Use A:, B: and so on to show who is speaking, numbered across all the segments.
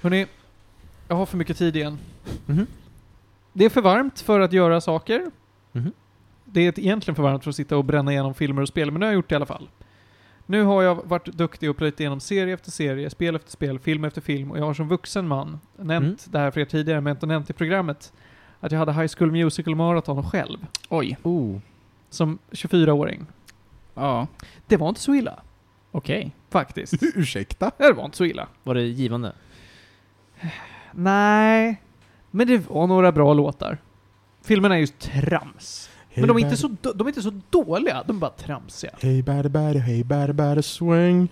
A: Hörrni, jag har för mycket tid igen.
B: Mhm.
A: Det är för varmt för att göra saker.
B: Mhm.
A: Det är egentligen för varmt för att sitta och bränna igenom filmer och spel, men nu har jag gjort det i alla fall. Nu har jag varit duktig och plöjt igenom serie efter serie, spel efter spel, film efter film och jag har som vuxen man
C: Mm.
A: nämnt det här för er tidigare, men inte nämnt i programmet, att jag hade High School Musical Marathon själv,
C: Oj.
B: Oh.
A: som 24-åring.
C: Ja.
A: Det var inte så illa,
C: Okej.
A: faktiskt.
B: Ursäkta?
A: det var inte så illa.
B: Var det givande?
A: Nej, men det var några bra låtar. Filmerna är ju trams. Men de är, inte så, d- de är inte så dåliga, de är bara tramsiga.
B: Hey bada bada, hey bada bada swing.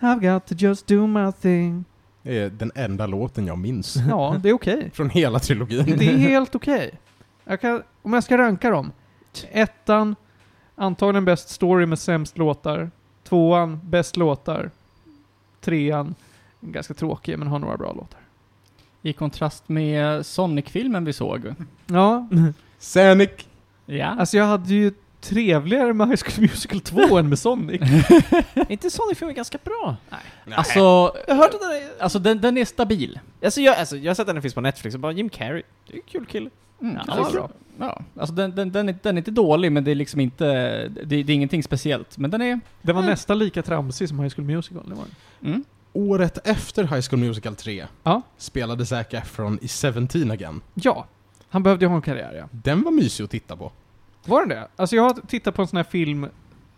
A: I've got to just do my thing.
B: Det är den enda låten jag minns.
A: Ja, det är okej.
B: Från hela trilogin.
A: Det är helt okej. Jag kan- Om jag ska ranka dem. Ettan, antagligen bäst story med sämst låtar. Tvåan, bäst låtar. Trean, ganska tråkig men har några bra låtar.
C: I kontrast med Sonic-filmen vi såg.
A: Ja,
B: Sanic!
C: Ja.
A: alltså jag hade ju trevligare med High School Musical 2 än med Sonic.
D: inte Sonic-filmen ganska bra?
C: Alltså,
D: Jag har hört att den är...
C: alltså den, den är stabil.
D: Alltså jag, alltså, jag har sett den finns på Netflix och bara Jim Carrey, det är en kul kille.
C: Mm,
D: Ja,
C: alltså,
D: det är bra.
C: Ja, alltså den, den, den, är, den är inte dålig, men det är liksom inte, det, det är ingenting speciellt. Men den är,
A: Den var nästan lika tramsig som High School Musical. Det var den.
C: mm.
B: Året efter High School Musical 3
A: Ja.
B: spelade Zac Efron i 17 igen.
A: Ja, han behövde ju ha en karriär ja.
B: Den var mysig att titta på.
A: Var den det? Alltså jag har tittat på en sån här film,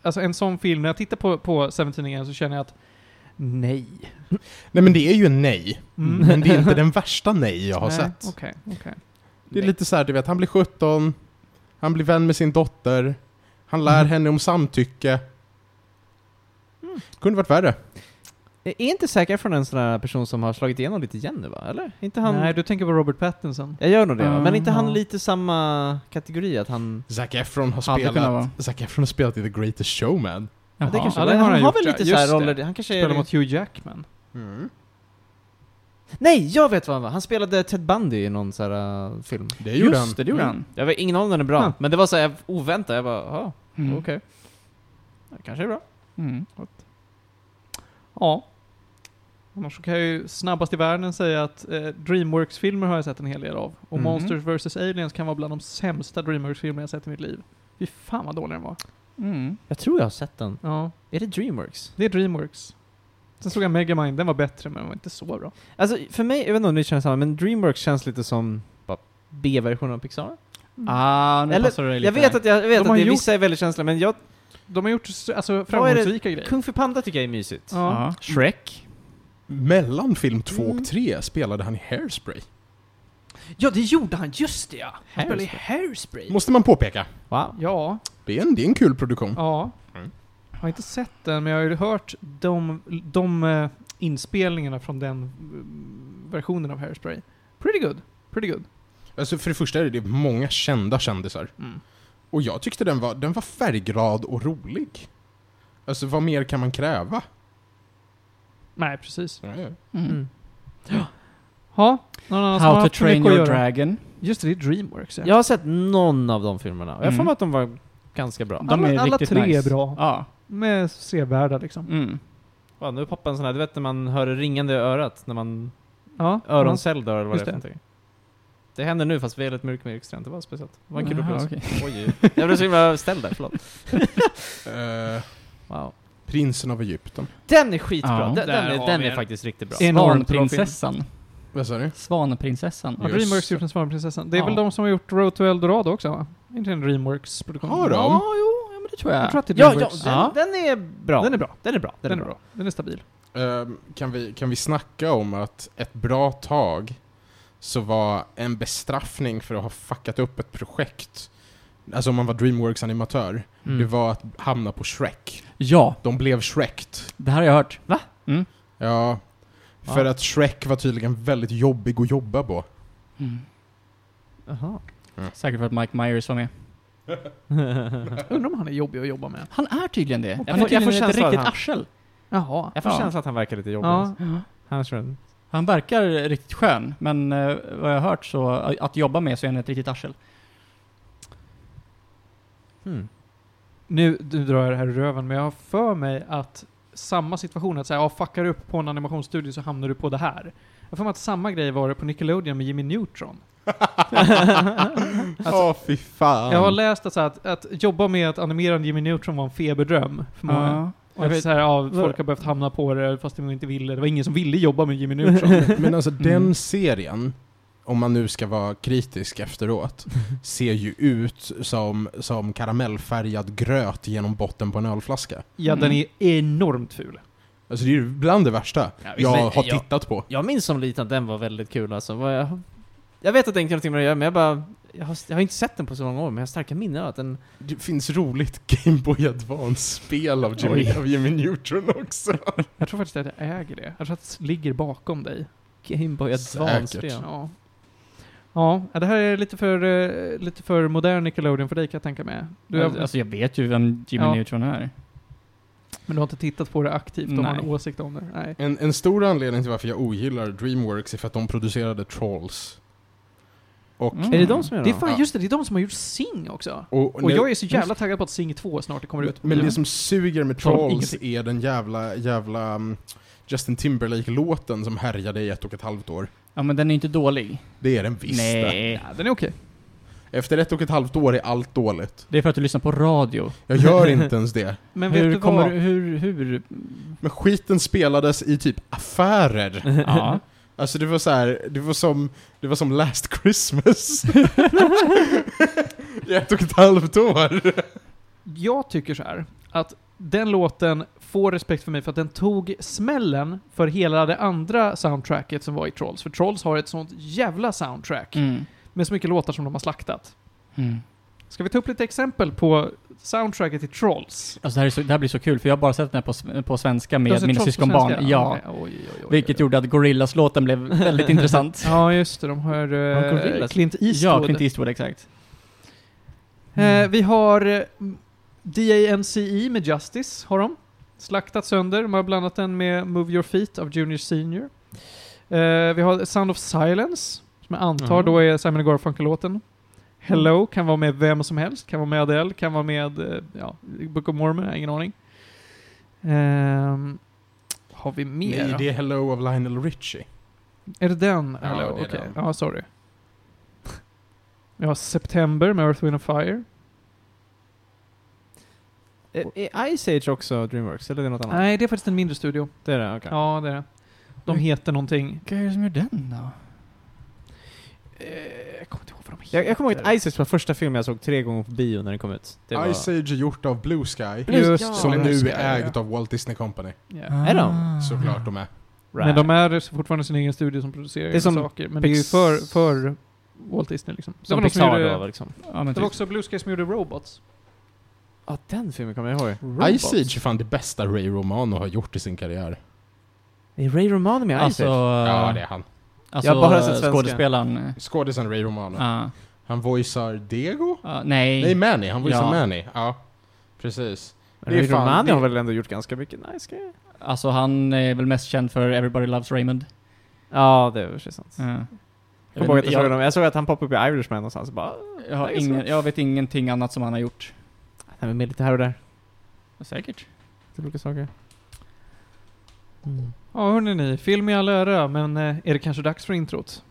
A: alltså en sån film, när jag tittar på, på 17 igen så känner jag att nej.
B: Nej men det är ju en nej.
A: Mm.
B: Men det är inte den värsta nej jag har
A: Nej,
B: sett.
A: Okej, okej.
B: Det är lite så här, du vet, han blir 17, han blir vän med sin dotter, han lär
A: Mm.
B: henne om samtycke. Kunde varit värre.
D: Är inte säker från en sån här person som har slagit igenom lite igen nu va? Eller? Inte han...
A: Nej, du tänker på Robert Pattinson.
D: Jag gör nog det va? Men
C: Mm,
D: inte han
C: ja.
D: lite samma kategori? Att han...
B: Zac Efron har
C: Hade kunnat
B: spelat,
C: vara.
B: Zac Efron har spelat i The Greatest Showman.
D: Ja, det kanske
A: ja, det
D: var.
A: har
D: han,
A: han
D: har
A: gjort,
D: väl
A: ja.
D: lite så här
A: Just det.
D: roller, han kanske
A: Spelar
D: är...
A: mot Hugh Jackman.
D: Nej, jag vet vad han var! Han spelade Ted Bundy i någon sån här äh, film.
B: Det gjorde han.
C: Just det, det gjorde han.
D: Jag vet ingen aning om den är bra,
A: Ja.
D: men det var så här oväntat, jag bara, ja,
C: Mm.
D: okej. Det kanske är bra.
C: Mm.
A: Ja. Annars så kan jag ju snabbast i världen säga att eh, Dreamworks-filmer har jag sett en hel del av. Och
B: Mhm.
A: Monsters vs. Aliens kan vara bland de sämsta Dreamworks-filmer jag sett i mitt liv. Fy fan vad dålig den var.
C: Mm.
D: Jag tror jag har sett den.
A: Ja,
D: Är det Dreamworks?
A: det är Dreamworks. Sen såg jag Megamind, den var bättre men den var inte så bra.
D: Alltså för mig, jag vet inte om ni känner samma, men Dreamworks känns lite som bara B-versionen av Pixar.
C: Ah, nu
D: Eller-
C: passar det lite.
D: Jag vet att, jag, jag
A: De
D: vet
A: har
D: att det,
A: gjort-
D: vissa är väldigt känsliga, men jag,
A: De har gjort s- alltså, framgångsrika grejer.
D: Kung för Panda tycker jag är mysigt.
A: Ja.
C: Ja. Shrek.
B: Mellan film 2
D: Mm.
B: och 3 spelade han i Hairspray.
A: Ja, det gjorde han, just det ja! Han spelade i Hairspray.
B: Mm. Måste man påpeka.
D: Wow.
A: Ja,
B: Det är en, det är en kul produktion.
A: ja.
B: Mm.
A: Jag har inte sett den, men jag har ju hört de, de eh, inspelningarna från den eh, versionen av Hairspray. Pretty good. Pretty good.
B: Alltså för det första är det många kända kändisar.
A: Mm.
B: Och jag tyckte den var, den var färgglad och rolig. Alltså vad mer kan man kräva?
A: Nej, precis.
B: Ja,
C: Mm.
A: Ja, någon annan som har
C: How to
A: haft för
C: train
A: mycket att
C: your
A: göra?
C: dragon.
A: Just det, det är Dreamworks ja.
D: Jag har sett någon av de filmerna, och jag har för
C: Mm.
D: mig att de var ganska bra.
C: De är
A: alla alla
C: riktigt
A: tre
C: nice.
A: är bra.
C: Ja.
A: Med sevärda liksom.
C: Mm.
D: Wow, nu poppar en sån här, du vet när man hör det ringande i örat, när man
A: Ja,
D: öroncell dör eller vad
A: Just
D: det är för
A: det.
D: någonting. Det händer nu fast vi är lite mörk med extremt, det var speciellt. Det var en kul
C: Jaha,
D: upplevelse.
C: okej.
D: Oj, oj. jag blev så himla ställd där, förlåt.
B: Eh,
D: Wow.
B: Prinsen av Egypten.
D: Den är skitbra,
C: Ja,
D: den, den,
C: där
D: är,
C: har
D: den
C: vi
D: är
C: er.
D: faktiskt riktigt bra.
A: En- Enormt bra film.
C: Svanprinsessan.
B: Vad sa du?
C: Svanprinsessan.
A: Har
B: Just
A: Dreamworks
B: det.
A: gjort en Svanprinsessan? Det är
C: Ja.
A: väl de som har gjort Road to Eldorado också va? Inte en Dreamworks-produktion?
B: Har de?
C: Ja, jo, ja, men det tror jag.
A: Jag tror att det är
D: Ja, ja,
A: Dreamworks.
D: den, den är bra.
A: Den är bra.
D: Den är bra.
A: Den är bra. Den är stabil.
B: Ehm, kan, vi, kan vi snacka om att ett bra tag så var en bestraffning för att ha fuckat upp ett projekt, alltså om man var Dreamworks-animatör,
D: Mm.
A: Mm.
B: det var att hamna på Shrek.
C: Ja,
B: De blev Shrekt.
C: det här har jag hört.
B: Ja. För
D: Ja.
B: att Shrek var tydligen väldigt jobbig att jobba på.
D: Jaha.
C: Säkert för att Mike Myers var med.
A: Undrar om han är jobbig att jobba med.
C: Han är tydligen det.
D: får-
C: Han
D: jag
C: är
D: får
C: tydligen ett
D: känslan att
C: riktigt
D: han-
C: arsel.
A: Jaha.
D: Jag får
C: Ja.
D: känslan att han verkar lite jobbig.
A: Ja.
D: Han kör en...
C: Han verkar riktigt skön, men eh, vad jag har hört så, eh, att jobba med så är han ett riktigt arsel.
D: Hmm.
A: Nu, nu drar jag det här i röven, men jag har för mig att samma situation, att säga, ja, fuckar du upp på en animationsstudio så hamnar du på det här. Jag får mig att samma grej var det på Nickelodeon med Jimmy Neutron.
B: Åh fy fan.
A: Jag har läst att, så här, att, att jobba med att animera Jimmy Neutron var en feberdröm för många.
C: Ja.
A: Och jag vet, så här, ja, folk har behövt hamna på det fast de inte ville. Det var ingen som ville jobba med Jimmy Neutron.
B: Men alltså
C: Mm.
B: den serien, om man nu ska vara kritisk efteråt, ser ju ut som, som karamellfärgad gröt genom botten på en ölflaska.
A: Ja, den är enormt ful.
B: Alltså det är ju bland det värsta
D: Ja, visst,
B: jag
D: men-
B: har
D: ja.
B: tittat på.
D: Jag minns som liten att den var väldigt kul alltså. Vad Jag, jag vet att den inte har någonting med det att göra, men jag bara... Jag har, jag har inte sett den på så många år, men jag har starka minnen av att den...
B: Det finns roligt Game Boy Advance-spel av Jimmy,
A: Oj.
B: av Jimmy Neutron också.
A: Jag tror faktiskt att jag äger det. Jag tror att det ligger bakom dig.
D: Gameboy
B: Säkert.
D: Advance-spel.
A: Ja. Ja, det här är lite för, eh, lite för modern Nickelodeon för dig kan jag tänka mig. Du har,
C: Alltså jag vet ju vem Jimmy
A: Ja.
C: Neutron är.
A: men du har inte tittat på det aktivt och har en
C: Nej.
A: åsikt om det? Nej.
B: En, en stor anledning till varför jag ogillar Dreamworks är för att de producerade Trolls. Och,
C: Mm.
D: Är det de som gör
A: Det är
D: dem?
A: fan
B: Ja.
A: just det, det är de som har gjort Sing också.
B: och,
A: Och jag är så jävla taggad på att Sing 2 snart kommer ut.
B: Men
A: Ja.
B: det som suger med
A: Troll,
B: Trolls
A: ingenting.
B: är den jävla, jävla mm, Justin Timberlake-låten som härjade i ett och ett halvt år.
C: Ja men den är inte dålig.
B: Det är den visst det.
C: Nej.
A: Ja, den är okej.
B: Efter ett och ett halvt år är allt dåligt.
C: Det är för att du lyssnar på radio.
B: Jag gör inte ens det.
A: Men vet
C: hur
A: du
C: kommer
A: vad?
C: du, hur, hur?
B: Men skiten spelades i typ affärer.
C: Ja.
B: Alltså det var så här, det var som, det var som Last Christmas. I ett och ett halvt år.
A: Jag tycker så här att den låten får respekt för mig för att den tog smällen för hela det andra soundtracket som var i Trolls. För Trolls har ett sånt jävla soundtrack
C: Mm.
A: med så mycket låtar som de har slaktat.
C: Mm.
A: Ska vi ta upp lite exempel på soundtracket i Trolls?
C: Alltså det här, är så, det här blir så kul, för jag har bara sett den här på, s- på svenska
A: Du har
C: med
A: sett
C: mina
A: Trolls på
C: syskonbarn.
A: svenska?
C: Ja.
A: nej, oj, oj, oj, oj,
C: Vilket
A: oj.
C: gjorde att Gorillas-låten blev väldigt intressant.
A: Ja, just det. De har
D: Har de
A: eh,
D: Gorillaz?
A: Clint Eastwood.
C: Ja, Clint Eastwood exakt.
A: Eh,
B: Mm.
A: vi har eh, DANCE E med Justice, har de. Slaktat sönder. De har blandat den med Move Your Feet av Junior Senior. Eh, vi har Sound of Silence, som jag antar
B: Mhm.
A: då är Simon Garfunkel-låten.
B: Mm.
A: Hello kan vara med vem som helst, kan vara med Adele, kan vara med eh, ja, Book of Mormon, jag har ingen aning. Ehm, har vi mer?
B: Nej,
A: då?
B: det är Hello av Lionel Richie.
A: Är det den?
B: Ja,
A: Hello?
B: det
A: Okej,
B: är den.
A: ja sorry. Vi har September med Earth, Wind and Fire.
D: Är, är Ice Age också Dreamworks, eller är det något annat?
A: Nej, det är faktiskt en mindre studio.
D: Det är det, okej.
A: Ja, det är det. De
C: Mm.
A: heter någonting.
C: Vilka är det som gör den då?
A: Eh, Jag kommer inte ihåg vad de heter.
D: Jag, jag kommer ihåg att Ice Age var första filmen jag såg tre gånger på bio när den kom ut. Det var...
B: Ice Age är gjort av Blue Sky.
A: Just
D: Ja. Ah.
B: Som
A: det.
B: nu
A: Ska
B: är
A: jag-
B: ägt av Walt Disney Company.
A: Ja.
D: Är de?
B: Såklart de är.
A: Men de är fortfarande sin egen studio som producerar
D: är
A: egna
D: som
A: saker. Men det är ju
D: Pix-
A: för, för Walt Disney liksom. Det
D: Som
A: var, de som
D: Pixar
A: gjorde,
D: då, var liksom.
C: Ja, men
A: det var
C: typ.
A: också Blue Sky som gjorde Robots.
D: Ja, den filmen kommer jag ihåg.
B: Ice Age är fan det bästa Ray Romano har gjort i sin karriär.
D: Är Ray Romano med i Ice
C: Alltså,
D: Age?
B: Ja, det är han.
C: alltså
D: Jag har bara sett svenska.
C: skådespelaren. eh,
B: Skådisen Ray Romano.
C: Ja.
B: Han voicear Diego?
C: Ja, nej.
B: Nej, Manny. Han voicear
C: Ja.
B: Manny. Ja, precis.
D: Men
B: det är
D: Ray
B: fan-
D: Romano
B: det-
D: har väl ändå gjort ganska mycket nice grejer?
C: Alltså han är väl mest känd för Everybody Loves Raymond.
D: Ja, det är väl sant.
C: Ja. Jag,
D: Jag, kommer ihåg att jag,
C: vet-
D: såg
C: jag,
D: honom. jag såg att han poppade upp i Irishman någonstans och bara...
C: jag, har ingen, jag vet ingenting annat som han har gjort.
D: Han är med lite här och där.
C: Säkert.
D: Till olika saker.
A: Ja, hörni ni. Film i all ära, men eh, är det kanske dags för introt?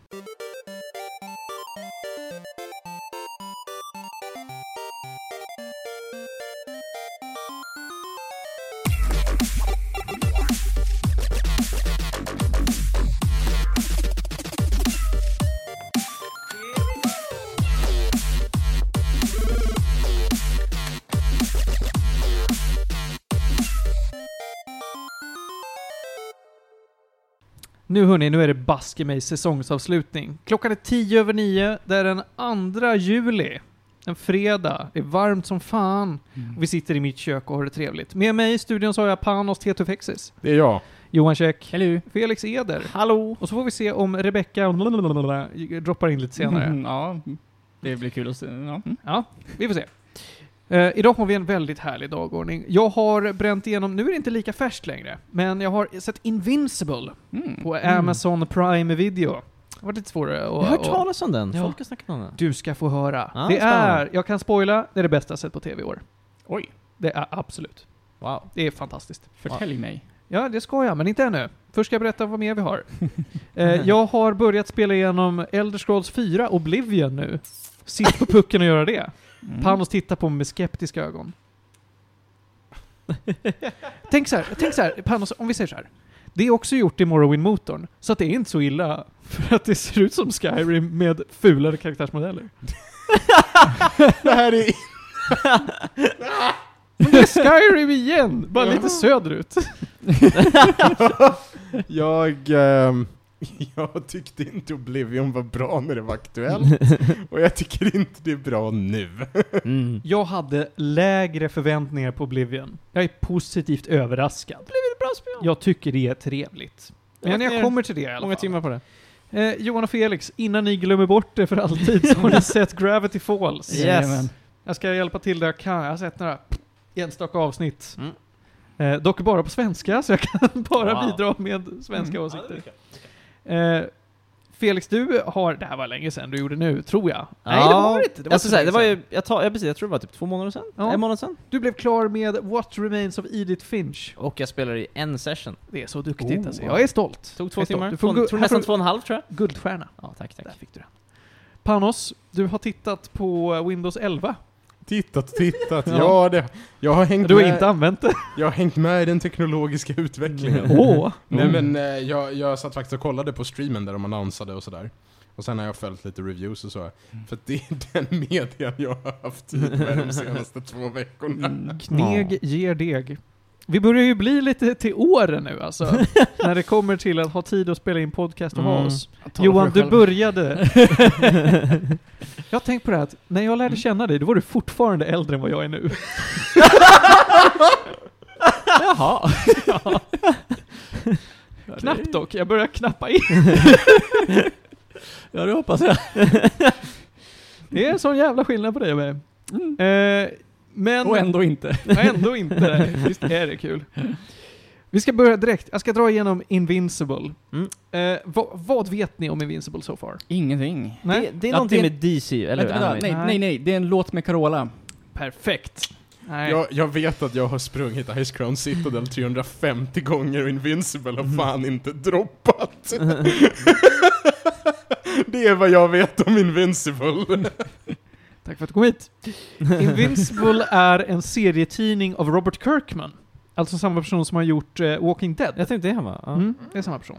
A: Nu hörni, nu är det baske mig säsongsavslutning. Klockan är tio över nio. Det är den andra juli. En fredag. Det är varmt som fan.
D: Mm.
A: Vi sitter i mitt kök och har det trevligt. Med mig i studion så har jag Panos Tetufexis.
B: Det är jag.
A: Johan Käck.
C: Hello.
A: Felix Eder.
D: Hallå!
A: Och så får vi se om Rebecca droppar in lite senare.
D: Mm-hmm.
C: Mm, ja, det blir kul att se. Ja. Mm.
A: Ja, vi får se. Eh, idag har vi en väldigt härlig dagordning. Jag har bränt igenom, nu är det inte lika färskt längre, men jag har sett Invincible
C: Mm.
A: på Amazon Prime Video. Det var lite svårare
D: Jag har hört
A: att... att-
D: talas om den.
A: Ja.
D: Folk har snackat om den.
A: Du ska få höra.
D: Ah,
A: det
D: spännande.
A: är, jag kan spoila, det är det bästa jag sett på tv i år.
C: Oj,
A: Det är absolut.
D: Wow.
A: Det är fantastiskt.
C: förtälj mig.
A: Ja, det ska jag, men inte ännu. Först ska jag berätta vad mer vi har. Eh, jag har börjat spela igenom Elder Scrolls 4 Oblivion nu. Sitt på pucken och göra det.
C: Mm.
A: Panos tittar på mig med skeptiska ögon. tänk så här, tänk så här, Panos, om vi säger så här. Det är också gjort i Morrowind-motorn, så att det är inte så illa för att det ser ut som Skyrim med fulare karaktärsmodeller.
B: Det här är...
A: Men det är Skyrim igen! Bara lite söderut.
B: Jag... ehm, jag tyckte inte Oblivion var bra när det var aktuellt. Och jag tycker inte det är bra nu.
D: Mm.
A: Jag hade lägre förväntningar på Oblivion. Jag är positivt överraskad. Oblivion
D: bra
A: spel. Jag tycker det är trevligt.
D: Jag har
A: Men jag
D: lagt ner
A: kommer till det i alla
D: Många
A: fall.
D: timmar på det.
A: Eh, Johan och Felix, innan ni glömmer bort det för alltid så har ni sett Gravity Falls.
D: Yes.
C: Jajamän.
A: Jag ska hjälpa till där jag kan. Jag har sett några enstaka avsnitt.
D: Mm.
A: Eh, dock bara på svenska, så jag kan bara
D: Wow.
A: bidra med svenska
C: Mm.
A: åsikter. Eh, Felix, du har... Det här var länge sedan du gjorde nu, tror jag. Nej,
D: Ja.
A: det var det inte. Det var
D: alltså,
A: inte länge
D: såhär, det var
A: sedan.
D: ju, jag, tar, jag, precis, jag tror det var typ två månader sedan.
A: Ja.
D: En månad sedan.
A: Du blev klar med What Remains of Edith Finch.
D: Och jag spelar i en session.
A: Det är så duktigt
B: Oh.
A: alltså. Jag är stolt.
D: Tog två
A: Jag är stolt.
D: timmar.
A: Du
D: Två,
A: får gu-
D: tror
A: här får
D: nästan
A: du
D: två och en halv tror jag.
A: guldstjärna.
D: Ja, tack,
A: Där
D: tack.
A: fick du den. Panos, du har tittat på eh, Windows 11.
B: Tittat, tittat. Ja, det, jag, har
D: Mm.
B: hängt
A: Du har
B: med,
A: inte använt det.
B: jag har hängt med i den teknologiska utvecklingen.
D: Mm.
A: Åh!
B: Nej men eh, jag, jag satt faktiskt och kollade på streamen där de annonsade och sådär. Och sen har jag följt lite reviews och så. För att det är den median jag har haft tid med de senaste två veckorna.
C: Mm.
A: Kneg ger deg. Vi börjar ju bli lite till åren nu alltså. när det kommer till att ha tid att spela in podcast och ha
D: Mm.
A: oss.
C: Jag talar
A: Johan,
C: för
A: du
C: mig själv.
A: började. jag har tänkt på det här att när jag lärde känna dig, då var du fortfarande äldre än vad jag är nu.
C: Jaha.
A: Knappt dock, jag börjar knappa in.
C: Ja, det hoppas jag.
A: Det är en sån jävla skillnad på dig och mig. Eh, men...
C: Och ändå inte.
A: Och ändå inte. Visst är det kul. Vi ska börja direkt. Jag ska dra igenom Invincible.
D: Mm.
A: Eh, vad, vad vet ni om Invincible so far?
C: Ingenting.
A: Nej?
D: Det, det är
C: Ja,
D: någonting
C: det-
D: med DC, eller hur?
C: Vänta, vänta.
D: Anime.
C: Nej, nej, nej. Det är en låt med Carola.
A: Perfekt. Nej.
B: Jag, jag vet att jag har sprungit Ice Crown Citadel 350 gånger och Invincible har fan inte droppat. det är vad jag vet om Invincible.
A: Tack för att du kom hit. Invincible är en serietidning av Robert Kirkman. Alltså samma person som har gjort eh, Walking Dead.
D: Jag tänkte det här va? Ja.
A: Mm, det är samma person.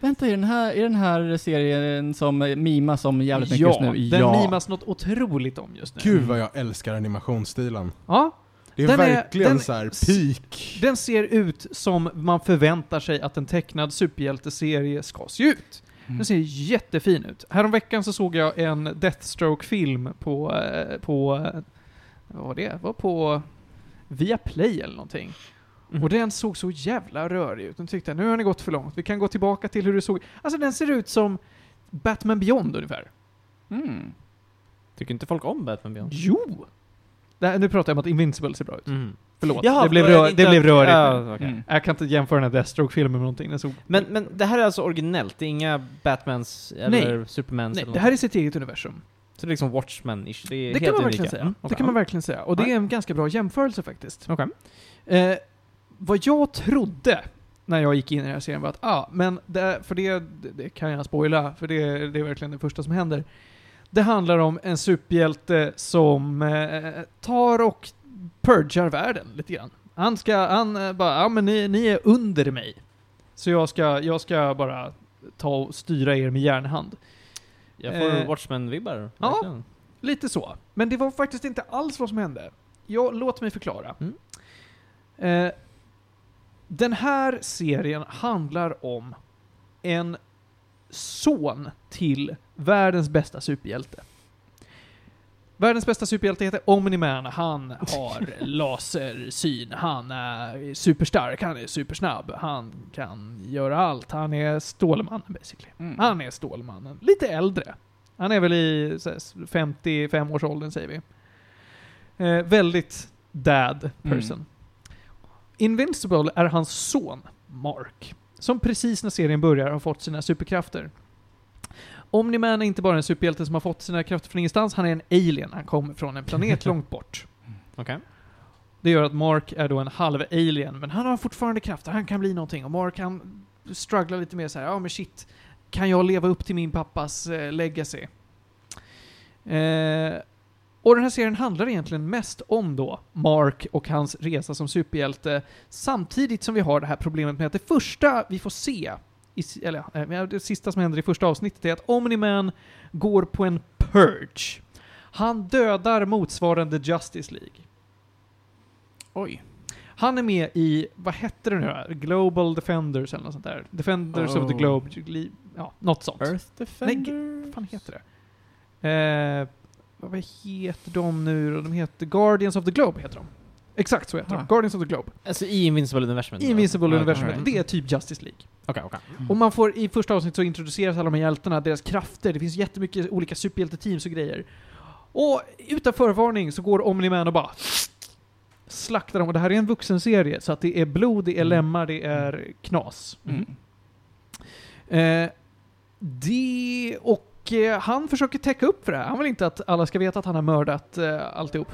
C: Vänta, är den här, är den här serien som mimas om jävligt mycket just nu?
A: den mimas något otroligt om just nu.
B: Gud vad jag älskar animationsstilen.
A: Ja,
B: Det är
A: Den är-
B: verkligen
A: den-
B: så här peak.
A: Den ser ut som man förväntar sig att en tecknad superhjälteserie ska se ut. Den
C: Mm.
A: ser jättefin ut. Häromveckan så såg jag en Deathstroke-film på, eh, på, eh, vad var det? Var på Viaplay eller någonting.
D: Mhm.
A: Och den såg så jävla rörig ut. Den tyckte jag, nu har ni gått för långt. Vi kan gå tillbaka till hur det såg Alltså den ser ut som Batman Beyond ungefär.
C: Mm.
D: Tycker inte folk om Batman Beyond?
A: Jo! Det här, nu pratar jag om att Invincible ser bra ut.
D: Mm.
A: Förlåt,
D: Jaha,
A: det, blev
D: var det
A: rör,
D: inte-
A: det blev rörigt.
D: Ja, okej.
C: Mm.
A: Jag kan inte jämföra den här Deathstroke-filmen med någonting. Den såg
D: Men, men det här är alltså originellt? Det är inga Batmans eller Supermans?
A: Nej,
D: eller
A: det här är sitt eget universum.
D: något? Så det är liksom Watchmen-ish? Det är
A: Det kan,
D: helt
A: man
D: unika.
A: verkligen säga.
D: Mm,
A: det
D: okej.
A: kan man verkligen säga. Och det
D: Ja.
A: är en ganska bra jämförelse faktiskt.
D: Okej.
A: Eh, vad jag trodde när jag gick in i den här serien var att, ah, men det, för det, det kan jag spoila, för det, det är verkligen det första som händer. Det handlar om en superhjälte som eh, tar och purgar världen lite grann. Han ska, han eh, bara, ja men ni, ni är under mig. Så jag ska, jag ska bara ta och styra er med järnhand.
D: Jag får
A: Eh,
D: Watchmen-vibbar.
A: ja.
D: verkligen.
A: Lite så. Men det var faktiskt inte alls vad som hände. Jag, låt mig förklara.
D: Mm.
A: Eh, den här serien handlar om en son till världens bästa superhjälte. Världens bästa superhjälte heter Omni-Man. Han har lasersyn, han är superstark, han är supersnabb, han kan göra allt. Han är Stålmannen basically.
C: Mm.
A: Han är Stålmannen. Lite äldre. Han är väl i 55-årsåldern säger vi. Eh, väldigt dad person. Invincible är hans son, Mark, som precis när serien börjar har fått sina superkrafter. Omni-Man är inte bara en superhjälte som har fått sina krafter från ingenstans, han är en alien. Han kommer från en planet långt bort.
D: Okej.
A: Det gör att Mark är då en halv alien, men han har fortfarande krafter. Han kan bli någonting och Mark han strugglar lite mer så här, ja men shit, kan jag leva upp till min pappas eh, legacy? Eh, och den här serien handlar egentligen mest om då Mark och hans resa som superhjälte, samtidigt som vi har det här problemet med att det första vi får se, i, s- eller eh, men det sista som händer i första avsnittet är att Omni-Man går på en purge. Han dödar motsvarande Justice League.
C: Oj.
A: Han är med i, vad hette det nu? här? Global Defenders eller något sånt där. Defenders of the
C: Oh.
A: Globe, li- ja, något sånt.
C: Earth
A: Defender? Vad fan heter det? Eh, vad vad heter de nu då? De heter Guardians of the Globe, heter de. Exakt så heter
C: Ah.
A: de. Guardians of the Globe.
D: Alltså i Invincible Universum?
A: Invincible
D: Ja,
A: Universum.
D: okej.
A: Det är typ Justice League.
D: Okej, okej.
A: Och man får, i första avsnittet så introduceras alla de här hjältarna, deras krafter, det finns jättemycket olika superhjälteteams och grejer. Och utan förvarning så går Omni-Man och bara slaktar dem. Och det här är en vuxenserie, så att det är blod, det är
D: Mm.
A: lemmar, det är knas.
C: Mm.
A: Eh, det, och eh, han försöker täcka upp för det här. Han vill inte att alla ska veta att han har mördat eh, alltihop.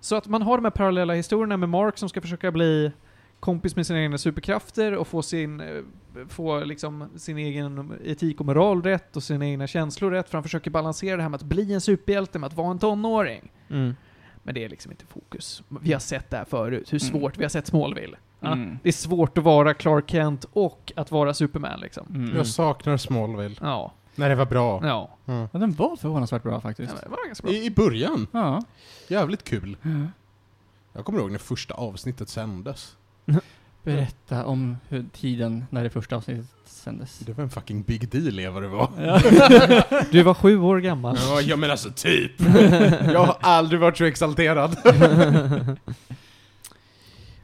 A: Så att man har de här parallella historierna med Mark som ska försöka bli kompis med sina egna superkrafter och få sin, eh, få liksom sin egen etik och moral rätt och sina egna känslor rätt. För han försöker balansera det här med att bli en superhjälte med att vara en tonåring.
D: Mm.
A: Men det är liksom inte fokus. Vi har sett det här förut, hur svårt vi har sett Smallville. Ja,
C: Mm.
A: Det är svårt att vara Clark Kent och att vara Superman liksom.
C: Mm.
B: Jag saknar Smallville.
A: Ja,
B: När det var bra.
A: ja.
B: Mm.
C: Ja, den var förvånansvärt bra faktiskt.
A: Ja, men det var ganska bra.
B: I, I början.
C: Ja.
B: Jävligt kul.
C: ja.
B: Jag kommer ihåg när första avsnittet sändes.
C: Berätta om hur tiden när det första avsnittet sändes.
B: Det var en fucking big deal, Eva, det var.
C: Ja.
A: Du var sju år gammal.
B: Ja, ja men alltså typ. Jag har aldrig varit så exalterad.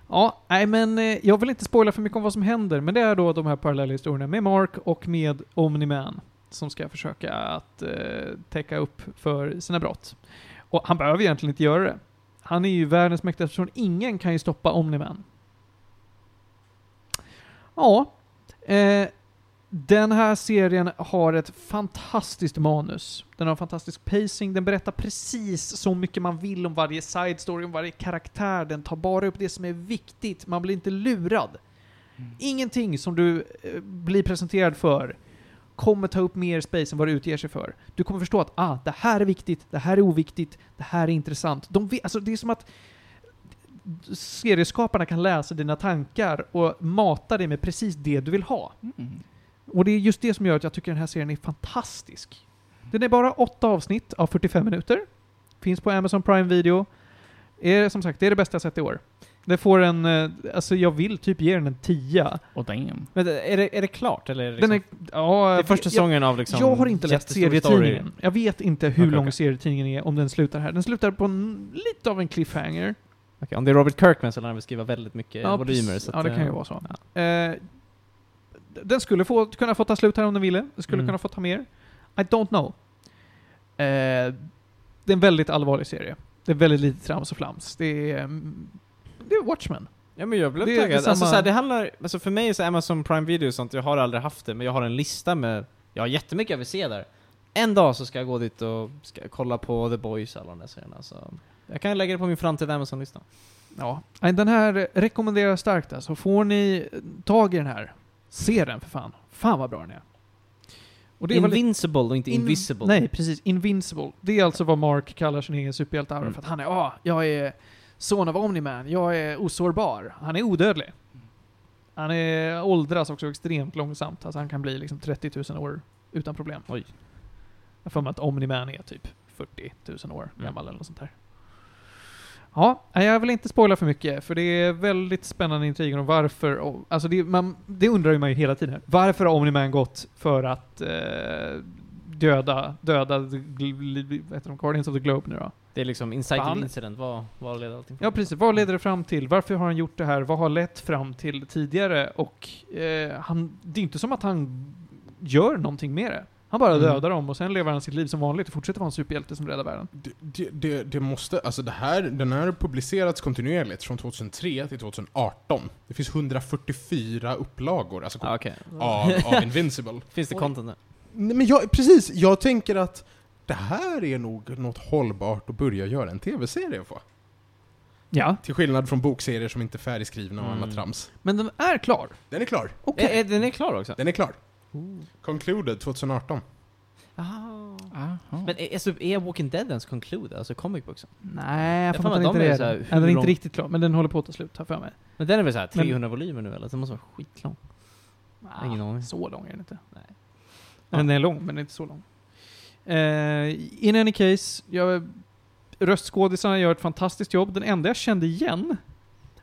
A: Ja, nej men eh, jag vill inte spoila för mycket om vad som händer, men det är då de här parallella historierna med Mark och med Omni-Man som ska försöka att eh, täcka upp för sina brott. Och han behöver egentligen inte göra det. Han är ju världens mäktigaste person. Ingen kan ju stoppa Omni-Man. Ja, eh, den här serien har ett fantastiskt manus. Den har fantastisk pacing, den berättar precis så mycket man vill om varje side story, om varje karaktär. Den tar bara upp det som är viktigt, man blir inte lurad. Ingenting som du eh, blir presenterad för kommer ta upp mer space än vad det utger sig för. Du kommer förstå att ah, det här är viktigt, det här är oviktigt, det här är intressant. De vet, alltså, det är som att serieskaparna kan läsa dina tankar och mata dig med precis det du vill ha.
C: Mm.
A: Och det är just det som gör att jag tycker den här serien är fantastisk. Den är bara åtta avsnitt av 45 minuter. Finns på Amazon Prime Video. Är, som sagt, det är det bästa jag sett i år. Det får en, eh, alltså jag vill typ ge den en tia.
C: Och damn.
D: Men är det, är det klart eller? Är det,
A: Den är,
D: liksom,
A: ja,
D: det är första
A: jag,
D: säsongen av liksom...
A: jag har inte läst
D: jättestor story.
A: serietidningen. Jag vet inte hur
D: Okej,
A: lång
D: okej.
A: serietidningen är om den slutar här. Den slutar på en, lite av en cliffhanger.
D: Okej, om det är Robert Kirkman så lär han väl skriva väldigt mycket eh, volymer.
A: precis.
D: Så att,
A: ja det kan ju
D: eh,
A: vara så. Eh, den skulle få, kunna få ta slut här om den ville. Den skulle
D: Mm.
A: kunna få ta mer. I don't know. Eh, det är en väldigt allvarlig serie. Det är väldigt lite trams och flams. Det är, mm, det är Watchmen.
D: Ja men jag blev
A: Det är
D: taggad.
A: detsamma-
D: Alltså, så här, det handlar, alltså för mig är så här, Amazon Prime Video och sånt, jag har aldrig haft det, men jag har en lista med, jag har jättemycket jag vill se där. En dag så ska jag gå dit och ska kolla på The Boys och alla de där serierna. Så jag kan lägga det på min framtida Amazon-lista.
A: Ja. Nej, Den här rekommenderar jag starkt alltså. Får ni tag i den här, se den för fan. Fan vad bra den är. Och det är väl-
D: Invincible och inte
A: In-
D: Invisible.
A: Nej, precis. Invincible. Det är alltså vad Mark kallar sin egen superhjälte
C: Mm.
A: För att han är, ah, jag är son av Omni-Man. Jag är osårbar. Han är odödlig. Han är, åldras också extremt långsamt. Alltså han kan bli liksom 30 000 år utan problem.
D: Oj.
A: Jag har för mig att Omni-Man är typ 40 000 år
D: Mm.
A: gammal eller något sånt där. Ja, nej, jag vill inte spoila för mycket, för det är väldigt spännande intriger om varför... Och, alltså det, man, det undrar ju man ju hela tiden. Varför har Omni-Man gått för att eh, döda, döda the gl- gl- vad heter de, Guardians of the Globe nu då?
D: Det är liksom Inside
A: Fan.
D: the Incident, vad, vad leder allting
A: Ja, precis. Vad leder det fram till? Varför har han gjort det här? Vad har lett fram till tidigare? Och eh, han, det är inte som att han gör någonting med det. Han bara
D: Mm.
A: dödar dem och sen lever han sitt liv som vanligt och fortsätter vara en superhjälte som räddar världen.
B: Det, det, det, det måste, alltså det här, den här har publicerats kontinuerligt från 2003 till 2018. Det finns 144 upplagor alltså,
D: Ah, okej.
B: av, av Invincible.
D: Finns det
A: Oj.
D: content där?
B: Nej, men jag, precis, jag tänker att det här är nog något hållbart att börja göra en tv-serie på.
A: Ja.
B: Till skillnad från bokserier som inte är färdigskrivna och
D: Mm.
B: annat trams.
A: Men den är klar.
B: Den är klar.
A: Okej.
D: Är, är, den är klar också?
B: Den är klar.
A: Oh.
B: Concluded 2018.
D: Aha.
C: Jaha.
D: Men är, alltså, är Walking Dead ens concluded? Alltså comic booksen?
A: Nej, jag
D: Jag
A: får
D: får
A: inte
D: mig att
A: inte
D: de är
A: det.
D: så här,
A: Nej,
D: hur
A: Den är inte
D: lång-
A: riktigt klar, men den håller på att ta slut, har jag för mig.
D: Men den är väl såhär
A: Men-
D: 300 volymer nu eller? Så Den måste vara skitlång.
A: Ah,
D: Ingen aning.
A: Så lång är den inte.
D: Nej.
A: Ja. Den är lång, men den är inte så lång. Eh, in any case, jag, röstskådisarna gör ett fantastiskt jobb. Den enda jag kände igen,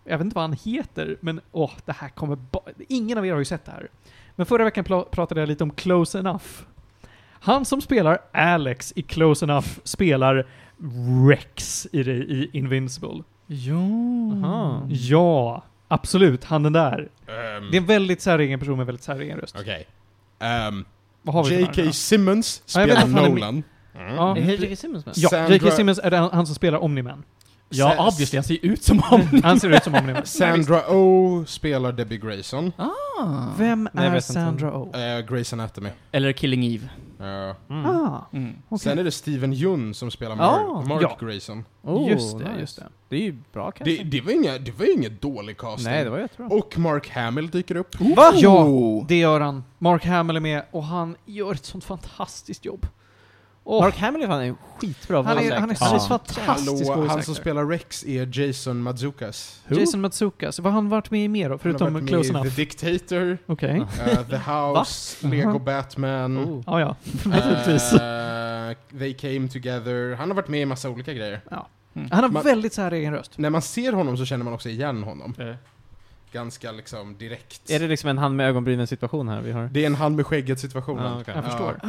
A: jag vet inte vad han heter, men åh, det här kommer ba- Ingen av er har ju sett det här. Men förra veckan pla- pratade jag lite om Close Enough. Han som spelar Alex i Close Enough spelar Rex i, det, i Invincible.
C: Ja.
A: Mm.
D: Aha. Mm.
A: Ja, absolut, han den där.
B: Ehm,
A: Det är en väldigt säregen person med väldigt säregen röst.
B: Okej. Ehm,
A: Vad har vi för varandra?
B: J.K. Simmons
A: Ja, jag vet
B: spelar
A: att han är med.
B: Nolan. Mm.
A: Ja.
D: Är J.K. Simmons med?
A: Ja,
B: Sandra-
A: J.K. Simmons är den- han som spelar Omni-Man.
C: Ja,
B: Sa-
C: obviously. Han ser ju ut som honom.
A: Han ser ut som Omni-Man.
B: Sandra O oh spelar Debbie Grayson.
A: Vem
D: Nej, jag
A: är
D: vet inte.
A: Sandra Oh?
B: Uh, Grey's Anatomy.
C: Eller Killing Eve.
B: Eh,
D: Mm.
A: Ah,
C: Mm.
A: okej.
B: Sen är det Steven Yeun som spelar
D: Ah,
B: Mark, Mark
A: ja.
B: Grayson.
D: Oh,
A: just det,
D: nice.
A: just det.
D: Det är ju bra kanske.
B: Det, det var ingen, det var ju ingen dålig casting.
D: Nej, det var jättebra.
B: Och Mark Hamill dyker upp.
A: Va? Ja, det gör han. Mark Hamill är med och han gör ett sånt fantastiskt jobb. Åh,
D: Mark Hamill är fan en skitbra
A: han, är, han är så
C: Ja.
A: fantastisk
B: Hallå, han som
A: voice actor.
B: spelar Rex är Jason Mazukas.
A: Jason Matsukas. Vad har han varit med i mer då?
B: Han har
A: Förutom
B: varit
A: Close
B: med i
A: Enough?
B: The Dictator,
A: Okej.
D: Ja.
B: eh, The House, Lego
A: Aha.
B: Batman.
D: Oh.
A: Ja, ja.
B: eh,
A: Uh-huh. Naturligtvis.
B: they came together. Han har varit med i massa olika grejer.
A: Han har
B: man-
A: väldigt så här egen röst.
B: När man ser honom så känner man också igen honom.
C: Eh.
B: Ganska liksom direkt.
D: Är det liksom en hand med ögonbrynen situation här vi har?
B: Det är en hand med skägget situationen.
D: Ja, okej.
A: Jag förstår.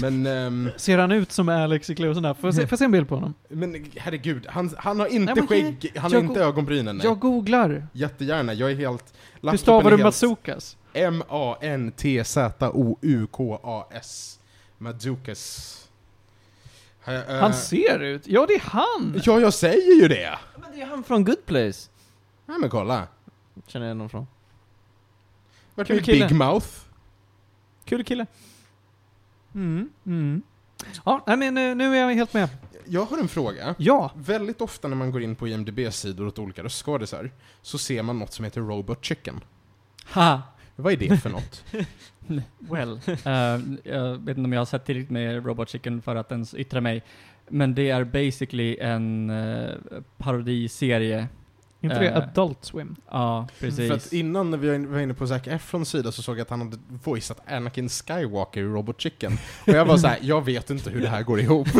B: Men, ehm,
A: Ser han ut som Alex i Close Enough? Får jag se, får jag se en bild på honom?
B: men herregud, han, han har inte
A: Nej, men
B: skägg, han har
A: jag
B: inte
A: go-
B: ögonbrynen. Nej.
A: Jag googlar.
B: Jättegärna, jag är helt...
A: Hur stavar du Matsukas?
B: Matsukas? M-A-N-T-Z-O-U-K-A-S. Matsukas. Eh, eh,
A: Han ser ut... Ja, det är han!
B: Ja, jag säger ju det!
D: Men det är han från Good Place!
B: Nej men kolla.
D: Känner jag någon från.
B: Vart
D: Kul
B: är
D: kille.
B: Big Mouth?
D: Kul kille.
A: Mm, mm. Ja, nej, men eh, nu är jag helt med.
B: Jag har en fråga.
A: Ja.
B: Väldigt ofta när man går in på IMDB-sidor åt olika röstskådisar så ser man något som heter Robot Chicken.
C: Ha.
B: Vad är det för något?
C: Well. Eh, jag vet inte om jag har sett tillräckligt med Robot Chicken för att ens yttra mig. Men det är basically en eh, parodiserie.
A: Inte det
C: Eh.
A: Adult Swim?
C: Ja,
B: För att
C: precis.
B: innan när vi var inne på Zac Efrons sida så såg jag att han hade voicat Anakin Skywalker i Robot Chicken. Och jag var så här, jag vet inte hur det här går ihop.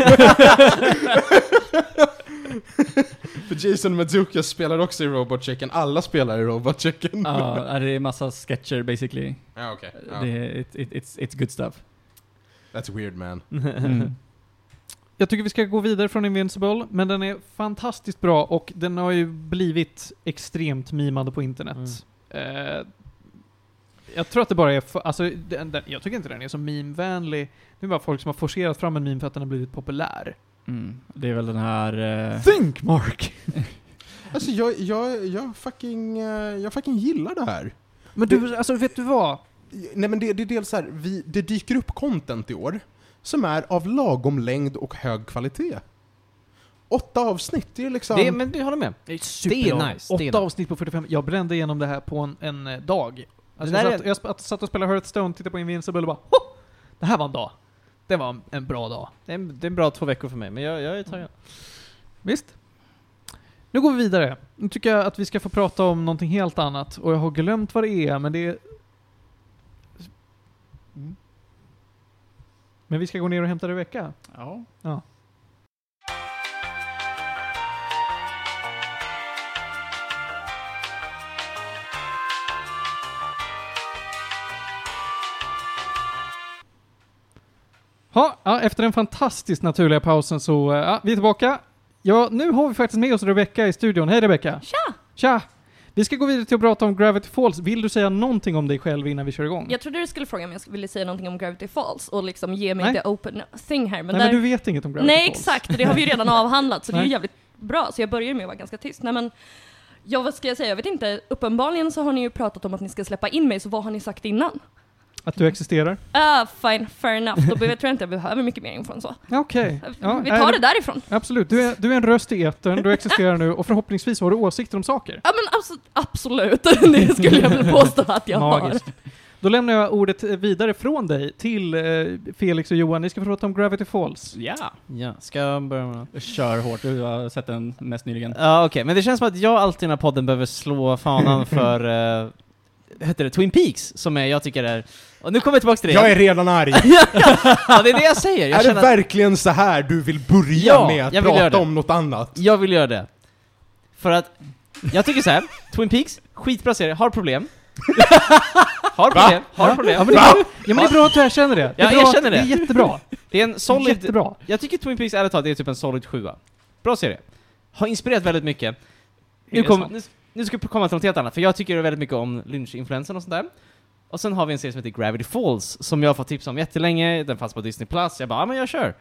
B: För Jason Mazukas spelar också i Robot Chicken, alla spelar i Robot Chicken.
C: Ja, det är massa sketcher basically.
B: Ja, okej. Ja.
C: Det är, it, it, it's, it's good stuff.
B: That's weird man.
C: Mm.
A: Jag tycker vi ska gå vidare från Invincible, men den är fantastiskt bra och den har ju blivit extremt mimande på internet. Eh, jag tror att det bara är för, alltså, den, den, jag tycker inte den är så meme-vänlig. Det är bara folk som har forcerat fram en meme för att den har blivit populär.
C: Mm. Det är väl den här... eh,
A: Think Mark!
B: Alltså jag, jag, jag, fucking, eh, jag fucking gillar det här.
A: Men du, alltså vet du vad?
B: Nej men det, det är dels så här, vi, det dyker upp content i år som är av lagom längd och hög kvalitet. Åtta avsnitt, det är liksom...
D: Det är, men jag håller med.
A: Det är
D: superbra. nice, det är
A: Åtta
D: nice.
A: avsnitt på 45. Jag brände igenom det här på en, en eh, dag. Alltså
D: Det
A: jag,
D: där
A: satt,
D: är-
A: jag sp- satt och spelade Hearthstone, tittade på Invincible och bara "Ho! Det här var en dag. Det var en, en bra dag.
D: Det är, en, det är en bra två veckor för mig, men jag, jag är taggad.
A: Visst? Nu går vi vidare. Nu tycker jag att vi ska få prata om någonting helt annat och jag har glömt vad det är, men det är...
D: Mm.
A: Men vi ska gå ner och hämta Rebecka.
C: Ja.
A: Ja. Ha, ja, efter den fantastiskt naturliga pausen så, eh, ja, vi är tillbaka. Ja, nu har vi faktiskt med oss Rebecka i studion. Hej Rebecka! Tja! Tja! Vi ska gå vidare till att prata om Gravity Falls. Vill du säga någonting om dig själv innan vi kör igång?
E: Jag trodde du skulle fråga om jag ville säga någonting om Gravity Falls och liksom ge mig
A: Nej.
E: the open thing här. Men
A: Nej,
E: där...
A: men du vet inget om Gravity
E: Nej
A: Falls.
E: exakt, det har vi ju redan avhandlat så det är ju
A: Nej.
E: jävligt bra. Så jag börjar med att vara ganska tyst. Nej, men, ja vad ska jag säga, jag vet inte. Uppenbarligen så har ni ju pratat om att ni ska släppa in mig, så vad har ni sagt innan?
A: Att du existerar?
E: Ah, fine, fair enough. Då behöver, tror jag inte jag behöver mycket mer info än så.
A: Ja, Okej. Ja,
E: Vi
A: nej,
E: tar det därifrån.
A: Absolut. Du är, du är en röst i etern, du existerar nu och förhoppningsvis har du åsikter om saker.
E: Ja men absolut, absolut. det skulle jag vilja påstå att jag har.
A: Magiskt. Då lämnar jag ordet eh, vidare från dig till eh, Felix och Johan. Ni ska få prata om Gravity Falls.
C: Ja,
D: Ja, ska jag börja med något?
C: kör hårt. Du har sett den mest nyligen.
D: Ja okej, men det känns som att jag alltid i den här podden behöver slå fanan för, eh, heter det, Twin Peaks? Som är, jag tycker är... Och nu kommer jag tillbaka till det
B: Jag
D: igen.
B: är redan arg!
D: Ja, det är det jag säger! Jag,
B: är det
D: känner att
B: verkligen så här du vill börja
D: Ja,
B: med att
D: jag vill göra
B: prata
D: det.
B: om något annat?
D: jag vill göra det. För att, jag tycker så här. Twin Peaks, skitbra serie, har problem. har problem, har
A: Ja,
D: problem.
A: men det, ja, men det är bra att du erkänner det. det
D: Ja,
A: är
D: jag
A: bra,
D: erkänner det.
A: Det är jättebra.
D: Det är en solid,
A: Jättebra.
D: Jag tycker Twin Peaks ärligt talat det är typ en solid sjua. Bra serie. Har inspirerat väldigt mycket. Nu,
A: Är det
D: kom,
A: sant?
D: nu, nu ska vi komma till något helt annat, för jag tycker väldigt mycket om Lynch-influensen och sånt där. Och sen har vi en serie som heter Gravity Falls, som jag har fått tips om jättelänge, den fanns på Disney+. Plus. Jag bara, ja men jag kör.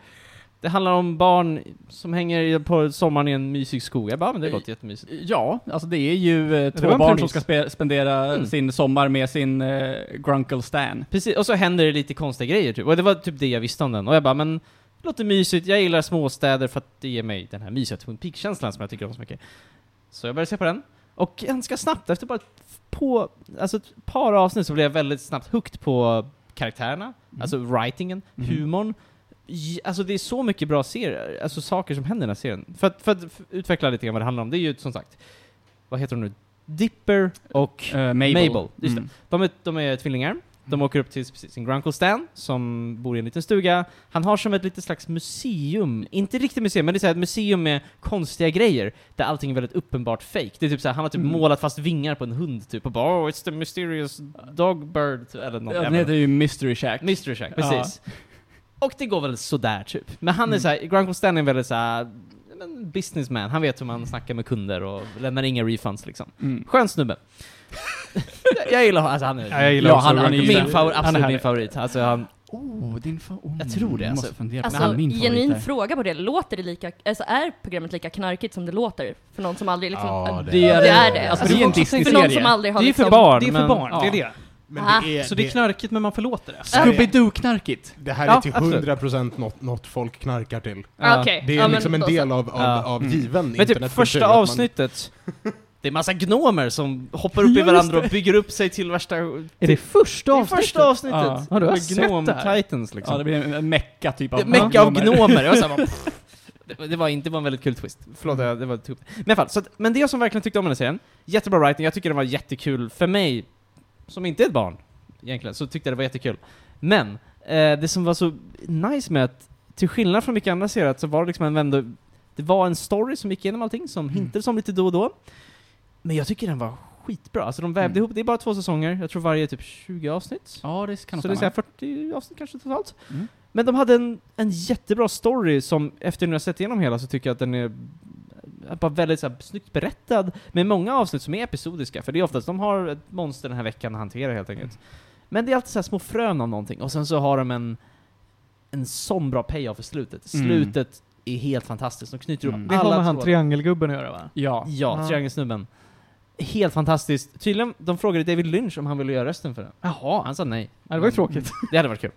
D: Det handlar om barn som hänger i- på sommaren i en mysig skog. Jag bara, ja, men det låter jättemysigt.
C: Ja, alltså det är ju eh,
A: var
C: två
A: en
C: barn som
A: premiss.
C: ska spe- spendera
D: Mm.
C: sin sommar med sin eh, Grunkle Stan.
D: Precis, och så händer det lite konstiga grejer typ. Och det var typ det jag visste om den. Och jag bara, men det låter mysigt, jag gillar småstäder för att det ger mig den här mysiga Twin Peaks-känslan som jag tycker om så mycket. Så jag började se på den. Och ganska snabbt, efter bara ett, på, alltså ett par avsnitt så blev jag väldigt snabbt hooked på karaktärerna, alltså writingen,
C: Mhm.
D: humorn. J- Alltså det är så mycket bra serier, alltså saker som händer i den här serien. För att, för att f- utveckla lite grann vad det handlar om, det är ju som sagt, vad heter de nu? Dipper och
C: Eh, Mabel.
D: Mabel, just
C: Mm.
D: de är, de är tvillingar. De åker upp till sin Grunkle Stan, som bor i en liten stuga. Han har som ett litet slags museum, inte riktigt museum, men det är så här ett museum med konstiga grejer, där allting är väldigt uppenbart fake. Det är typ så här, han har typ
C: Mm.
D: målat fast vingar på en hund typ, och bara oh, it's the mysterious dog bird, typ, eller något.
C: Ja, den
D: jävla-
C: heter ju Mystery Shack.
D: Mystery Shack,
C: Ja.
D: precis. Och det går väl sådär typ. Men han är
C: Mm.
D: så här, Grunkle Stan är väldigt så här, men businessman, han vet hur man snackar med kunder och lämnar inga refunds liksom.
C: Mm.
D: Skön snubbe. jag, jag gillar honom, alltså han är...
A: Ja, jag gillar
C: Ja,
A: också
C: han- han är
A: Rocket
C: ju-
A: Stan.
D: Min
A: Han
D: favorit,
A: är
D: absolut
A: härlig.
D: min favorit. Alltså, han,
C: Oh, din fa- oh,
D: Jag tror det,
C: jag
D: alltså.
C: Måste fundera på
E: Alltså,
C: det. Han är min favorit
E: genuin
C: där.
E: fråga på det. Låter det lika, alltså är programmet lika knarkigt som det låter? För någon som aldrig liksom...
B: Ja,
E: det,
B: det
E: är
C: är
E: det.
C: det.
E: Är det.
C: Alltså, det är en
E: för någon som
C: Disney-serie.
E: aldrig har
D: Det är ju för
E: liksom,
D: barn,
A: Det är för
D: men-
A: barn, det är
C: Ja.
A: det.
E: Ah,
B: det, är,
A: Så det är knarkigt men man förlåter det.
E: Ja.
C: Scooby-Doo-knarkigt.
B: det här är
D: Ja,
B: till
D: absolut.
B: 100% något, något folk knarkar till.
E: Ah, okej.
B: Det är
E: Ja, men
B: liksom en
E: då så.
B: del av, av,
D: Ja.
B: av
C: Mm.
B: given
D: men typ
B: internetkultur,
D: första
B: att man-
D: avsnittet, det är massa gnomer som hoppar upp i varandra och bygger upp sig till värsta...
A: Är det första
D: Det är
A: avsnittet?
D: första avsnittet!
C: Ja.
A: Ja, du har
D: Med
A: sett det här.
D: Titans
C: Ja, det
D: liksom.
C: blir en- en mecka typ av...
D: det mecka av
C: gnomer.
D: gnomer. Jag var så här, bara, det, var- det var inte det var en väldigt kul twist. Förlåt, jag- det var typ. Men i alla fall, så att, men det jag som verkligen tyckte om den här serien, jättebra writing, jag tycker den var jättekul för mig, som inte är ett barn egentligen, så tyckte jag det var jättekul. Men, eh, det som var så nice med att, till skillnad från mycket andra serier, att så var det liksom en ändå, det var en story som gick igenom allting,
C: Mm.
D: som hintades om lite då och då. Men jag tycker den var skitbra, alltså de vävde
C: Mm.
D: ihop, det är bara två säsonger, jag tror varje är typ 20 avsnitt.
C: Ja, det kan nog
D: Så det är
C: stämma.
D: såhär 40 avsnitt kanske totalt.
C: Mm.
D: Men de hade en, en jättebra story som, efter nu har sett igenom hela, så tycker jag att den är eh, bara väldigt så här, snyggt berättad. Med många avsnitt som är episodiska, för det är oftast de har ett monster den här veckan att hantera helt enkelt. Men det är alltid så här små frön av någonting, och sen så har de en, en sån bra payoff i slutet.
C: Mm.
D: Slutet är helt fantastiskt, de knyter upp
C: Mm.
A: Det har
D: alla
A: med han
D: trådar.
A: triangelgubben att göra va?
C: Ja.
D: Ja,
A: Ja.
D: Triangelsnubben. Helt fantastiskt. Tydligen, de frågade David Lynch om han ville göra rösten för den. Jaha. Han sa nej.
A: Ja, det var ju tråkigt.
D: Det hade varit kul.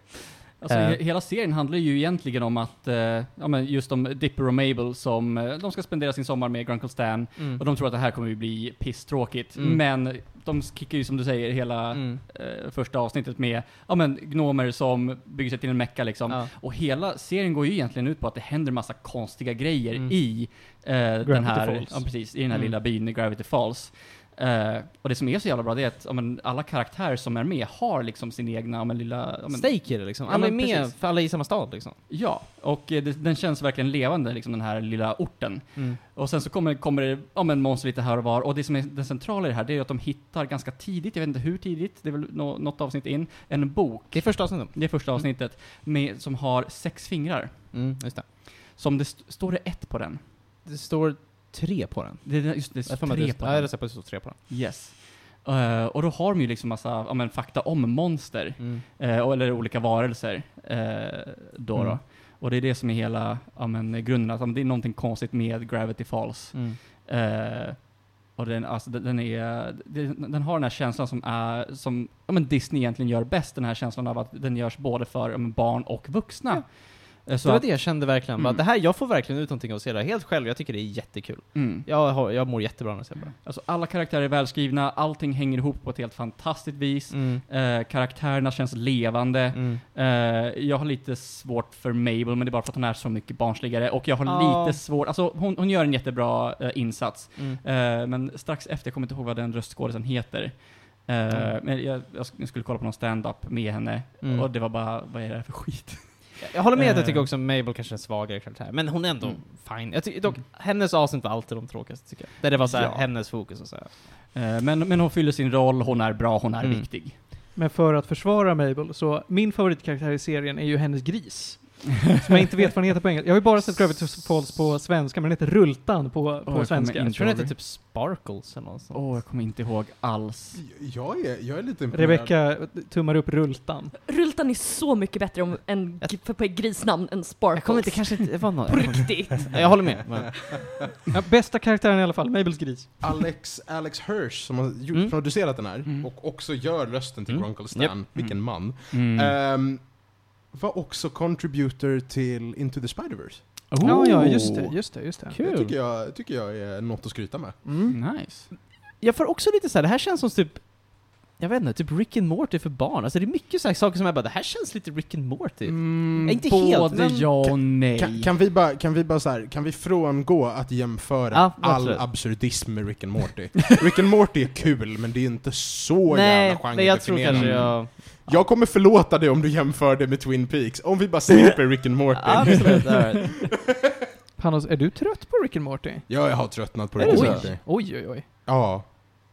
C: Alltså,
D: Eh.
C: he- Hela serien handlar ju egentligen om att, eh, ja men just om Dipper och Mabel som, eh, de ska spendera sin sommar med Grunkle Stan, och de tror att det här kommer ju bli pisstråkigt.
D: Mm.
C: Men de kickar ju som du säger hela
D: Mm.
C: eh, första avsnittet med, ja men gnomer som bygger sig till en mecka liksom.
D: Ja.
C: Och hela serien går ju egentligen ut på att det händer massa konstiga grejer
D: Mm.
C: i eh, den här,
A: Falls.
C: ja, precis, i den här
D: Mm.
C: lilla byn i Gravity Falls. Eh, och det som är så jävla bra det är att ja, men, alla karaktärer som är med har liksom sin egna ja, men, lilla... Ja, men,
D: Stake är det liksom.
C: Ja,
D: Alla är
C: men
D: med,
C: precis.
D: för alla är i samma stad liksom.
C: Ja, och eh, det, den känns verkligen levande, liksom den här lilla orten.
D: Mm.
C: Och sen så kommer, kommer det ja, men monster lite här och var. Och det som är den centrala i det här, det är att de hittar ganska tidigt, jag vet inte hur tidigt, det är väl nå något avsnitt in, en bok.
D: Det är första avsnittet.
C: Det är första avsnittet, med, som har sex fingrar.
D: Mm, just det.
C: Som det st står det ett på den.
D: Det står tre på den.
C: Det, är- just det,
D: Jag
C: står
D: får med
C: tre
D: det-
C: på
D: Ja, jag
C: den.
D: röstar på att det står tre på den.
C: Yes. Eh, och då har de ju liksom massa ja, men, fakta om monster.
D: Mm.
C: Eh, och- eller olika varelser. Eh, då
D: Mm.
C: då. Och det är det som är Alltså,
D: Mm.
C: hela ja, men, grunden, att ja, men det är någonting konstigt med Gravity Falls. Eh, Och den, alltså, den, den, är, den, den har den här känslan som, är, som ja, men Disney egentligen gör bäst, den här känslan av att den görs både för ja, men barn och vuxna. Eh,
D: Så
C: Så
D: det var
C: att-
D: det jag kände verkligen. Bara,
C: Mm.
D: det här, jag får verkligen ut någonting av att se det här helt själv. Jag tycker det är jättekul.
C: Mm.
D: Jag, har, jag mår jättebra när jag ser på det.
C: Alltså, alla karaktärer är välskrivna, allting hänger ihop på ett helt fantastiskt vis. Eh, karaktärerna känns levande.
D: Mm.
C: Eh, jag har lite svårt för Mabel, men det är bara för att hon är så mycket barnsligare. Och jag har
D: Ja.
C: lite svårt, alltså hon, hon gör en jättebra eh, insats.
D: Mm.
C: Eh, men strax efter, jag kommer inte ihåg vad den röstskådisen heter. Eh,
D: Mm.
C: Men jag, jag sk- skulle kolla på någon stand-up med henne,
D: Mm.
C: och det var bara, vad är det här för skit?
D: Jag håller med att jag
C: Eh.
D: tycker också Mabel kanske är en svagare karaktär, men hon är ändå
C: Mm.
D: fine. Jag tycker dock, hennes avsnitt var alltid de tråkigaste tycker jag. Där det var såhär,
C: Ja.
D: hennes fokus och såhär.
C: Eh, men, men hon fyller sin roll, hon är bra, hon är
D: Mm.
C: viktig.
A: Men för att försvara Mabel, så min favoritkaraktär i serien är ju hennes gris. Som jag inte vet vad den heter på engelska. Jag har ju bara sett Gravity Falls på svenska, men den heter Rultan på, på
C: jag kommer
A: svenska.
C: in.
D: Jag tror den heter
C: Sorry.
D: typ Sparkles eller något sånt.
C: Åh, jag kommer inte ihåg alls.
B: Jag är, jag är lite
A: typ-
B: imponerad.
A: Rebecca tummar upp Rultan.
E: Rultan är så mycket bättre om en,
D: Jag-
E: för på ett grisnamn än Sparkles.
D: Jag kommer inte, kanske inte, det var något.
E: På riktigt.
D: Jag håller med. Men,
A: Ja, bästa karaktären i alla fall, Mabels gris.
B: Alex, Alex Hirsch som har gjort,
D: Mm.
B: producerat den här
C: Mm.
B: och också gör rösten till
D: Mm.
B: Grunkle Stan,
D: Japp.
B: vilken
C: Mm.
B: man.
C: Mm.
A: Eh,
B: Ehm, var också contributor till Into the Spider-Verse.
A: Ja, ja,
C: Oh.
A: just det, just det, just det.
B: Det
D: Kul.
B: tycker jag, tycker jag är något att skryta med.
A: Mm.
C: Nice.
D: jag får också lite såhär, det här känns som typ jag vet inte, typ Rick and Morty för barn. Alltså det är mycket så här saker som jag bara, det här känns lite Rick and Morty.
B: Mm.
D: Ja, Typ. inte helt,
C: Både
D: men...
C: ja och nej.
B: Kan, kan vi bara, kan vi bara så här, kan vi frångå att jämföra
D: Ja,
B: all
D: absolut.
B: absurdism med Rick and Morty? Rick and Morty är kul, men det är inte så
D: Nej,
B: jävla genre
D: men jag tror kanske jag...
B: Jag kommer förlåta dig om du jämför det med Twin Peaks, om vi bara slipper Rick and Morty.
D: Absolut, all right.
A: Panos, är du trött på Rick and Morty?
B: Ja, jag har tröttnat på
D: Är
B: Rick and
D: det så?
B: Morty.
A: Oj, oj, oj.
B: Ja.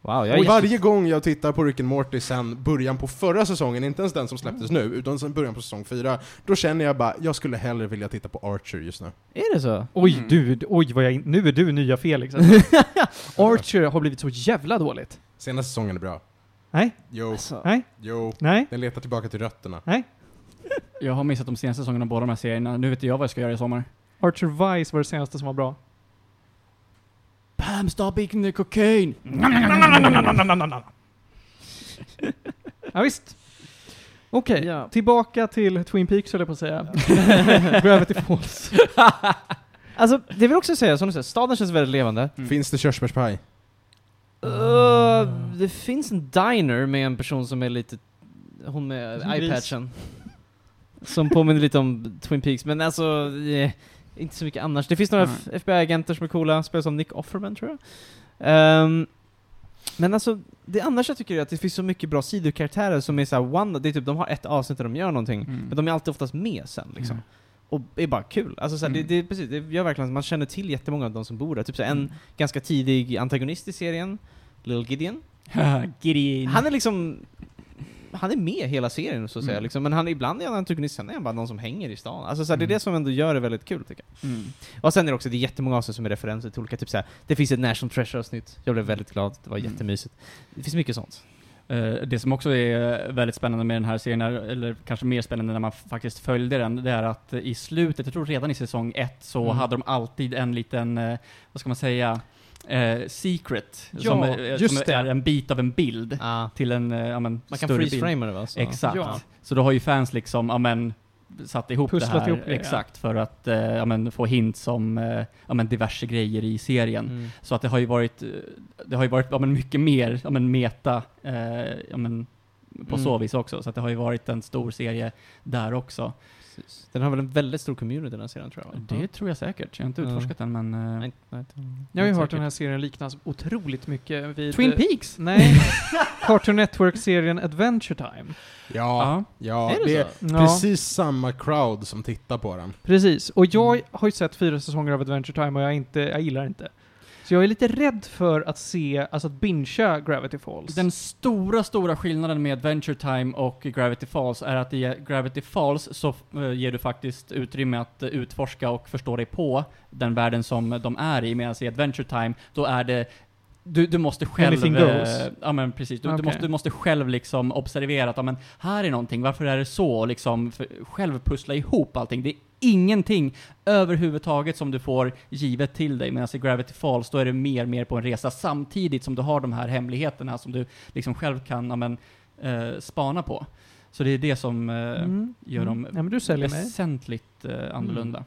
D: Wow, jag
B: Och
D: är
B: varje gång jag tittar på Rick and Morty sen början på förra säsongen, inte ens den som släpptes nu, utan sen början på säsong fyra, då känner jag bara, jag skulle hellre vilja titta på Archer just nu.
D: Är det så?
A: Oj,
C: Mm.
A: du, oj vad jag, in- nu är du nya Felix. alltså. Archer har blivit så jävla dåligt.
B: Senaste säsongen är bra.
A: Nej,
B: Jo,
D: Alltså,
A: nej,
B: jo.
A: nej.
B: Den letar tillbaka till rötterna.
C: Jag har missat de senaste säsongerna av båda de här serierna. Nu vet jag vad jag ska göra i sommar.
A: Archer Vice var det senaste som var bra.
C: Pam, stop eating the cocaine!
A: Ja, visst. Okej,
D: Ja.
A: tillbaka till Twin Peaks höll jag på att säga. Gravity Falls.
D: alltså, det vill jag också säga, som du säger, staden känns väldigt levande.
C: Mm.
B: Finns det körsbärspaj?
D: Uh, det finns en diner med en person som är lite... Hon med
A: Som gris.
D: iPatchen. Som påminner lite om Twin Peaks, men alltså... eh, inte så mycket annars. Det finns några
C: Nej.
D: F- FBI-agenter som är coola, spelas av Nick Offerman tror jag. Ehm, men alltså, det annars jag tycker är att det finns så mycket bra sidokaraktärer som är såhär one, det är typ, de har ett avsnitt där de gör någonting,
C: Mm.
D: men de är alltid oftast med sen liksom.
C: Mm.
D: Och är bara kul. Alltså såhär,
C: Mm.
D: det, det, är precis, det gör verkligen att man känner till jättemånga av de som bor där. Typ såhär, en
C: Mm.
D: ganska tidig antagonist i serien, Little Gideon.
C: Gideon.
D: Han är liksom... Han är med hela serien så att säga,
C: Mm.
D: liksom. men han, ibland är han antagonist, sen är han bara någon som hänger i stan. Alltså, såhär, Det
C: Mm.
D: är det som ändå gör det väldigt kul tycker jag.
C: Mm.
D: Och sen är det också det är jättemånga avsnitt som är referenser till olika, typ såhär, det finns ett National Treasure-avsnitt, jag blev väldigt glad, det var
C: Mm.
D: jättemysigt. Det finns mycket sånt.
C: Eh, det som också är eh, väldigt spännande med den här serien, är- eller kanske mer spännande när man faktiskt följde den, det är att eh, i slutet, jag tror redan i säsong ett, så
D: Mm.
C: hade de alltid en liten, eh, vad ska man säga, eh, secret.
A: Ja,
C: som är,
A: just
C: som
A: det.
C: är en bit av en bild
D: Ah.
C: till en eh, ja, men,
D: Man kan
C: större bild.
D: freeze-frama det va? Så.
C: Exakt.
A: Ja.
C: Så då har ju fans liksom, ja men, satt ihop det
A: Pusslat
C: här.
A: ihop det, ja.
C: exakt, för att eh, ja, men, få hint som eh, ja, men, diverse grejer i serien.
D: Mm.
C: Så att det har ju varit, eh, det har ju varit ja, men, mycket mer ja, men, meta eh, ja, men, på
D: Mm.
C: så vis också. Så att det har ju varit en stor serie där också.
D: Precis. Den har väl en väldigt stor community den här serien tror jag? va?
C: Det tror jag säkert. Jag har inte
D: Mm.
C: utforskat den men... eh,
D: Nej, nej, det-
A: Jag har ju
D: inte
A: hört den
D: säkert.
A: här serien liknas otroligt mycket vid... eh,
C: Twin Peaks!
A: Nej, Cartoon Network-serien Adventure Time.
B: Ja, ja.
D: Är det, så?
A: Ja,
B: precis samma crowd som tittar på den.
A: precis. Och jag har ju sett fyra säsonger av Adventure Time och jag, är inte, jag gillar inte. Så jag är lite rädd för att se, alltså att bingea Gravity Falls.
C: Den stora, stora skillnaden med Adventure Time och Gravity Falls är att i Gravity Falls så eh, ger du faktiskt utrymme att eh, utforska och förstå dig på den världen som de är i, medan i Adventure Time, då är det Du, du måste själv...
A: Anything goes.
C: eh, Ja men precis, du, du,
A: Okej.
C: måste, du måste själv liksom observera att ja, men här är någonting, varför är det så? Och Liksom för, själv pussla ihop allting. Det är ingenting överhuvudtaget som du får givet till dig. Medan i Gravity Falls, då är det mer mer på en resa samtidigt som du har de här hemligheterna som du liksom själv kan ja, men, eh, spana på. Så det är det som eh,
A: Mm.
C: gör dem
A: Ja, men du säljer mig. Mm.
C: väsentligt eh, annorlunda.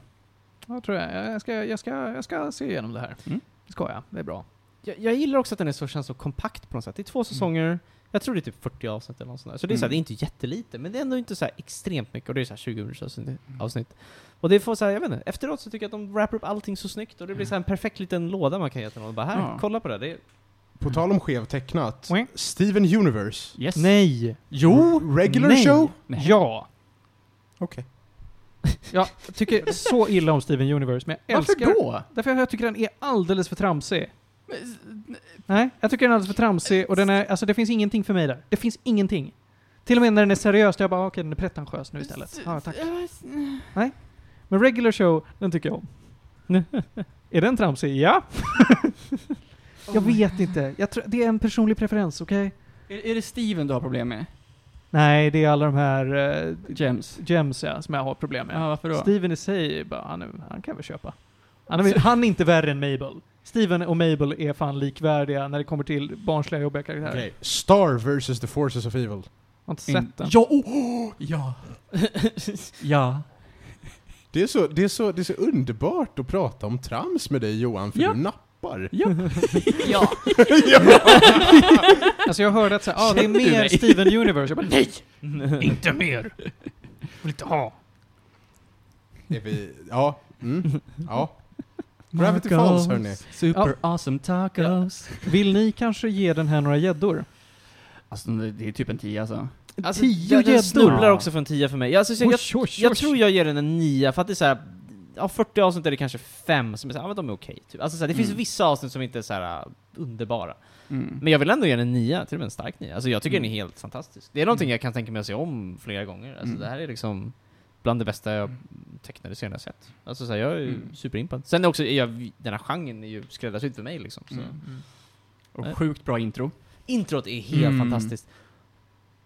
A: Jag tror jag. Jag ska, jag ska, jag ska se igenom det här.
C: Mm.
A: Det ska jag. Det är bra.
D: Jag, jag gillar också att den är så, känns så kompakt på något sätt. Det är
A: Mm.
D: två säsonger, jag tror det är typ 40 avsnitt eller något sånt där. Så det är, så här,
C: Mm.
D: det är inte jättelite, men det är ändå inte så här extremt mycket. Och det är så här 20 minuters avsnitt.
A: Mm.
D: avsnitt. Och det får så här, jag vet inte, efteråt så tycker jag att de wrappar upp allting så snyggt och det blir så här en perfekt liten låda man kan ge till någon. Bara här,
C: Ja.
D: kolla på det. det är...
B: På tal om skevtecknat,
A: Mm.
B: Steven Universe.
C: Yes.
A: Nej!
B: Jo! Regular
A: Nej.
B: show?
C: Nej.
A: Ja!
B: Okej.
A: Jag tycker så illa om Steven Universe, men jag
C: Varför
A: älskar...
C: då?
A: Därför jag tycker den är alldeles för tramsig. Nej, jag tycker den är alldeles för tramsig och den är, alltså det finns ingenting för mig där. Det finns ingenting. Till och med när den är seriös, då jag bara okej, den är pretentiös nu istället. Ja, tack. Nej. Men regular show, den tycker jag om. är den tramsig? Ja. jag vet inte. Jag tror, det är en personlig preferens, okej?
C: Är, är det Steven du har problem med?
A: Nej, det är alla de här eh,
C: James?
A: gems ja, som jag har problem med.
C: Ja, varför då?
A: Steven i sig, bara, han, är, han kan väl köpa. Han är, han är inte värre än Mabel. Steven och Mabel är fan likvärdiga när det kommer till barnsliga jobbiga karaktärer.
B: Okej. Star vs. the Forces of Evil.
A: Jag har inte sett den.
C: Ja! Oh, oh, ja. ja.
B: Det är, så, det, är så, det är så underbart att prata om trams med dig Johan, för
C: Ja.
B: du nappar.
E: Ja.
A: Alltså jag hörde att så här, ah, det är
C: Känner du
A: mer
C: mig?
A: Steven Universe. Jag bara nej! Inte mer! Vill inte ha.
B: Är vi, ja. Mm, ja. Gravity Falls hörni.
C: Super awesome tacos.
A: Vill ni kanske ge den här några gäddor?
C: Alltså det det är typ en 10 alltså.
D: Alltså,
A: Tio
D: den- Den
A: gäddor.
D: snubblar
C: Ja.
D: också för en 10 för mig. Jag, alltså, jag, jag,
A: Oj, oj, oj.
D: jag tror jag ger den en 9 för att det är så här, av 40 avsnitt är det kanske fem som är såhär, ja men de är okej typ. Alltså så här, det finns
C: Mm.
D: vissa avsnitt som inte är såhär äh, underbara.
C: Mm.
D: Men jag vill ändå ge den en nia, till och med en stark nia. Alltså jag tycker
C: Mm.
D: den är helt fantastisk. Det är någonting jag kan tänka mig att se om flera gånger. Alltså
C: Mm.
D: det här är liksom bland det bästa jag tecknade serien jag sett. Alltså så här, jag är ju
C: Mm.
D: superimpad. Sen är också, jag, den här genren är ju skräddarsydd för mig liksom. Så.
C: Mm. Och sjukt bra intro.
D: Introt är helt
C: Mm.
D: fantastiskt.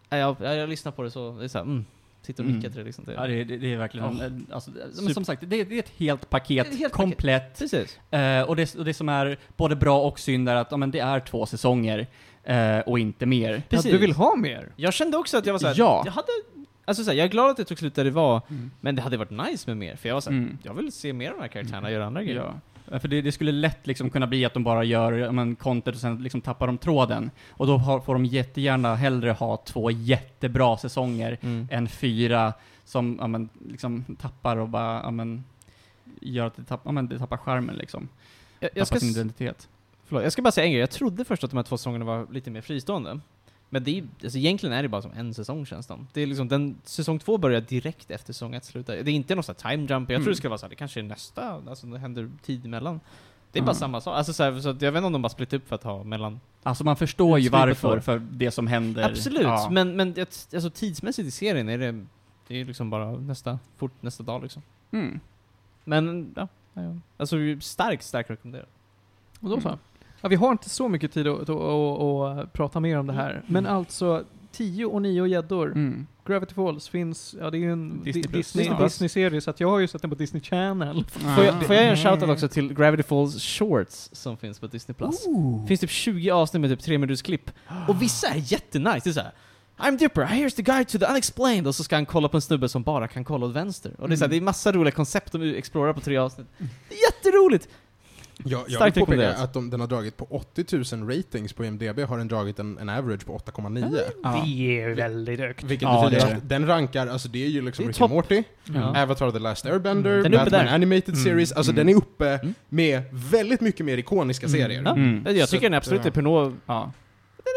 D: Ja, Jag, jag, jag lyssnar på det så, det är så här, mm. Sitter och
C: Mm.
D: nickar till det liksom. Det.
C: Ja, det, det, det är verkligen...
D: Ja.
C: en- Alltså, det- men
D: Super-
C: som sagt, det, det är ett helt
D: Det
C: paket.
D: är ett helt paket.
C: komplett.
D: Precis.
C: Eh, och, det, och det som är både bra och synd är att ja, men det är två säsonger eh, och inte mer.
A: Ja,
D: Precis.
A: du vill ha mer?
D: Jag kände också att jag var såhär,
C: Ja.
D: jag hade, alltså så här, jag är glad att det tog slut där det var,
C: Mm.
D: men det hade varit nice med mer. För jag var såhär,
C: Mm.
D: jag vill se mer av de här karaktärerna göra andra grejer.
C: Ja. Eh, För det, det skulle lätt liksom kunna bli att de bara gör ja, men, content och sen liksom tappar de tråden. Och då har, får de jättegärna hellre ha två jättebra säsonger
D: Mm.
C: än fyra som ja, men, liksom tappar och bara ja, men, gör att det, tapp, ja, men, det tappar charmen liksom.
D: Jag,
C: Tappar
D: jag ska
C: sin
D: s-
C: identitet.
D: Förlåt, jag ska bara säga en grej. Jag trodde först att de här två säsongerna var lite mer fristående. Men det är, alltså egentligen är det bara som en säsong känns det, det är liksom, den Säsong två börjar direkt efter säsong ett slutar. Det är inte någon sån här time jump. Jag
C: Mm.
D: tror det ska vara så här, det kanske är nästa, alltså det händer tid emellan. Det är bara
C: Ja.
D: samma sak. Alltså så, här, så att jag vet inte om de bara splitt upp för att ha mellan.
C: Alltså man förstår ju
D: Slut på
C: varför,
D: tråd.
C: för det som händer.
D: Absolut,
C: Ja.
D: men, men det, alltså, tidsmässigt i serien är det, det är liksom bara nästa, fort nästa dag liksom.
C: Mm.
D: Men ja, ja. alltså starkt, starkt rekommenderat.
A: Och då så. Mm. Ja, vi har inte så mycket tid att, att, att, att prata mer om det här. Men alltså, 10 och 9 gäddor.
C: Mm.
A: Gravity Falls finns, ja det är ju en
C: Disney
A: Disney,
C: Plus.
A: Disney,
C: Disney Plus.
A: Disney-serie så att jag har ju sett den på Disney Channel.
D: Får jag, får jag göra en shoutout också till Gravity Falls Shorts som finns på Disney+. Plus. finns typ 20 avsnitt med typ 3 minuters klipp. Och vissa är jättenice. Det är såhär I'm Dipper, here's the guide to the unexplained. Och så ska han kolla på en snubbe som bara kan kolla åt vänster. Och det är, såhär,
C: Mm.
D: det är massa roliga koncept de explorar på tre avsnitt. Det är jätteroligt!
B: Jag, jag vill
D: Starkt
B: påpeka
D: rekommenderat.
B: att de, den har dragit på 80 000 ratings på IMDB, har den dragit en, en average på 8,9.
C: Ja.
A: Det är ju väldigt högt.
B: Vilket
C: Ja,
B: betyder
C: det är
B: att den rankar, alltså det är ju liksom
D: Det är
B: Rick
D: topp.
B: and Morty,
C: Ja.
B: Avatar the Last Airbender,
A: Mm.
D: Den är uppe
B: Batman
D: där.
B: Animated
A: Mm.
B: Series, alltså
C: Mm.
B: den är uppe
D: Mm.
B: med väldigt mycket mer ikoniska
A: Mm.
B: serier.
D: Ja.
C: Mm.
D: Jag
B: Så
D: tycker den är absolut
B: att, ja.
D: är på, nå- den
C: Ja.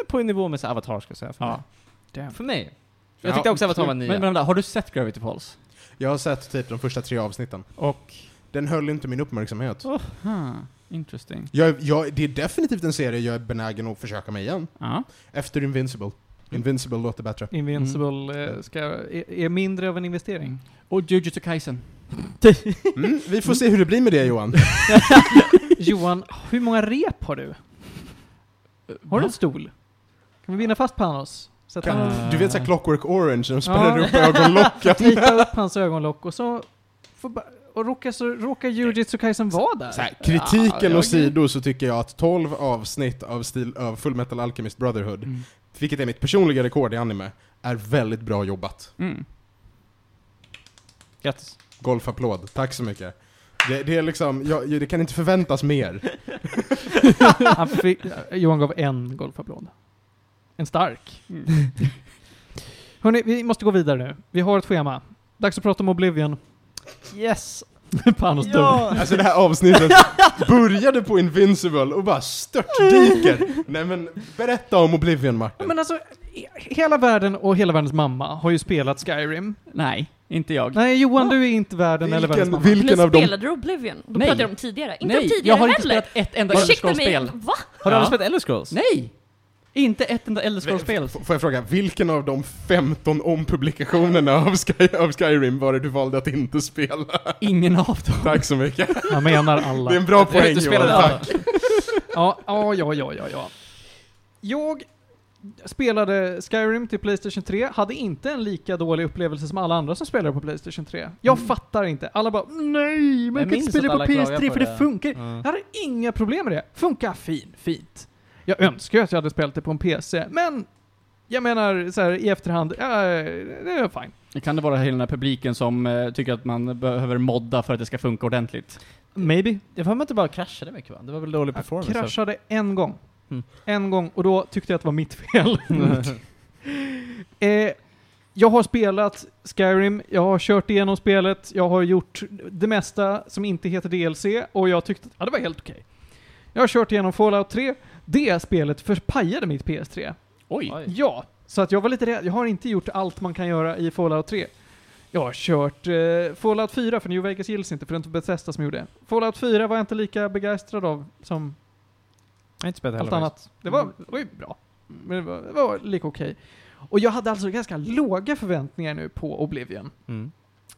D: är på en nivå med så här Avatar ska jag säga. För,
C: Ja.
D: mig. för mig. Jag tyckte också Avatar var
C: Men,
D: nia.
C: men vänta, har du sett Gravity Falls?
B: Jag har sett typ de första tre avsnitten.
C: Och?
B: Den höll inte min uppmärksamhet.
C: Interesting.
B: Jag, jag, det är definitivt en serie jag är benägen att försöka med igen.
C: Ja.
B: Efter Invincible. Invincible låter bättre.
A: Invincible eh, ska, är, är mindre av en investering.
C: Och Jujutsu Kaisen.
B: Mm, vi får se hur det blir med det Johan.
A: Johan, hur många rep har du? Har du en stol? Kan vi binda fast Panos? Sätta
B: Kan,
C: Ah.
A: honom-
B: Du vet såhär Clockwork Orange, de spärrar
A: Ja.
B: upp ögonlocken.
A: Tejpa upp hans ögonlock och så... Får, ba- och råkar, så, råkar Jujutsu Kaisen vara där.
B: Så här, kritiken
A: jag-
B: åsido så tycker jag att 12 avsnitt av, stil, av Full Metal Alchemist Brotherhood,
C: Mm.
B: vilket är mitt personliga rekord i anime, är väldigt bra jobbat.
C: Mm.
D: Grattis.
B: Golfapplåd, tack så mycket. Det, det är liksom, jag, det kan inte förväntas mer.
A: Han fick, Johan gav en golfapplåd. En stark. Hörni, vi måste gå vidare nu. Vi har ett schema. Dags att prata om Oblivion. Yes! Panos dog.
B: Alltså det här avsnittet började på Invincible och bara störtdyker. Nej men, berätta om Oblivion Martin.
A: Men alltså, he- hela världen och hela världens mamma har ju spelat Skyrim.
C: Nej, inte jag.
A: Nej Johan, du är inte världen eller världens
B: Vilken,
A: mamma.
B: vilken
E: Men
B: av dem?
E: spelade du Oblivion? Då
C: Nej.
E: pratade jag om tidigare. Inte om
C: Nej,
E: tidigare
C: jag har inte
E: heller.
C: spelat ett enda Elder
E: Ursäkta mig,
C: Scrolls-spel.
E: va?
D: Har du
C: Ja.
D: aldrig spelat Elder Scrolls?
C: Nej! Inte ett enda Elder Scrolls-spel.
B: F- Får jag fråga, vilken av de 15 ompublikationerna av, Sky, av Skyrim var det du valde att inte spela?
C: Ingen av dem.
B: Tack så mycket.
A: Han menar
B: Det är
A: alla.
B: en bra
D: Jag har
B: poäng
D: inte spelat
B: Johan.
D: alla.
A: Ja, ja, ja, ja, ja, ja. Jag spelade Skyrim till Playstation 3, hade inte en lika dålig upplevelse som alla andra som spelade på Playstation 3. Jag fattar inte. Alla bara "Mm, nej, man
D: Mm. Jag
A: kan
D: minns
A: inte spela
D: att
A: på
D: alla klagade
A: PS3
D: på
A: för det
D: det.
A: funkar
D: Mm.
A: Jag hade inga problem med det. Funkar fin, fint. Jag önskar ju att jag hade spelat det på en PC, men jag menar så här i efterhand, ja, det är fine.
C: Kan det vara hela den här publiken som eh, tycker att man behöver modda för att det ska funka ordentligt?
A: Maybe.
D: Jag får mig att det bara kraschade mycket va? Det var väl dålig
A: Jag
D: performance?
A: kraschade en gång.
D: Mm.
A: En gång, och då tyckte jag att det var mitt fel. eh, jag har spelat Skyrim, jag har kört igenom spelet, jag har gjort det mesta som inte heter DLC, och jag tyckte att ja, det var helt okej. Jag har kört igenom Fallout 3, det spelet förpajade mitt PS3.
C: Oj!
D: Oj.
A: Ja, så att jag var lite rädd. Jag har inte gjort allt man kan göra i Fallout 3. Jag har kört eh, Fallout 4, för New Vegas gills inte, för det är inte Bethesda som gjorde det. Fallout 4 var jag inte lika begeistrad av som
D: Jag har inte spelat
A: allt
D: heller.
A: annat. Det var, det var ju bra. Men det var, det var lika okej. Och jag hade alltså ganska låga förväntningar nu på Oblivion.
D: Mm.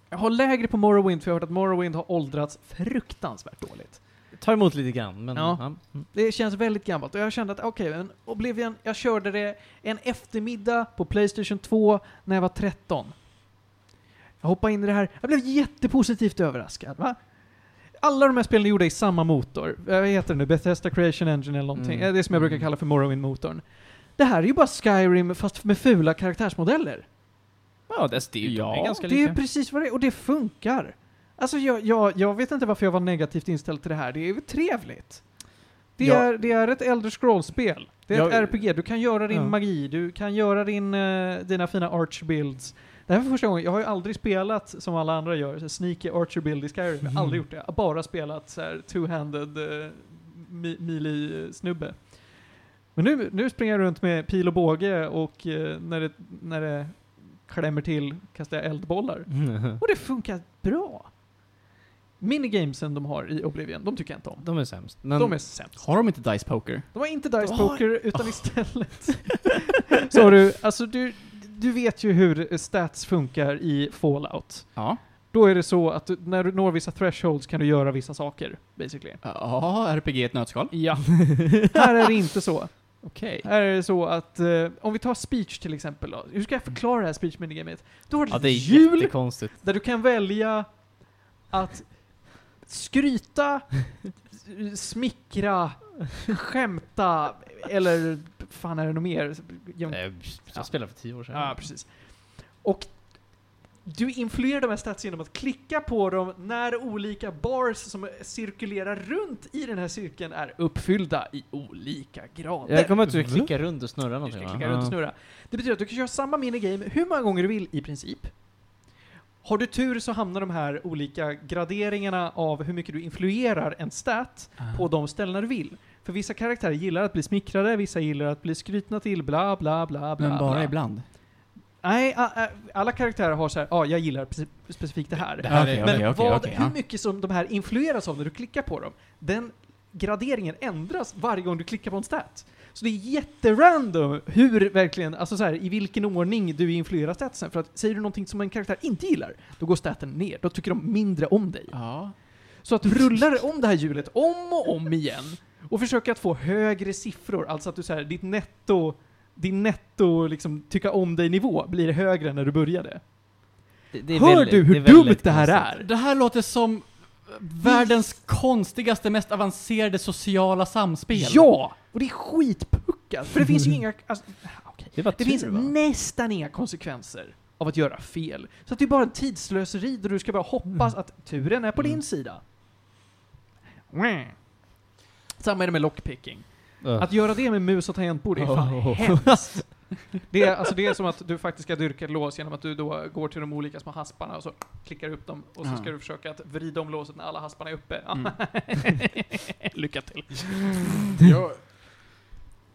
A: Jag har lägre på Morrowind, för jag har hört att Morrowind har åldrats fruktansvärt dåligt.
D: Tar Mm. emot lite grann, men...
A: Ja.
D: Ja. Mm.
A: Det känns väldigt gammalt och jag kände att okej, men Oblivion, jag körde det en eftermiddag på Playstation 2 när jag var 13. Jag hoppade in i det här, jag blev jättepositivt överraskad. Va? Alla de här spelen är gjorda i samma motor. Eh, Vad heter det nu? Bethesda Creation Engine eller någonting.
D: Mm.
A: Eh, Det som jag brukar kalla för Morrowind-motorn. Det här är ju bara Skyrim fast med fula karaktärsmodeller.
D: Ja, det är ju
C: Ja,
D: ja, ganska
A: Det är
D: lika.
A: precis vad det är, och det funkar. Alltså jag, jag, jag vet inte varför jag var negativt inställd till det här, det är ju trevligt. Det,
D: Ja.
A: är, det är ett Elder Scrolls-spel. Det är ett
D: Jag-
A: RPG, du kan göra din
D: Ja.
A: magi, du kan göra din, eh, dina fina archer-builds. Det här var första gången, jag har ju aldrig spelat som alla andra gör, så sneaky archer-build i Skyrim, jag har
D: Mm.
A: aldrig gjort det. Jag har bara spelat så här two-handed eh, mi- melee-snubbe. Men nu, nu springer jag runt med pil och båge och eh, när, det, när det klämmer till kastar jag eldbollar. Och det funkar bra. Minigamesen de har i Oblivion, de tycker jag inte om.
D: De är sämst. Men
A: De är sämst.
C: Har de inte Dice Poker?
A: De har inte Dice
D: Oj.
A: Poker, utan istället... så har du, alltså du, du vet ju hur stats funkar i Fallout.
C: Ja.
A: Då är det så att du, när du når vissa thresholds kan du göra vissa saker, basically.
C: Ja, RPG i ett nötskal.
A: Ja. Här är det inte så.
C: Okej.
A: Här är det så att, eh, om vi tar speech till exempel då. Hur ska jag förklara det här speech minigamet? Då har du
D: Ja,
A: ett
D: det är
A: hjul
D: jättekonstigt.
A: där du kan välja att skryta, s- smickra, skämta eller fan är det något mer? Jag,
D: Jag
A: Ja.
D: spelade för tio år sedan.
A: ja, precis. Och du influerar de här statsen genom att klicka på dem när olika bars som cirkulerar runt i den här cirkeln är uppfyllda i olika grader.
D: Jag kommer att du
A: Mm.
D: klickar runt och snurrar
A: Du
D: någonting
A: ska klicka runt och snurra. Det betyder att du kan köra samma minigame hur många gånger du vill i princip. Har du tur så hamnar de här olika graderingarna av hur mycket du influerar en stat
C: Ah.
A: på de ställena du vill. För vissa karaktärer gillar att bli smickrade, vissa gillar att bli skrytna till, bla bla bla bla.
C: Men bara
A: bla.
C: ibland.
A: Nej, a- a- alla karaktärer har så här, ja, jag gillar preci- specifikt det här.
B: Det här
C: Okej,
B: är,
A: Men
C: okej, okej,
A: vad,
C: okej,
A: hur
C: ja.
A: mycket som de här influeras av när du klickar på dem, den graderingen ändras varje gång du klickar på en stat. Så det är jätterandom hur verkligen, alltså så här, i vilken ordning du influerar statsen. För att säger du någonting som en karaktär inte gillar, då går staten ner. Då tycker de mindre om dig.
C: Ja.
A: Så att du rullar om det här hjulet om och om igen. Och försöka att få högre siffror, alltså att du så här, ditt netto, din netto liksom, tycka om dig-nivå blir högre än när du började.
D: Det, det är
A: Hör
D: väldigt-
A: du hur
D: är
A: dumt
D: väldigt
A: det här
D: konstigt.
A: är?
C: Det här låter som världens konstigaste, mest avancerade sociala samspel.
A: Ja! Och det är skitpuckat, för det finns ju inga... Alltså, okej.
D: Det var
A: Det
D: tur,
A: finns
D: va?
A: nästan inga konsekvenser av att göra fel. Så att det är bara en tidslöseri där du ska bara hoppas att turen är på din sida. Mwah. Samma är det med lockpicking. Att göra det med mus och tangentbord är fan
D: Oh.
A: hemskt. Det är, alltså det är som att du faktiskt ska dyrka ett lås genom att du då går till de olika små hasparna och så klickar upp dem och så
C: Ja.
A: ska du försöka att vrida om låset när alla hasparna är uppe.
C: Mm.
A: Lycka till.
B: Jag,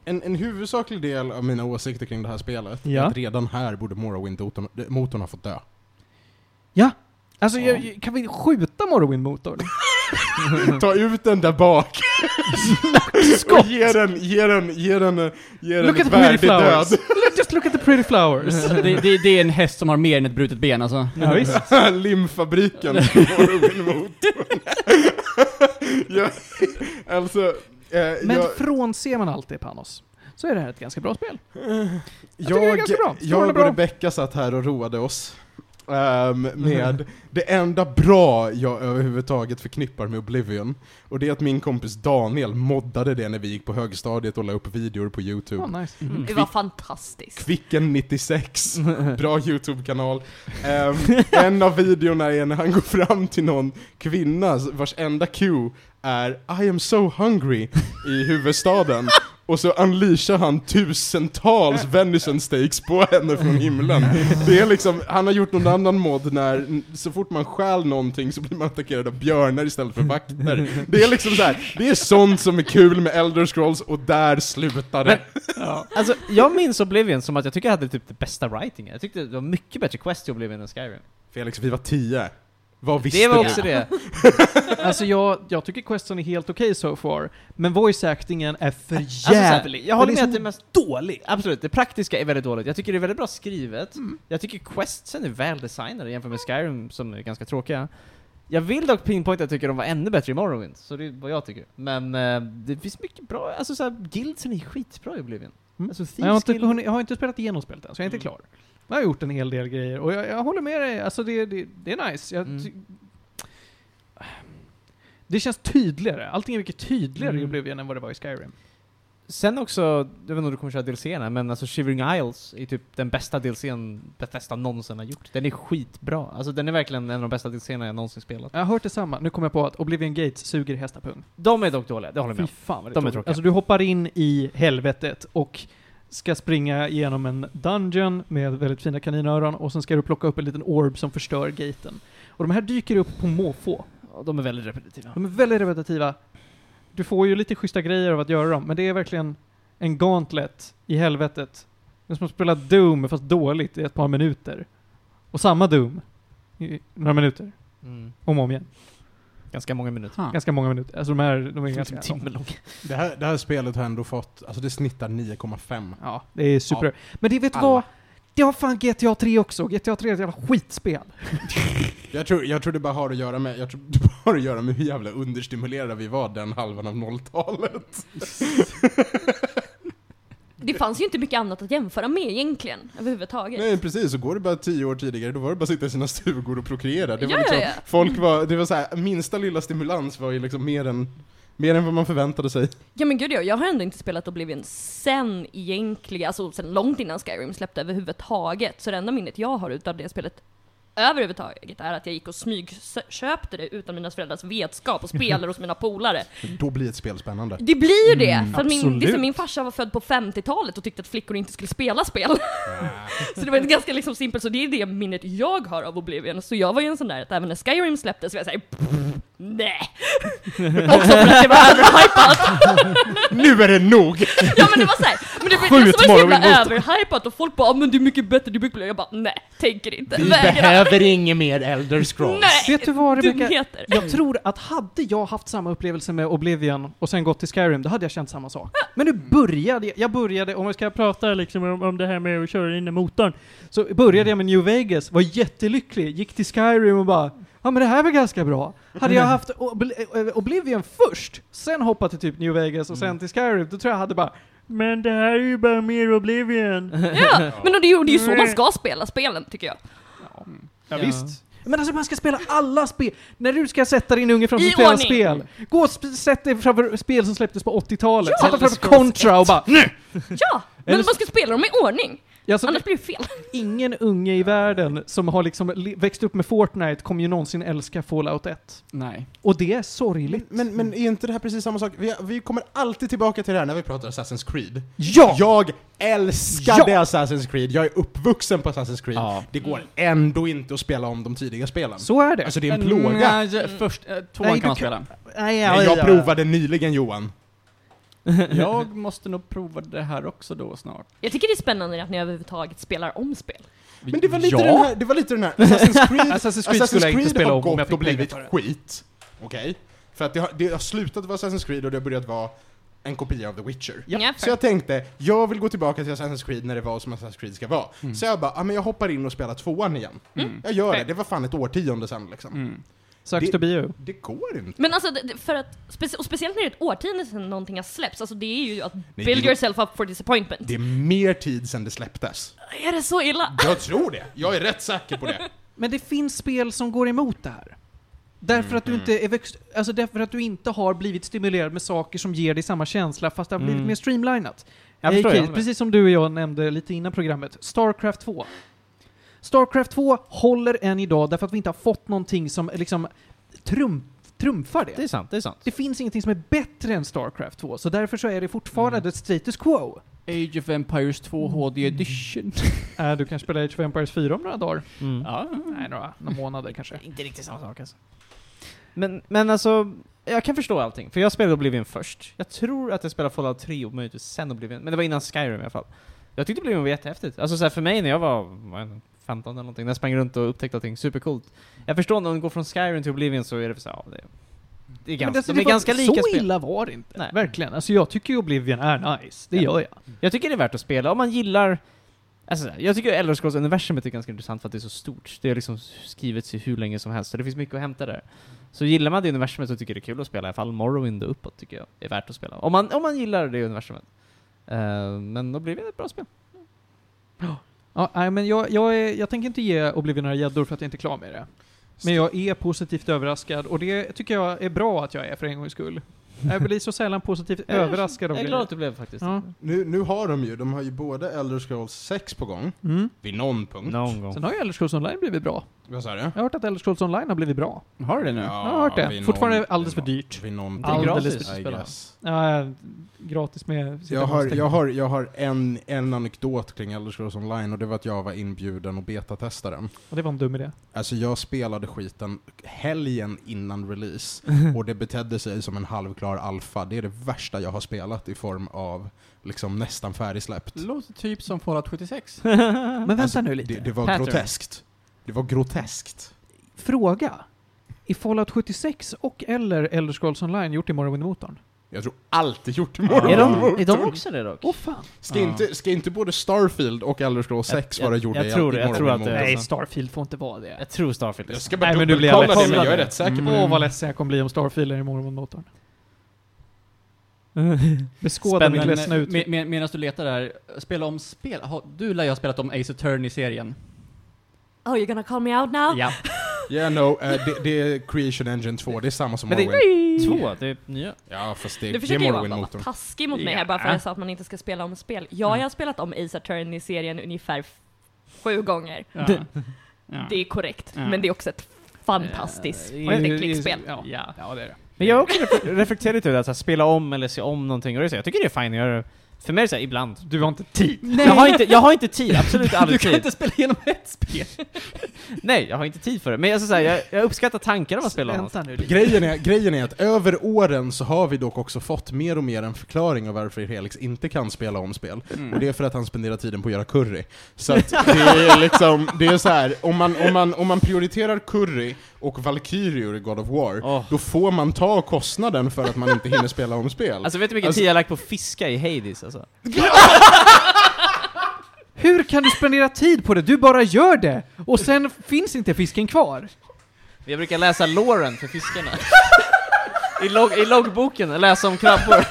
B: en, en huvudsaklig del av mina åsikter kring det här spelet
A: Ja.
B: är att redan här borde Morrowind-motorn ha fått dö.
A: Alltså,
C: Ja.
A: jag- kan vi skjuta Morrowind-motorn?
B: Ta ut den där bak och ge den, ge den, ge den, eh, ge den
A: Look
B: ett
A: at the pretty
B: värdigt död.
A: flowers. Look- Just look at the pretty flowers.
C: Det, det, det är en häst som har mer än ett brutet ben alltså.
A: ja, visst.
D: Eh,
B: Limfabriken Morrowind-motorn. jag, alltså, eh,
A: Men
B: jag,
A: frånser man allt det Panos, så är det här ett ganska bra spel. tycker det är
B: Jag,
A: ganska bra.
B: jag
A: Strålande
B: och
A: bra.
B: Rebecka satt här och roade oss ehm, med det enda bra jag överhuvudtaget förknippar med Oblivion. Och det är att min kompis Daniel moddade det när vi gick på högstadiet och la upp videor på YouTube.
A: Oh, nice.
D: Mm.
E: Det var fantastiskt.
B: Kvicken96, bra YouTube-kanal. Ehm, en av videorna är när han går fram till någon kvinna vars enda Q är I am so hungry i huvudstaden. Och så unleashar han tusentals venison steaks på henne från himlen. Det är liksom, han har gjort någon annan mod när, så fort man stjäl någonting så blir man attackerad av björnar istället för vakter. Det är liksom så här. det är sånt som är kul med Elder Scrolls och där slutar det.
D: Alltså, jag minns Oblivion som att jag tycker jag hade typ det bästa writing. Jag tyckte det var mycket bättre quest i Oblivion än Skyrim.
B: Felix, liksom, vi var tio. Vad visste
D: det var
B: du?
D: också det.
A: Alltså jag, jag tycker questen är helt okej so far, men voice-actingen är för
D: Alltså,
A: jävlig.
D: jag
A: Den
D: håller med
A: är
D: att det är
A: så
D: mest...
A: dålig.
D: Absolut, det praktiska är väldigt dåligt. Jag tycker det är väldigt bra skrivet. Jag tycker questsen är väldesignade jämfört med Skyrim som är ganska tråkiga. Jag vill dock pinpointa att jag tycker de var ännu bättre i Morrowind, så det är vad jag tycker. Men eh, det finns mycket bra, alltså såhär, guildsen är skitbra i Oblivion.
A: Mm.
D: Alltså,
A: Jag har, inte,
D: Thieves Guild-
A: hunnit- jag har inte spelat igenom spelet än, så jag är inte
D: Mm.
A: klar. Jag har gjort en hel del grejer, och jag, jag håller med dig, alltså det, det, det är nice. Jag,
D: Mm.
A: ty- det känns tydligare, allting är mycket tydligare i
D: Mm.
A: Oblivion än vad det var i Skyrim.
D: Sen också, jag vet inte om du kommer köra DLCn men alltså Shivering Isles är typ den bästa DLCn Bethesda någonsin har gjort. Den är skitbra. Alltså den är verkligen en av de bästa DLCn jag någonsin spelat.
A: Jag har hört detsamma, nu kommer jag på att Oblivion Gates suger hästapung.
D: De är dock dåliga, det håller jag med
A: Fy
D: om.
A: fan vad det
D: De är
A: tråkigt.
D: tråkiga.
A: Alltså du hoppar in i helvetet och ska springa igenom en dungeon med väldigt fina kaninöron och sen ska du plocka upp en liten orb som förstör gaten. Och de här dyker upp på måfå.
D: Ja, De är väldigt repetitiva.
A: De är väldigt repetitiva. Du får ju lite schyssta grejer av att göra dem, men det är verkligen en gauntlet i helvetet. Det är som att spela Doom, fast dåligt, i ett par minuter. Och samma Doom i några minuter,
D: Mm.
A: om och om igen.
D: Ganska många minuter.
A: Ganska många minuter. Alltså de här, de är
D: Ganska
A: ganska...
D: typ timme lång.
B: Det här, det här spelet har ändå fått, alltså det snittar 9,5.
A: Ja, det är super. Men det vet du
B: Alla.
A: vad? Det har fan GTA 3 också. GTA 3 är ett jävla skitspel.
B: Jag tror, jag tror det bara har att göra med, jag tror det bara har att göra med hur jävla understimulerade vi var den halvan av nolltalet.
E: Det fanns ju inte mycket annat att jämföra med egentligen, överhuvudtaget.
B: Nej precis, så går det bara tio år tidigare, då var det bara att sitta i sina stugor och prokreera. Det var
E: Ja,
B: liksom,
E: ja, ja.
B: folk var, det var så här, minsta lilla stimulans var ju liksom mer än, mer än vad man förväntade sig.
E: Ja men gud ja, jag har ändå inte spelat Oblivion sen egentligen, alltså sen långt innan Skyrim släppte överhuvudtaget. Så det enda minnet jag har utav det spelet överhuvudtaget är att jag gick och smygköpte det utan mina föräldrars vetskap och spelade hos mina polare.
B: Då blir ett spel spännande.
E: Det blir ju det!
B: Mm.
E: för att min,
A: absolut.
E: det är som min farsa var född på 50-talet och tyckte att flickor inte skulle spela spel. så det var ett ganska liksom simpelt, så det är det minnet jag har av Oblivion. Så jag var ju en sån där att även när Skyrim släpptes så var jag såhär "Pff, nej. Också för att det var överhypat.
B: Nu är det nog!
E: Ja men det var såhär, men det,
B: Skjut
E: var- det var så
B: Morrowind
E: jävla
B: mot-
E: överhypat och folk bara "Ah, men det är mycket bättre, det är mycket bättre. Jag bara nej, tänker inte.
B: Vi
E: Vägrar.
B: behöver inget mer Elder Scrolls.
E: Nej!
A: Vet du vad Rebecka?
E: Dumheter.
A: Jag tror att hade jag haft samma upplevelse med Oblivion och sen gått till Skyrim, då hade jag känt samma sak. Men nu började jag, jag började, om jag ska prata liksom om, om det här med att köra in i motorn, så började jag med New Vegas, var jättelycklig, gick till Skyrim och bara ja men det här var ganska bra. Hade jag haft Obl- eh, Oblivion först, sen hoppat till typ New Vegas och sen till Skyrim, då tror jag jag hade bara men det här är ju bara mer Oblivion.
E: Ja, men det är ju- det är ju så man ska spela spelen tycker jag.
A: Ja,
D: Ja.
A: visst. Mm. Men alltså man ska spela alla spel. När du ska sätta din unge framför
E: I
A: att spela
E: ordning.
A: spel, gå och sp- sätt dig framför spel som släpptes på 80-talet.
E: Ja.
A: Sätt dig framför
E: Elder Scrolls
A: Contra och bara nu!
E: Ja, men man ska spela dem i ordning.
A: Ja, så
E: Annars blir det fel.
A: ingen unge i världen som har liksom le- växt upp med Fortnite kommer ju någonsin älska Fallout 1.
C: Nej.
A: Och det är sorgligt.
B: Men, men är inte det här precis samma sak? Vi, vi kommer alltid tillbaka till det här när vi pratar Assassin's Creed.
A: Ja!
B: Jag älskade
A: Ja!
B: Assassin's Creed, jag är uppvuxen på Assassin's Creed.
D: Ja.
B: Det går ändå inte att spela om de tidiga spelen.
A: Så är det.
B: Alltså det är en
C: Mm,
B: plåga.
C: Nej, jag- först, eh,
A: Nej,
C: tvåan
A: du
C: kan
A: kan-
C: man spela.
A: Nej,
B: Nej, jag provade nyligen Johan.
C: Jag måste nog prova det här också då snart.
E: Jag tycker det är spännande att ni överhuvudtaget spelar om spel.
B: Men det var lite
C: ja.
B: den här, det var lite den här, Assassin's Creed,
A: Assassin's Creed skulle jag inte spela
B: har
A: om om jag
B: gått och
A: fick pengar
B: blivit
A: för det.
B: skit. Okej? För att det har, det har slutat vara Assassin's Creed och det har börjat vara en kopia av The Witcher.
E: Ja.
B: Så jag tänkte, jag vill gå tillbaka till Assassin's Creed när det var som Assassin's Creed ska vara.
A: Mm.
B: Så jag bara, ah, men jag hoppar in och spelar tvåan igen.
C: Mm.
B: Jag gör det,
E: Okej.
B: det var fan ett årtionde sedan liksom.
C: Mm.
A: Söks
B: Det-
A: to bio.
B: Det går inte.
E: Men alltså, det- det- för att, speci- och speciellt när det är ett årtionde sedan någonting har släppts, alltså det är ju att build
B: det-
E: yourself up for disappointment.
B: Det är mer tid sedan det släpptes.
E: Är det så illa?
B: Jag tror det. Jag är rätt säker på det.
A: Men det finns spel som går emot det här. Därför att du inte är växt, alltså därför att du inte har blivit stimulerad med saker som ger dig samma känsla fast det har blivit
D: Mm.
A: mer streamlinat.
D: Jag förstår,
A: AK,
D: jag håller med.
A: precis som du och jag nämnde lite innan programmet, Starcraft 2. Starcraft 2 håller än idag därför att vi inte har fått någonting som liksom trum, trumfar det.
D: Det är sant, det är sant.
A: Det finns ingenting som är bättre än Starcraft 2, så därför så är det fortfarande ett status quo.
C: Age of Empires 2 HD edition.
A: Äh, du kanske spelar Age of Empires 4 om några dagar?
D: Mm.
C: Ja.
A: Nej, några, några månader kanske.
D: Inte riktigt samma sak alltså. Men, men alltså, jag kan förstå allting. För jag spelade Oblivion först. Jag tror att jag spelade Fallout 3 och möjligtvis sen Oblivion. Men det var innan Skyrim i alla fall. Jag tyckte Oblivion var jättehäftigt. Alltså så här, för mig när jag var vad är det, 15 eller någonting, när jag sprang runt och upptäckte allting, supercoolt. Jag förstår när de går från Skyrim till Oblivion så är det för så här, ja, det, det är
A: Men
D: ganska,
A: alltså,
D: de är
A: det var-
D: ganska lika
A: Så
D: spel.
A: illa var det inte.
D: Nej.
A: Verkligen. Alltså jag tycker ju Oblivion är nice. Det
D: Ja.
A: gör jag.
D: Jag tycker det är värt att spela om man gillar Alltså, så här, jag tycker Elder Scrolls universumet är ganska intressant för att det är så stort. Det har liksom skrivits i hur länge som helst, så det finns mycket att hämta där. Så gillar man det universumet så tycker jag det är kul att spela, i alla fall Morrowind och uppåt tycker jag är värt att spela. Om man, om man gillar det universumet. Eh, men då blir det ett bra spel.
A: Ja, nej, men jag, jag, är, jag tänker inte ge Oblivion några gäddor för att jag inte är klar med det. Men jag är positivt överraskad och det tycker jag är bra att jag är för en gångs skull. Jag blir så sällan positivt
D: Jag är-
A: överraskad av
D: Jag är
A: grejer.
D: glad att du blev faktiskt.
A: Ja.
B: Nu, nu har de ju, de har ju både Elder Scrolls 6 på gång,
A: Mm.
B: vid någon punkt.
D: Någon gång.
A: Sen har ju Elder Scrolls Online blivit bra.
B: Vad sa du?
A: Jag har hört att Elder Scrolls Online har blivit bra.
C: Har du det nu?
A: jag har hört det.
B: vid
A: Fortfarande
B: någon-
A: alldeles för
B: vid någon-
A: dyrt.
B: Vid någon
D: Det är
B: punkt.
A: Alldeles
D: gratis.
A: för
B: I
A: dyrt.
B: guess.
A: Ja, gratis med
B: Jag har, jag har, jag har en, en anekdot kring Elder Scrolls Online och det var att jag var inbjuden och betatestade den.
A: Och det var en dum idé.
B: Alltså jag spelade skiten helgen innan release och det betedde sig som en halvklar alfa. Det är det värsta jag har spelat i form av liksom nästan färdigsläppt.
D: Mm,
C: Låter typ som Fallout 76.
A: Men vänta
B: Alltså,
A: nu lite.
B: Det, det var
D: Pattern.
B: groteskt. Det var groteskt.
A: Fråga. Är Fallout 76 och eller Elder Scrolls Online gjort i Morrowind-motorn?
B: Jag tror allt är gjort i
D: Är
B: morgon.
D: de, är de också det dock?
A: Åh fan!
B: Ska, inte, ska inte både Starfield och Elder Scrolls
D: Jag-
B: 6 vara
D: jag-
B: gjorda
D: jag
B: i,
D: tror
B: i
D: det, jag tror
B: Morrowind
D: att det-
B: Motor?
A: Nej, Starfield får inte vara det.
D: Jag tror Starfield är
B: Jag
D: så.
B: ska bara
A: Nej, men nu blir jag
B: dubbelkolla det,
A: ledsen.
B: men jag är rätt säker på
A: Åh,
B: det.
A: vad ledsen jag kommer bli om Starfield är i Mormon-motorn. Beskåda
D: Spännande.
A: mitt ledsna ut.
C: med, med, medan du letar där, spela om spel. Har- Du lär ju ha spelat om Ace Attorney-serien.
E: Oh, you're gonna call me out now?
C: Ja.
B: Yeah, no, eh, det, det är Creation Engine 2, det är samma som
D: Men det-
B: Morrowind.
D: Två, det är nya.
B: Ja, fast det,
E: Nu
B: det är
E: försöker Johan bara vara
B: Morrowind-motorn.
E: taskig mot mig här
C: Ja.
E: bara för att jag sa att man inte ska spela om spel. Ja, jag har spelat om Ace Attorney-serien ungefär f- sju gånger.
C: Ja. Ja.
E: Det är korrekt,
C: Ja.
E: men det är också ett fantastiskt
D: Eh,
E: point-and-click-spel.
A: Ja.
C: Ja.
A: ja, det är det.
D: Men jag har också reflek- reflekterat över det, här, så här, spela om eller se om någonting. Och det är så, här, jag tycker det är fine att göra det. För mig är det så här, ibland.
A: Du har inte
E: Mm.
A: tid.
D: Jag har, inte, jag har inte tid, absolut
C: Du
D: aldrig
C: kan
D: tid.
C: inte spela igenom ett spel!
D: Nej, jag har inte tid för det. Men jag, ska säga, jag, jag uppskattar tanken om att spela om.
A: Vänta nu lite.
B: Grejen är, grejen är att över åren så har vi dock också fått mer och mer en förklaring av varför Helix inte kan spela om spel.
C: Mm.
B: Och det är för att han spenderar tiden på att göra curry. Så att det är liksom, det är så här, om man, om man, om man prioriterar curry och Valkyrior i God of War,
D: Åh.
B: då får man ta kostnaden för att man inte hinner spela om spel.
D: Alltså vet du hur mycket
B: Alltså-
D: tid jag har lagt på att fiska i Hades alltså?
A: Hur kan du spendera tid på det? Du bara gör det! Och sen finns inte fisken kvar.
D: Jag brukar läsa låren för fiskarna. I, log I loggboken, läsa om krabbor.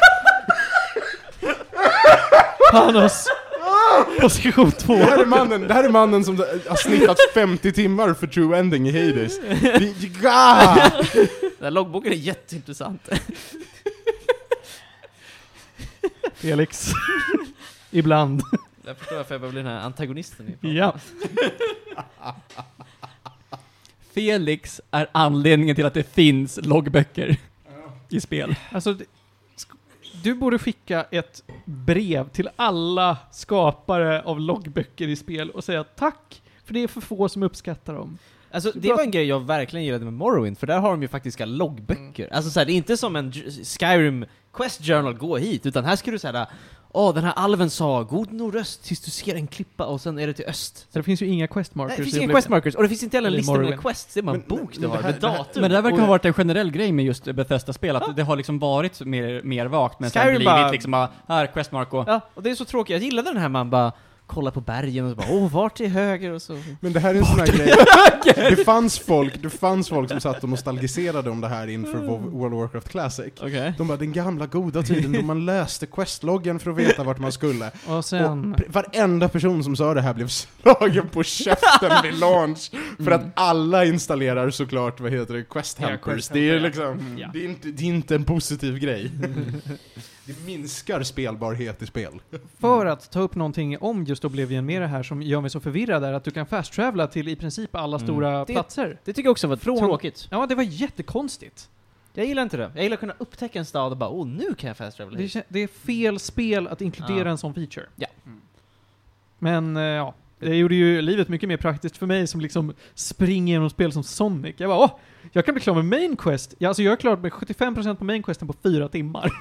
A: Panos! Position 2.
B: Det här, är mannen, det här är mannen som har snittat 50 timmar för true ending i Hades. Det- Ja!
D: Den här loggboken är jätteintressant.
A: Felix. Ibland.
D: Jag förstår varför jag behöver bli den här antagonisten. i-
A: Ja.
C: Felix är anledningen till att det finns loggböcker i spel.
A: Alltså, det- sk- du borde skicka ett brev till alla skapare av loggböcker i spel och säga tack, för det är för få som uppskattar dem.
D: Alltså det var en grej jag verkligen gillade med Morrowind, för där har de ju faktiska loggböcker. Alltså såhär, det är inte som en J- Skyrim Quest Journal, gå hit, utan här ska du såhär Åh, den här alven sa 'God nordöst tills du ser en klippa' och sen är det till öst.
A: Så det finns ju inga questmarkers.
D: Nej, det finns
A: i
D: inga
A: Oblivion.
D: quest markers, och det finns inte heller en
A: Eller
D: lista med
A: Morrowind.
D: quests, det är bara en
B: Men-
D: bok du
B: men
D: har
B: det här-
D: med
B: det här-
D: datum.
C: Men det där verkar
D: Och-
C: ha varit en generell grej med just Bethesda-spel, att det har liksom varit mer, mer vagt, men sen
D: Skyrim
C: blivit
D: bara-
C: liksom bara, här, Questmark och...
D: Ja, och det är så tråkigt. Jag gillade den här man bara kollar på bergen och så bara 'Åh, vart till höger?' och så...
B: Men det här är en sån här grej. Det fanns folk, det fanns folk som satt och nostalgiserade om det här inför
A: Mm.
B: WoW- World of Warcraft Classic.
D: Okej.
B: De bara, den gamla goda tiden då man löste questloggen för att veta vart man skulle.
A: Och sen...
B: Och pr- varenda person som sa det här blev slagen på käften vid launch. För att alla installerar såklart, vad heter det, quest
A: Mm. Ja,
B: hampers.
A: quest
B: det är
A: hamper, ja.
B: liksom,
A: Ja.
B: det är, inte, det är inte en positiv grej. det minskar spelbarhet i spel.
A: För att ta upp någonting om just Oblivion med det här som gör mig så förvirrad är att du kan fast-travela till i princip alla
D: Mm.
A: stora
D: Det-
A: platser.
D: Det tycker jag också var
A: Från-
D: tråkigt.
A: Ja, det var jättekonstigt.
D: Jag gillar inte det. Jag gillar att kunna upptäcka en stad och bara 'Åh, nu kan jag fast travel
A: Det,
D: hit.
A: kän- det är fel spel att inkludera
D: Ja.
A: en sån feature.
D: Ja.
A: Mm. Men eh, ja, det gjorde ju livet mycket mer praktiskt för mig som liksom springer genom spel som Sonic. Jag bara åh, jag kan bli klar med Main Quest. Ja, alltså jag är klar med 75% på Main Questen på fyra timmar.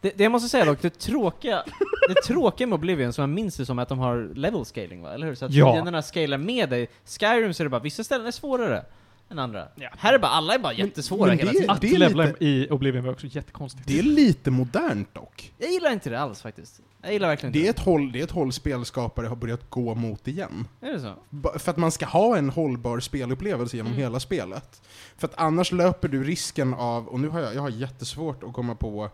D: Det, det jag måste säga dock, det tråkiga, det tråkiga med Oblivion som jag minns det som är att de har level scaling va, eller hur? Så att
A: Ja.
D: fienderna scalar med dig. Skyrim så är det bara vissa ställen är svårare än andra.
A: Ja.
D: Här är bara, alla är bara jättesvåra
B: men
D: hela
B: det är-
D: tiden.
A: Att levla
B: lite-
A: i Oblivion var också jättekonstigt.
B: Det är lite modernt dock.
D: Jag gillar inte det alls faktiskt. Jag gillar verkligen
B: Det är
D: inte
B: ett håll, det är ett håll spelskapare har börjat gå mot igen.
D: det. Är det så?
B: Ba- För att man ska ha en hållbar spelupplevelse genom
D: Mm.
B: hela spelet. För att annars löper du risken av, och nu har jag, jag har jättesvårt att komma på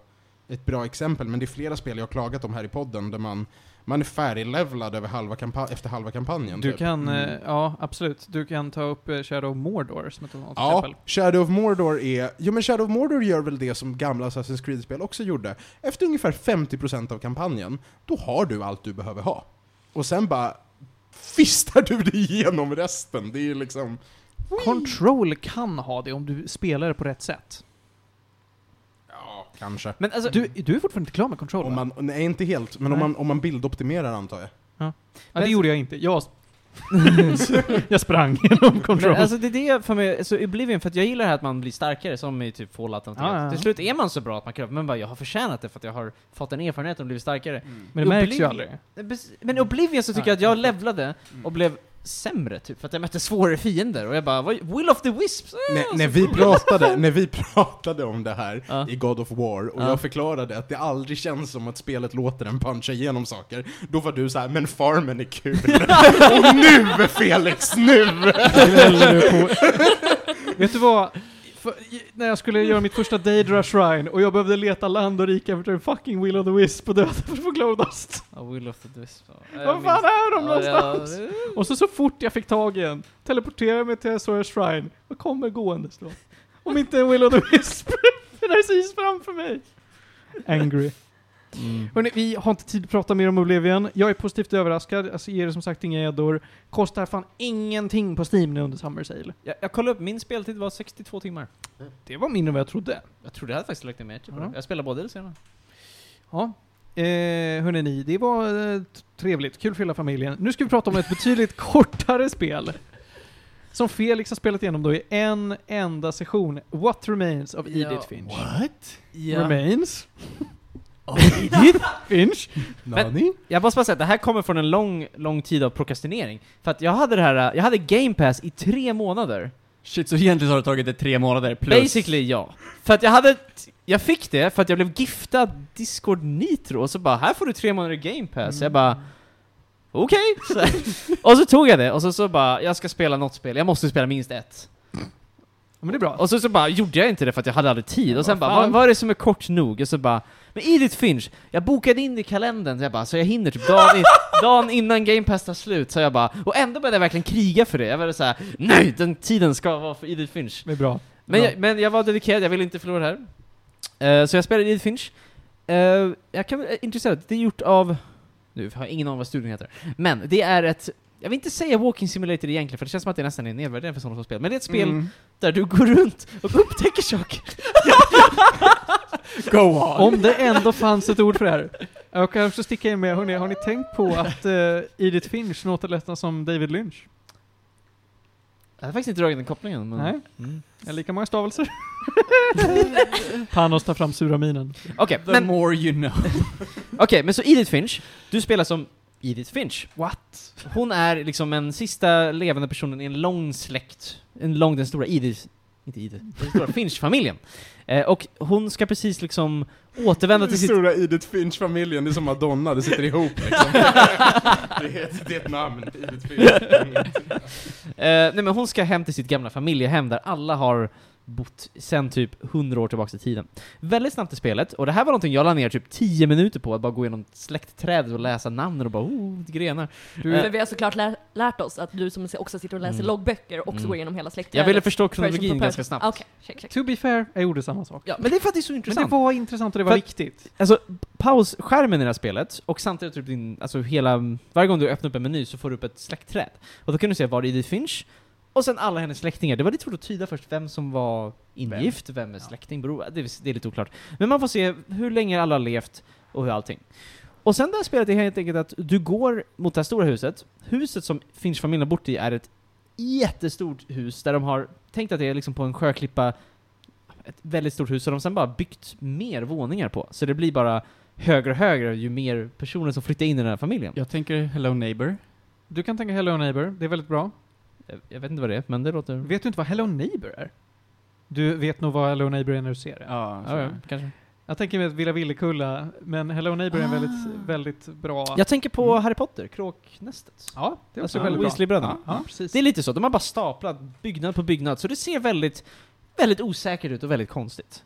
B: ett bra exempel, men det är flera spel jag har klagat om här i podden där man, man är färdiglevlad över halva kampa- efter halva kampanjen.
A: Du
B: typ.
A: kan, eh, ja absolut, du kan ta upp eh, Shadow of Mordor som ett annat
B: Ja,
A: exempel.
B: Shadow of Mordor är... Jo men Shadow of Mordor gör väl det som gamla Assassin's Creed-spel också gjorde. Efter ungefär 50% av kampanjen, då har du allt du behöver ha. Och sen bara fistar du dig igenom resten. Det är liksom...
A: Control kan ha det om du spelar det på rätt sätt.
B: Ja, kanske.
D: Men alltså,
A: Du, du är fortfarande inte klar med Control
B: Om
A: va?
B: man, nej, inte helt, men om
A: Nej.
B: man, om man bildoptimerar antar jag.
A: Ja, det gjorde jag inte. Jag, jag sprang genom Control.
D: men alltså det är det för mig, så Oblivion, för att jag gillar det här att man blir starkare som i typ Fallout och
A: Ja, ja, ja.
D: Till slut är man så bra att man kan, men bara jag har förtjänat det för att jag har fått en erfarenhet och blivit starkare.
A: Men det märks ju
D: Oblivion-
A: aldrig.
D: Bes- Men i Oblivion så tycker jag att jag levlade
A: Mm.
D: och blev sämre typ, för att jag mötte svårare fiender och jag bara "Vad- Will of the Wisps! äh,
B: När,
D: och
B: när,
D: så-
B: vi pratade, när vi pratade om det här
D: Ja.
B: i God of War och
D: Ja.
B: jag förklarade att det aldrig känns som att spelet låter en puncha igenom saker, då var du så här, men farmen är kul. och nu Felix, nu!
A: Vet du vad? För, i- när jag skulle göra mitt första Daedra Shrine och jag behövde leta land och rike efter en fucking Will of the Wisp och döda för att få Glowdust.
D: Ja, Will of the Wisps. ja. Jag
A: Vad fan är de
D: minns- Ja,
A: någonstans? Och så, så fort jag fick tag i en teleporterade jag mig till Azora Shrine och kommer gåendes då. Om inte en Will of the Wisp precis framför mig. Angry. Hörrni, vi har inte tid att prata mer om Oblivion. Jag är positivt överraskad. Alltså, ger det som sagt inga gäddor. Kostar fan ingenting på Steam nu under Summer Sale.
D: Jag, jag kollade upp, min speltid var 62 timmar.
A: Det var mindre än vad jag trodde.
D: Jag trodde jag hade faktiskt lagt ner mer tid på
A: Ja.
D: det. Jag spelade både eller senare.
A: Ja. Eh, hörni ni, det var eh, t- trevligt. Kul för hela familjen. Nu ska vi prata om ett betydligt kortare spel. Som Felix har spelat igenom då i en enda session. What Remains of Edith
D: Ja.
A: Finch.
B: What?
A: Remains. Edith Finch.
B: Nani?
D: Jag måste bara säga att det här kommer från en lång, lång tid av prokrastinering. För att jag hade det här, jag hade Game Pass i tre månader.
C: Shit, så egentligen så har det tagit det tre månader plus.
D: Basically ja. För att jag hade, t- jag fick det för att jag blev giftad Discord Nitro och så bara här får du tre månader Game
A: Mm.
D: Pass. Jag bara okej. Så- och så tog jag det och så, så bara jag ska spela något spel, jag måste spela minst ett.
A: men det är bra.
D: Och så, så bara gjorde jag inte det för att jag hade aldrig tid. Och sen
A: vad
D: bara,
A: fan.
D: vad, vad är det som är kort nog? Och så bara, men Edith Finch, jag bokade in det i kalendern, så jag bara, så jag hinner typ dagen, i, dagen innan Game Pass tar slut, så jag bara, och ändå började jag verkligen kriga för det. Jag var så här, nej, den tiden ska vara för Edith Finch.
A: Det är bra.
D: Men,
A: Bra.
D: jag, men jag var dedikerad, jag ville inte förlora det här. Eh, så jag spelade Edith Finch. Eh, jag kan väl, intresserad, det är gjort av, nu har jag ingen aning vad studion heter, men det är ett, jag vill inte säga Walking Simulator egentligen, för det känns som att det nästan är nedvärderande för sådana som spel, men det är ett spel
A: Mm.
D: där du går runt och upptäcker saker.
C: Go on!
A: Om det ändå fanns ett ord för det här. Jag kan också sticka in med, hörni, har ni tänkt på att uh, Edith Finch låter nästan som David Lynch?
D: Jag har faktiskt inte dragit den kopplingen. Men... Mm.
A: Nej? Det är lika många stavelser. Panos tar fram sura minen.
D: Okej,
C: The
D: men,
C: more you know.
D: okej, men så Edith Finch, du spelar som Edith Finch. What? Hon är liksom den sista levande personen i en lång släkt. En lång, den stora Edith, inte Edith, den stora Finch-familjen. Eh, och hon ska precis liksom återvända
B: Den
D: till sitt...
B: stora Edith Finch-familjen, det är som Madonna, det sitter ihop liksom. det, är ett, det är ett namn, Edith Finch.
D: Eh, nej men hon ska hem till sitt gamla familjehem där alla har bott sen typ 100 år tillbaka i tiden. Väldigt snabbt i spelet, och det här var någonting jag la ner typ 10 minuter på, att bara gå igenom släktträdet och läsa namn och bara oh, grenar. Eh,
E: För vi har såklart lär, lärt oss att du som också sitter och läser
D: Mm.
E: loggböcker också
D: Mm.
E: går igenom hela släktträdet.
D: Jag ville förstå
E: Person for
D: kronologin
E: person.
D: ganska snabbt.
E: Ah, Okej, check, check.
A: To be fair, jag gjorde samma sak.
D: Ja, men det är för att det är så
A: Men det
D: intressant.
A: var intressant och det var
D: För-
A: viktigt.
D: Alltså, pausskärmen i det här spelet, och samtidigt typ din, alltså hela, varje gång du öppnar upp en meny så får du upp ett släktträd. Och då kan du se var det är Edith Finch, och sen alla hennes släktingar. Det var lite svårt att tyda först vem som var ingift, vem, är
C: Ja.
D: släkting, bror, det, är- det är lite oklart. Men man får se hur länge alla har levt och hur allting. Och sen det här spelet är helt enkelt att du går mot det här stora huset. Huset som Finch-familjen har bott i är ett jättestort hus där de har tänkt att det är liksom på en sjöklippa, ett väldigt stort hus, så de har sen bara byggt mer våningar på. Så det blir bara högre och högre ju mer personer som flyttar in i den här familjen.
C: Jag tänker Hello Neighbor.
A: Du kan tänka Hello Neighbor, det är väldigt bra.
D: Jag, jag vet inte vad det är, men det låter...
A: Vet du inte vad Hello Neighbor är? Du vet nog vad Hello Neighbor är när du ser det.
C: Ja,
D: Ja, ja, kanske.
A: Jag tänker mig att Villa Villekulla, men Hello Neighbor är en väldigt,
E: Ah.
A: väldigt bra...
D: Jag tänker på Harry Potter, kråknästet.
A: Ja, Mm. det är också
D: Alltså
A: väldigt bra.
D: Weasley-bröderna.
A: Ja, precis.
D: Det är lite så, de har bara staplat byggnad på byggnad, så det ser väldigt, väldigt osäkert ut och väldigt konstigt.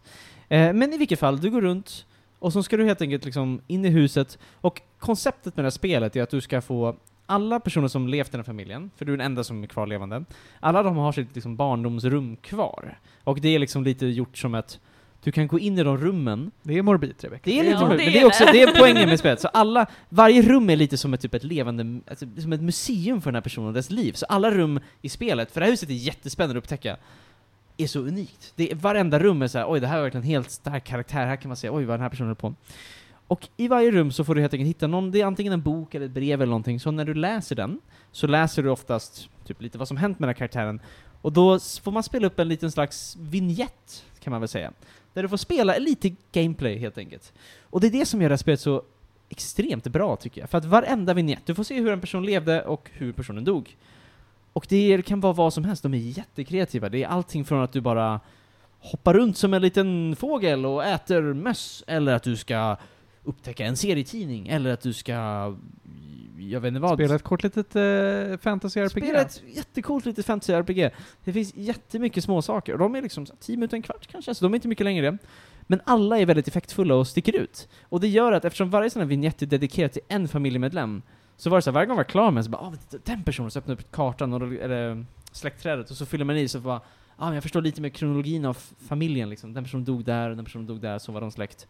D: Eh, men i vilket fall, du går runt och så ska du helt enkelt liksom in i huset, och konceptet med det här spelet är att du ska få alla personer som levt i den här familjen, för du är den enda som är kvar levande, alla de har sitt liksom barndomsrum kvar. Och det är liksom lite gjort som att du kan gå in i de rummen
A: Det är morbid, Rebecka.
D: det är
E: Ja,
D: lite roligt,
E: det
D: men
E: är
D: det är, också,
E: det.
D: det är poängen med spelet. Så alla, varje rum är lite som ett, typ ett levande, alltså, som ett museum för den här personen och dess liv. Så alla rum i spelet, för det här huset är jättespännande att upptäcka, är så unikt. Det är, varenda rum är så här, oj det här är verkligen en helt stark karaktär, här kan man se, oj vad den här personen höll på Och i varje rum så får du helt enkelt hitta någon, det är antingen en bok eller ett brev eller någonting, så när du läser den, så läser du oftast typ lite vad som hänt med den här karaktären. Och då s- får man spela upp en liten slags vignett, kan man väl säga. Där du får spela lite gameplay helt enkelt. Och det är det som gör det här spelet så extremt bra tycker jag. För att varenda vignett, du får se hur en person levde och hur personen dog. Och det kan vara vad som helst, de är jättekreativa. Det är allting från att du bara hoppar runt som en liten fågel och äter möss, eller att du ska upptäcka en serietidning, eller att du ska... Jag vet inte vad.
A: Spela ett kort litet eh, fantasy-RPG.
D: Spela ett jättecoolt litet fantasy-RPG. Det finns jättemycket små saker. och de är liksom 10 minuter, en kvart kanske, så de är inte mycket längre. Men alla är väldigt effektfulla och sticker ut. Och det gör att eftersom varje sån här vignett är dedikerad till en familjemedlem, så var det så här, varje gång jag var klar med så bara ah, den personen, så öppnade jag upp kartan, och, då- eller släktträdet, och så fyller man i, så bara ah, men jag förstår lite mer kronologin av f- familjen liksom. Den personen dog där, och den personen dog där, så var de släkt.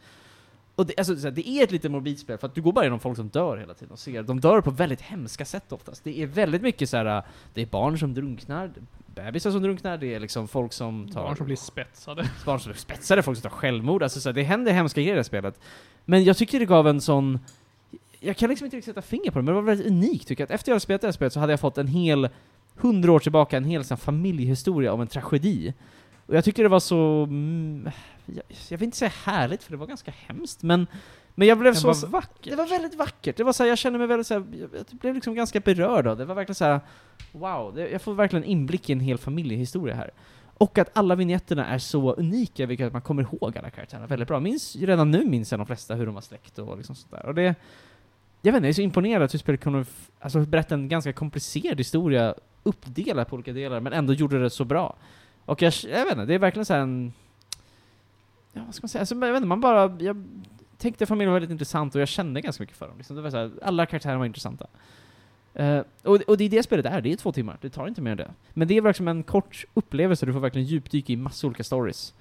D: Och det, alltså, så här, det är ett lite morbid spel, för att du går bara genom folk som dör hela tiden och ser. De dör på väldigt hemska sätt oftast. Det är väldigt mycket så här. det är barn som drunknar, bebisar som drunknar, det är liksom folk som tar...
A: Barn som blir spetsade.
D: barn som är spetsade, folk som tar självmord. Alltså, så här, det händer hemska grejer i det här spelet. Men jag tycker det gav en sån... Jag kan liksom inte riktigt sätta finger på det, men det var väldigt unikt tycker jag. Att efter jag hade spelat det här spelet så hade jag fått en hel, hundra år tillbaka, en hel sån här familjehistoria om en tragedi. Och jag tyckte det var så... Mm, jag, jag vill inte säga härligt, för det var ganska hemskt, men... Men jag blev
A: Den
D: så...
A: var
D: vackert. Det var väldigt vackert. Det var så här, jag kände mig väldigt så här, jag, jag blev liksom ganska berörd av det. Det var verkligen så här, wow, det, jag får verkligen inblick i en hel familjehistoria här. Och att alla vignetterna är så unika, vilket att man kommer ihåg alla karaktärerna väldigt bra. Minns, redan nu minns jag de flesta hur de var släkt och liksom sådär. Och det, jag vet inte, jag är så imponerad att hur spelet kunde f- alltså, berätta en ganska komplicerad historia, uppdelad på olika delar, men ändå gjorde det så bra. Och Och jag, jag vet inte, det är verkligen så här en... Ja, vad ska man säga? Alltså, jag vet inte, man bara... Jag tänkte familjen var väldigt intressant och jag kände ganska mycket för dem. Liksom. Det var så här, alla karaktärer var intressanta. Eh, och, och det är det spelet är, det är två timmar. Det tar inte mer än det. Men det är verkligen en kort upplevelse, du får verkligen djupdyka i massa olika stories.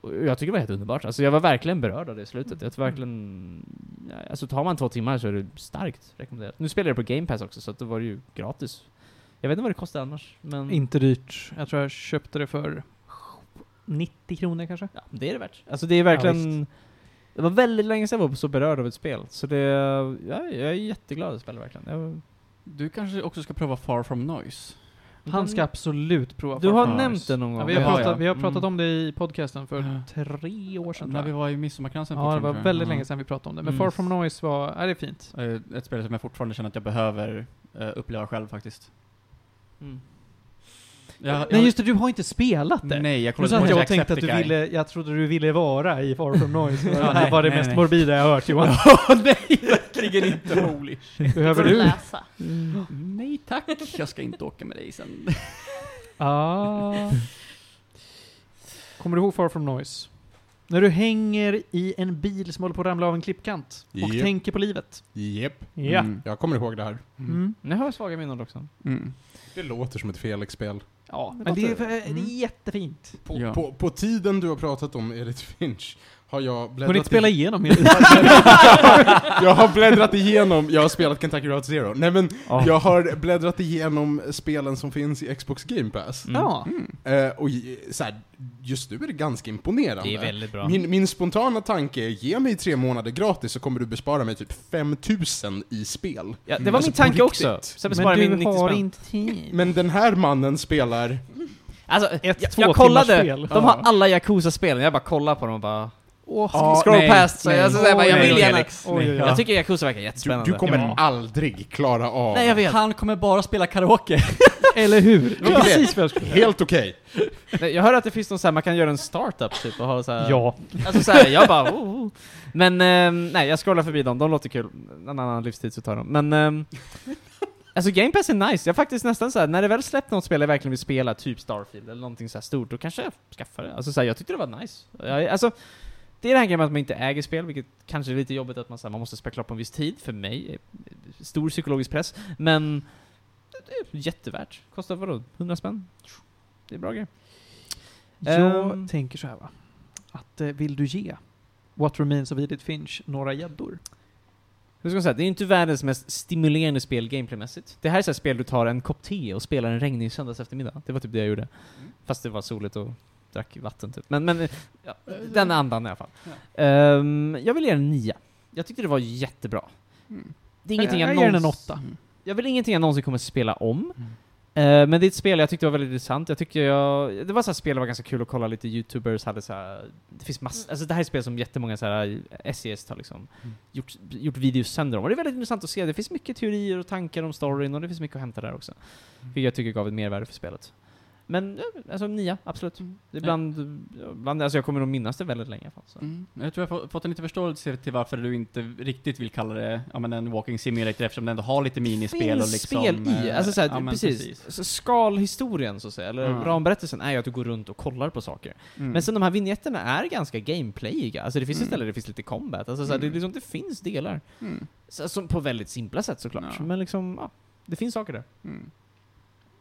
D: Och jag tycker det var helt underbart. Alltså jag var verkligen berörd av det i slutet. Jag var verkligen... ja, Alltså tar man två timmar så är det starkt rekommenderat. Nu spelar jag på Game Pass också, så att det var ju gratis. Jag vet inte vad det kostar annars, men...
A: Inte dyrt. Jag tror jag köpte det för 90 kronor kanske.
D: Ja, det är det värt. Alltså det är verkligen... det var väldigt länge sedan jag var så berörd av ett spel, så det... Jag, jag är jätteglad över spelet verkligen. Jag,
C: Du kanske också ska pröva Far From Noise?
A: Han ska absolut prova
D: du
A: Far
D: har
A: Cry.
D: nämnt det någon gång?
A: Ja, vi, har
C: Ja,
A: pratat,
C: ja.
A: vi har pratat
D: Mm.
A: om det i podcasten för
C: Ja.
A: tre år sedan
C: När
A: tror
C: vi
A: jag.
C: var i Midsommarkransen
A: Ja, det var
C: fortfarande, tror jag.
A: väldigt
C: Ja.
A: länge sedan vi pratade om det. Men
C: Mm.
A: Far From Noise var, är det är fint.
C: Eh, Ett spel som jag fortfarande känner att jag behöver eh, uppleva själv faktiskt.
D: Mm.
C: Jag, jag,
A: Nej just det, du har inte spelat det.
C: Nej, jag
A: Jag,
C: kollade
A: att
C: på
A: jag tänkte att du
C: Jacksepticeye.
A: ville, jag trodde du ville vara i Far From Noise.
C: Ja,
A: det
C: nej,
A: var det
C: nej,
A: mest
C: nej.
A: morbida jag har hört Johan.
C: Ja, nej, verkligen inte. Holy shit.
A: Behöver
E: Får
A: du?
E: läsa.
D: Mm.
C: Nej tack, jag ska inte åka med dig sen.
A: Ah. Kommer du ihåg Far From Noise? När du hänger i en bil som håller på att ramla av en klippkant och
B: Japp.
A: tänker på livet.
B: Jep.
A: Ja.
C: Mm.
B: Jag kommer ihåg det här.
A: Mm.
D: Nu har jag svaga minnen också.
C: Mm.
B: Det låter som ett Felix-spel.
A: Ja, men,
D: låter-
A: det, är, det
D: Mm.
A: är jättefint.
B: På,
C: Ja.
B: på, på tiden du har pratat om Edith Finch har jag
A: Hunnit
B: bläddrat,
A: spela
B: i,
A: igenom
C: Mm.
A: hela
B: jag har bläddrat igenom, jag har spelat Kentucky Route Zero. Nej men,
D: Ja.
B: jag har bläddrat igenom spelen som finns i Xbox Game Pass.
D: Mm.
A: Ja.
B: Eh, och j- så här, just nu är det ganska imponerande.
D: väldigt bra.
B: Min, min spontana tanke är, ge mig tre månader gratis så kommer du bespara mig typ 5000 i spel.
D: ja, det
B: Mm.
D: var
B: Alltså,
D: min tanke
B: på
D: också.
B: riktigt.
D: Sen besparar min 90 spänn.
A: inte tid.
B: Men den här mannen spelar...
D: Alltså,
A: Ett,
D: jag,
A: två
D: jag
A: timmars
D: kollade,
A: spel.
D: de har alla Yakuza-spelen, jag bara kollar på dem och bara...
B: Ja,
D: scroll
C: nej,
D: past, så jag,
C: nej.
D: så säger jag bara, jag
C: Nej,
D: vill gärna...
C: Felix.
A: Oj, oj, oj.
D: Jag tycker Yakuza verkar
B: Du,
D: jättespännande.
B: du kommer
A: Ja.
B: aldrig klara av...
D: Nej, jag vet.
C: Han kommer bara spela karaoke.
A: Eller hur?
B: Ja.
A: Precis vad jag skulle
B: Helt okej.
D: Nej, Jag hör att det finns någon så här, man kan göra en startup typ och ha så här,
A: Ja.
D: Alltså så här, jag bara oh, oh. Men ehm, nej, jag scrollar förbi dem, de låter kul. En annan livstid så tar de. Men ehm, Alltså Game Pass är nice, jag är faktiskt nästan så här, när det väl släppt något spel jag verkligen vill spela, typ Starfield eller någonting så här stort, då kanske jag skaffar det. Alltså så här, jag tyckte det var nice. Jag, alltså, det är det här grejen med att man inte äger spel, vilket kanske är lite jobbigt att man, så här, man måste spela klart på en viss tid, för mig, eh, stor psykologisk press, men det är jättevärt. Kostar vadå, 100 spänn? Det är bra grej.
A: Jag
D: Ehm.
A: tänker så här va. Att eh, vill du ge What Remains of Edith Finch några gäddor?
D: Hur ska man säga? Det är ju inte världens mest stimulerande spel gameplaymässigt. Det här är så här spel du tar en kopp te och spelar en regnig söndags eftermiddag. Det var typ det jag gjorde.
A: Mm.
D: Fast det var soligt och drack vatten typ. Men, men ja, den andan i alla fall. Ehm, jag vill ge den en nia. Jag tyckte det var jättebra. Det är ingenting
A: jag,
D: jag,
A: Eh, jag ger
D: någonsin- Mm.
A: den en åtta.
D: jag vill ingenting jag någonsin kommer spela om. Eh, men det är ett spel jag tyckte var väldigt intressant. Jag tyckte jag... Det var så här spel det var ganska kul att kolla lite youtubers hade så här, Det finns massor... Alltså det här är spel som jättemånga så här SES har liksom gjort, gjort videos sönder om. Och det är väldigt intressant att se. Det finns mycket teorier och tankar om storyn och det finns mycket att hämta där också. Vilket jag tycker gav ett mervärde för spelet. Men eh, alltså nia, absolut. Det är bland, bland... Alltså jag kommer nog minnas det väldigt länge i alla fall. Så.
C: Mm. Jag tror jag har få- fått en lite förståelse till varför du inte riktigt vill kalla det ja, men en walking simulator eftersom den ändå har lite minispel och
D: finns
C: liksom...
D: spel i,
C: eh,
D: alltså såhär,
C: ja, men
D: precis. Så skalhistorien så att säga, eller
C: Mm.
D: ramberättelsen är ju att du går runt och kollar på saker.
C: Mm.
D: Men sen de här vinjetterna är ganska gameplayiga, alltså det finns mm. ställen där det finns lite combat, alltså såhär,
C: Mm.
D: det, liksom, det finns delar.
C: Mm.
D: Så, som på väldigt simpla sätt såklart,
C: Ja.
D: men liksom, ja, det finns saker där.
C: Mm.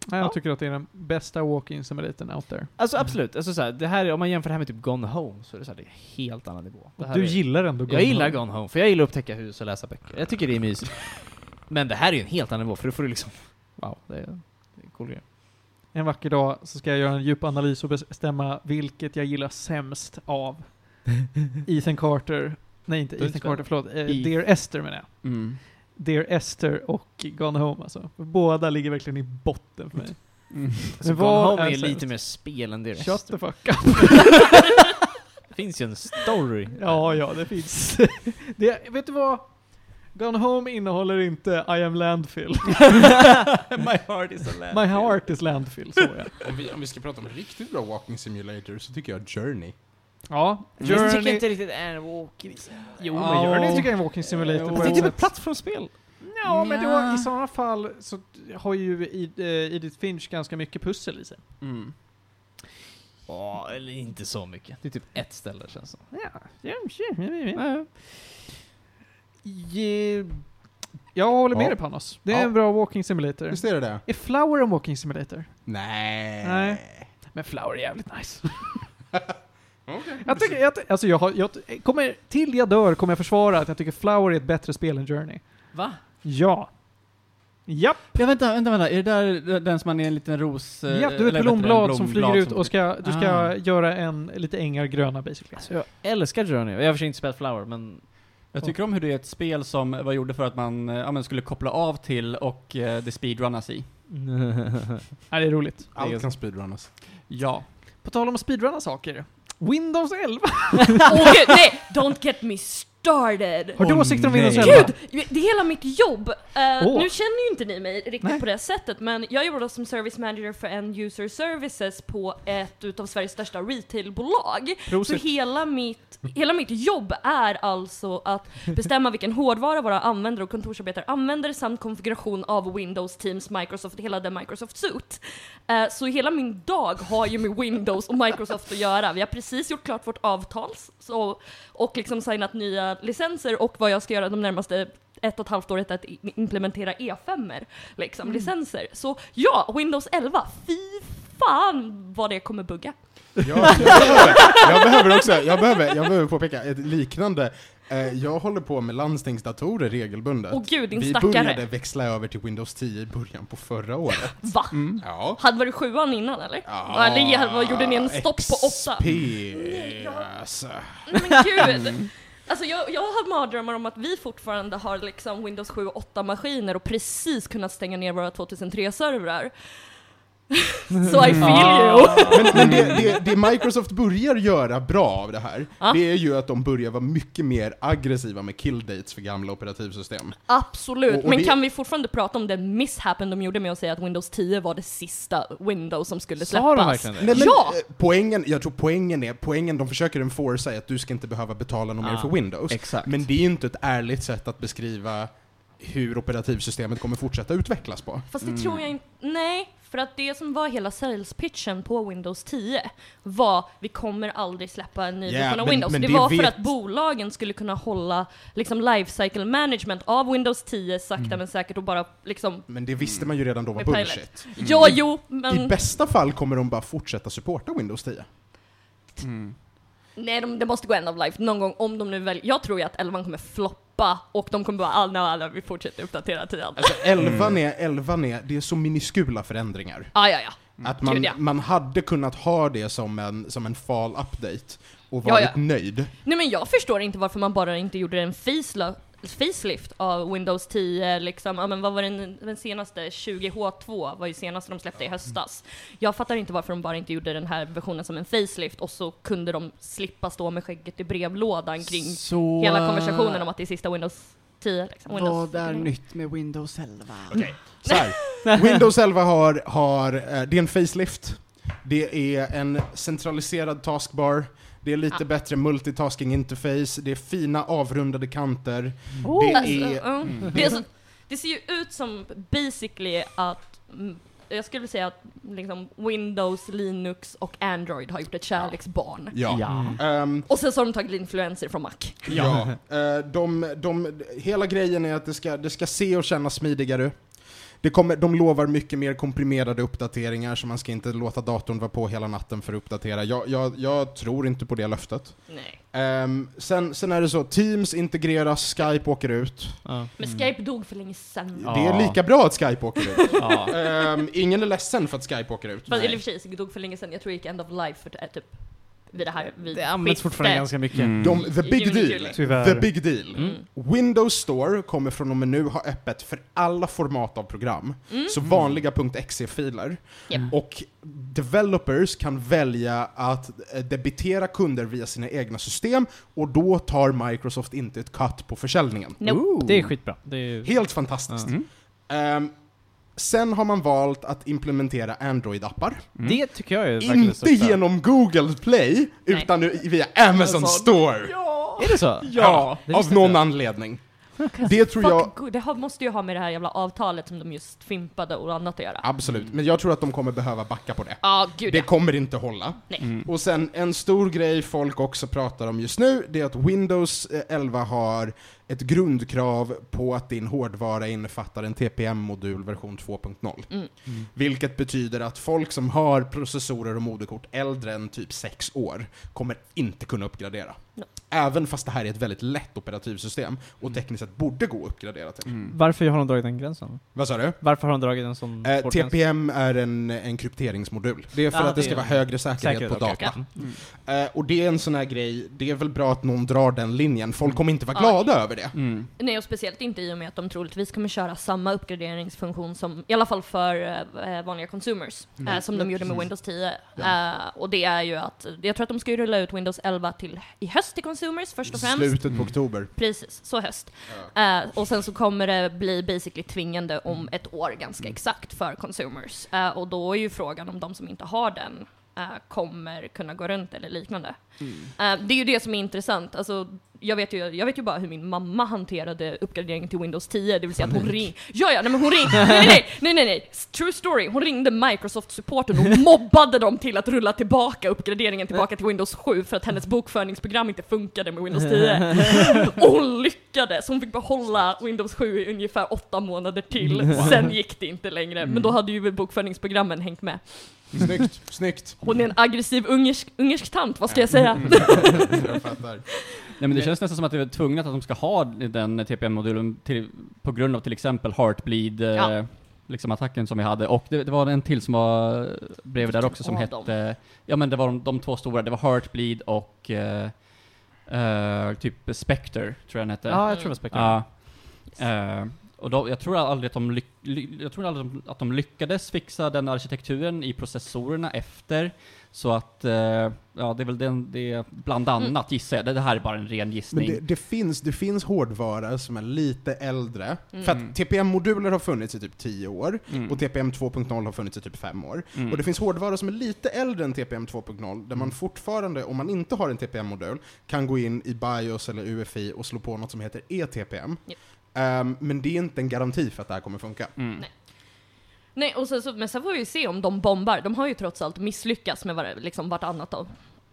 A: Nej, jag
D: Ja.
A: tycker att det är den bästa walk-in som är liten out there.
C: Mm.
D: Alltså absolut, alltså såhär, det här, är- om man jämför det här med typ Gone Home så är det såhär, det är helt annan nivå. Det här
A: Du
D: är,
A: gillar ändå
D: jag gillar Gone Home, för jag gillar att upptäcka hus och läsa böcker. Jag tycker det är mysigt. men det här är ju en helt annan nivå, för då får du liksom, wow, det är, det är en cool grej.
A: En vacker dag så ska jag göra en djup analys och bestämma vilket jag gillar sämst av Ethan Carter. Nej, inte
D: Det är
A: Ethan
D: inte-
A: Carter, förlåt. Eh,
C: Eth-
A: Dear Esther menar jag.
C: Mm.
A: Dear Esther och Gone Home alltså. Båda ligger verkligen i botten för mig.
C: Mm.
D: Så
A: Men
D: Alltså,
A: alltså-
D: Gone
A: vad
D: Home
A: är
D: är
A: sämst?
D: lite mer spel än det
A: Shut
D: resten.
A: the fuck up.
D: Det finns ju en story.
A: Ja, ja, det finns. Det, vet du vad? Gone Home innehåller inte I am landfill.
C: My heart is a
A: My heart is landfill, så ja.
B: Om vi, om vi ska prata om riktigt bra walking simulator så tycker jag Journey.
A: Ja,
D: Journey... Jag tycker
A: Journey-
D: inte riktigt det är en walkie.
A: Jo,
C: Ja.
A: men Journey tycker jag är en walking simulator.
C: Jo.
A: på
D: Det är
A: ett
D: typ ett
A: sätt.
D: plattformsspel.
A: Ja, men då,
C: Nja.
A: i sådana fall så har ju Ed- eh, Edith Finch ganska mycket pussel i sig.
C: Mm.
D: Ja, eller inte så mycket. Det är typ ett ställe känns som.
A: Ge- Jag håller med
B: Ja.
A: dig Panos. Det är
B: Ja.
A: en bra walking simulator.
B: Visst är det det?
A: Är Flower en walking simulator?
B: Nej.
A: Nej. Men Flower är jävligt nice. Jag tycker, jag, ty- alltså jag har, jag ty- kommer, till jag dör kommer jag försvara att jag tycker Flower är ett bättre spel än Journey.
C: Va?
A: Ja. Japp.
C: Ja, vänta, vänta, vänta. Är det där den som man är en liten ros... eh,
A: Japp, du
C: eller
A: är
C: bättre,
A: ett blomblad som
C: blomblad
A: flyger ut och ska, du ska
C: Ah.
A: göra en lite ängar gröna basically.
D: Alltså jag älskar Journey. Jag har i och för sig inte spelat Flower, men...
C: Jag tycker om hur det är ett spel som var gjorde för att man eh, ja, men skulle koppla av till och eh, det speedrunnas i.
A: Ja, det är roligt.
B: Allt kan speedrunnas.
C: Ja.
A: På tal om att speedrunna saker. Windows 11.
E: Åh gud, nej! Don't get me started!
A: Har du
C: Åh,
A: åsikter om
C: nej.
A: Windows 11?
E: Gud! Det är hela mitt jobb! Eh,
A: Åh.
E: Nu känner ju inte ni mig riktigt
A: Nej.
E: på det sättet, men jag jobbar då som service manager för End User Services på ett utav Sveriges största retailbolag. Så
A: Prosit.
E: hela mitt, hela mitt jobb är alltså att bestämma vilken hårdvara våra användare och kontorsarbetare använder samt konfiguration av Windows, Teams, Microsoft, hela den Microsoft Suite. Eh, Så hela min dag har ju med Windows och Microsoft att göra. Vi har precis gjort klart vårt avtal så, och liksom signat nya licenser och vad jag ska göra de närmaste ett och ett halvt året är att i- implementera E5 liksom, licenser. Så ja, Windows 11, fy fan vad det kommer bugga.
B: Jag, jag, behöver, jag behöver också, jag behöver, jag behöver påpeka ett liknande. Eh, Jag håller på med landstingsdatorer regelbundet.
E: Åh gud, din
B: Vi
E: stackare.
B: började växla över till Windows 10 i början på förra året.
E: Va?
B: Ja.
E: Hade varit sjuan innan eller? eller vad gjorde
B: Ah,
E: ni en stopp på åtta?
B: XP. alltså.
E: Nej Mm, men gud! Alltså jag, jag har mardrömmar om att vi fortfarande har liksom Windows 7 och 8 maskiner och precis kunnat stänga ner våra 2003-servrar. Så I feel you!
B: Men, men det, det, det Microsoft börjar göra bra av det här, det är ju att de börjar vara mycket mer aggressiva med killdates för gamla operativsystem.
E: Absolut,
B: Och- och
E: men
B: det-
E: kan vi fortfarande prata om den misshappen de gjorde med att säga att Windows 10 var det sista Windows som skulle släppas?
D: Sa de verkligen det?
B: Nej, men,
E: Ja!
B: eh, Poängen, jag tror poängen är, poängen de försöker enforca är att du ska inte behöva betala något mer
D: Ah,
B: för Windows.
D: exakt.
B: Men det är ju inte ett ärligt sätt att beskriva hur operativsystemet kommer fortsätta utvecklas på.
E: Fast det tror jag inte. Nej, för att det som var hela sales pitchen på Windows 10 var vi kommer aldrig släppa en ny
B: Ja,
E: version av
B: men-
E: Windows.
B: men
E: det,
B: det
E: var för
B: vet-
E: att bolagen skulle kunna hålla liksom life cycle management av Windows 10 sakta
B: Mm.
E: men säkert och bara liksom
B: Men det visste man ju redan då var
E: med pilot.
B: bullshit.
E: Ja, jo, men
B: I bästa fall kommer de bara fortsätta supporta Windows 10.
E: nej, de, det måste gå end of life någon gång om de nu väljer. Jag tror ju att 11 kommer floppa och de kommer bara, ah, nej, nej, vi fortsätter uppdatera 10.
B: Alltså 11
E: mm.
B: är, 11 är, det är så miniskula förändringar.
E: Ah, ja, ja.
F: Mm.
B: Att man,
E: Gud, ja.
B: man hade kunnat ha det som en, som en fall update och varit
E: Ja, ja.
B: nöjd.
E: Nej men jag förstår inte varför man bara inte gjorde en facelia- facelift av Windows 10 liksom, ja men vad var den, den senaste, 20H2 var ju senaste de släppte i höstas. Jag fattar inte varför de bara inte gjorde den här versionen som en facelift och så kunde de slippa stå med skägget i brevlådan kring
F: Så,
E: hela konversationen om att det är sista Windows 10. Liksom. Windows
F: Vad är nytt med Windows 11?
B: Så här. Windows 11 har, har, eh, det är en facelift, det är en centraliserad taskbar, det är lite
E: Ja.
B: bättre multitasking interface, det är fina avrundade kanter,
E: Alltså,
B: det är...
E: ja. det, är så, det ser ju ut som basically att mm, jag skulle säga att liksom Windows, Linux och Android har gjort ett kärleksbarn.
B: Ja.
A: Mm.
D: Mm.
B: Ehm,
E: Och sen så har de tagit influenser från Mac.
B: Ja. Eh, de, de, hela grejen är att det ska, det ska se och kännas smidigare. Det kommer, de lovar mycket mer komprimerade uppdateringar så man ska inte låta datorn vara på hela natten för att uppdatera. Jag, jag, jag tror inte på det löftet.
E: Nej.
B: Ehm, sen, sen är det så, Teams integreras, Skype åker ut.
D: Ja. Mm.
E: Men Skype Typ dog för länge sedan.
B: Det är
D: Ja.
B: lika bra att Skype åker ut.
D: Ja.
B: Ehm, ingen är ledsen för att Skype åker ut.
E: Fast, eller i och för sig, Skype dog för länge sedan. Jag tror det gick end of life för det är typ vid det här vid
D: Det används
E: skiftet.
D: fortfarande ganska mycket.
B: De, the big
E: Juni,
B: deal.
E: juli.
A: Tyvärr.
B: The big deal.
E: Mm.
B: Windows Store kommer från och med nu ha öppet för alla format av program.
E: Mm.
B: Så vanliga .exe-filer.
E: Japp.
B: Och developers kan välja att eh, debitera kunder via sina egna system och då tar Microsoft inte ett cut på försäljningen.
E: No.
D: Det är skitbra. Det är ju...
B: Helt fantastiskt.
D: Mm.
B: Ehm, sen har man valt att implementera Android-appar.
D: Det tycker jag är verkligen det
B: Inte
D: största.
B: genom Google Play, utan nu via Amazon Store.
D: Är det så?
B: Ja,
D: det
B: av
D: visste
B: någon
D: inte jag.
B: anledning. Det tror jag...
E: Fuck, det har, måste ju ha med det här jävla avtalet som de just fimpade och annat att göra. Ja,
B: Absolut. Men jag tror att de kommer behöva backa på det.
E: gud
B: Det
E: ja.
B: kommer inte hålla.
E: Nej.
B: Och sen en stor grej folk också pratar om just nu, det är att Windows eh, 11 har ett grundkrav på att din hårdvara innefattar en TPM-modul version 2.0.
E: Mm.
A: Mm.
B: Vilket betyder att folk som har processorer och moderkort äldre än typ 6 år kommer inte kunna uppgradera.
E: Nej.
B: Även fast det här är ett väldigt lätt operativsystem och tekniskt sett borde gå att uppgradera till.
D: Mm. Varför har de dragit den gränsen?
B: Vad sa du?
D: Varför har de dragit en sån
B: Eh,
D: hård gräns?
B: TPM är en, en krypteringsmodul. Det är för
D: Ja,
B: att det ska
D: det-
B: vara högre säkerhet,
D: Säkerhet,
B: på
D: okej,
B: data. Eh, och det är en sån här grej, det är väl bra att någon drar den linjen. Folk kommer inte vara glada över det.
C: Mm.
E: Nej, och speciellt inte i och med att de troligtvis kommer köra samma uppgraderingsfunktion som, i alla fall för eh, vanliga consumers, eh, som de gjorde med Windows 10. Eh, och det är ju att, jag tror att de ska ju rulla ut Windows 11 till i höst till consumers först och främst.
B: Slutet på oktober.
E: Precis, så höst. Eh, och sen så kommer det bli basically tvingande om
B: Mm.
E: ett år ganska exakt för consumers. Eh, och då är ju frågan om de som inte har den eh, kommer kunna gå runt eller liknande. Eh, det är ju det som är intressant. Alltså, jag vet, ju, jag vet ju bara hur min mamma hanterade uppgraderingen till Windows 10, det vill säga att hon ringde... Ja, ja, nej men hon ringde... Nej, nej, nej, nej, nej! True story! Hon ringde Microsoft-supporten och mobbade dem till att rulla tillbaka uppgraderingen tillbaka till Windows 7 för att hennes bokföringsprogram inte funkade med Windows 10. Och hon lyckades! Hon fick behålla Windows 7 i ungefär åtta månader till. Sen gick det inte längre, men då hade ju bokföringsprogrammen hängt med.
B: Snyggt, snyggt.
E: Hon är en aggressiv ungersk, ungersk tant, vad ska jag säga?
B: Jag fattar.
C: Nej men det känns nästan som att det är tvunget att de ska ha den TPM-modulen till, på grund av till exempel Heartbleed, eh,
E: Ja.
C: liksom attacken som vi hade. Och det, det var en till som var eh, bredvid där
E: Vilken
C: också som
E: av
C: hette, ja men det var de, de två stora, det var Heartbleed och eh, eh, typ Spectre, tror jag den hette.
D: Ja, jag tror det var Spectre.
C: Ja. Eh, och då, jag tror aldrig att de, lyck, ly, jag tror aldrig att de- att de lyckades fixa den arkitekturen i processorerna efter. Så att, eh, ja det är väl den, det, bland annat gissar jag. Det, det här är bara en ren
B: Men
C: gissning.
B: det, det, finns, det finns hårdvara som är lite äldre,
E: Mm.
B: för att TPM-moduler har funnits i typ 10 år,
C: Mm.
B: och TPM 2.0 har funnits i typ 5 år.
C: Mm.
B: Och det finns hårdvara som är lite äldre än TPM 2.0, där man fortfarande, om man inte har en TPM-modul, kan gå in i BIOS eller UEFI och slå på något som heter E ETPM.
E: Ja.
B: Ehm, men det är inte en garanti för att det här kommer funka.
C: Mm.
E: Nej, och sen, så, men sen får vi ju se om de bombar. De har ju trots allt misslyckats med var, liksom vartannat av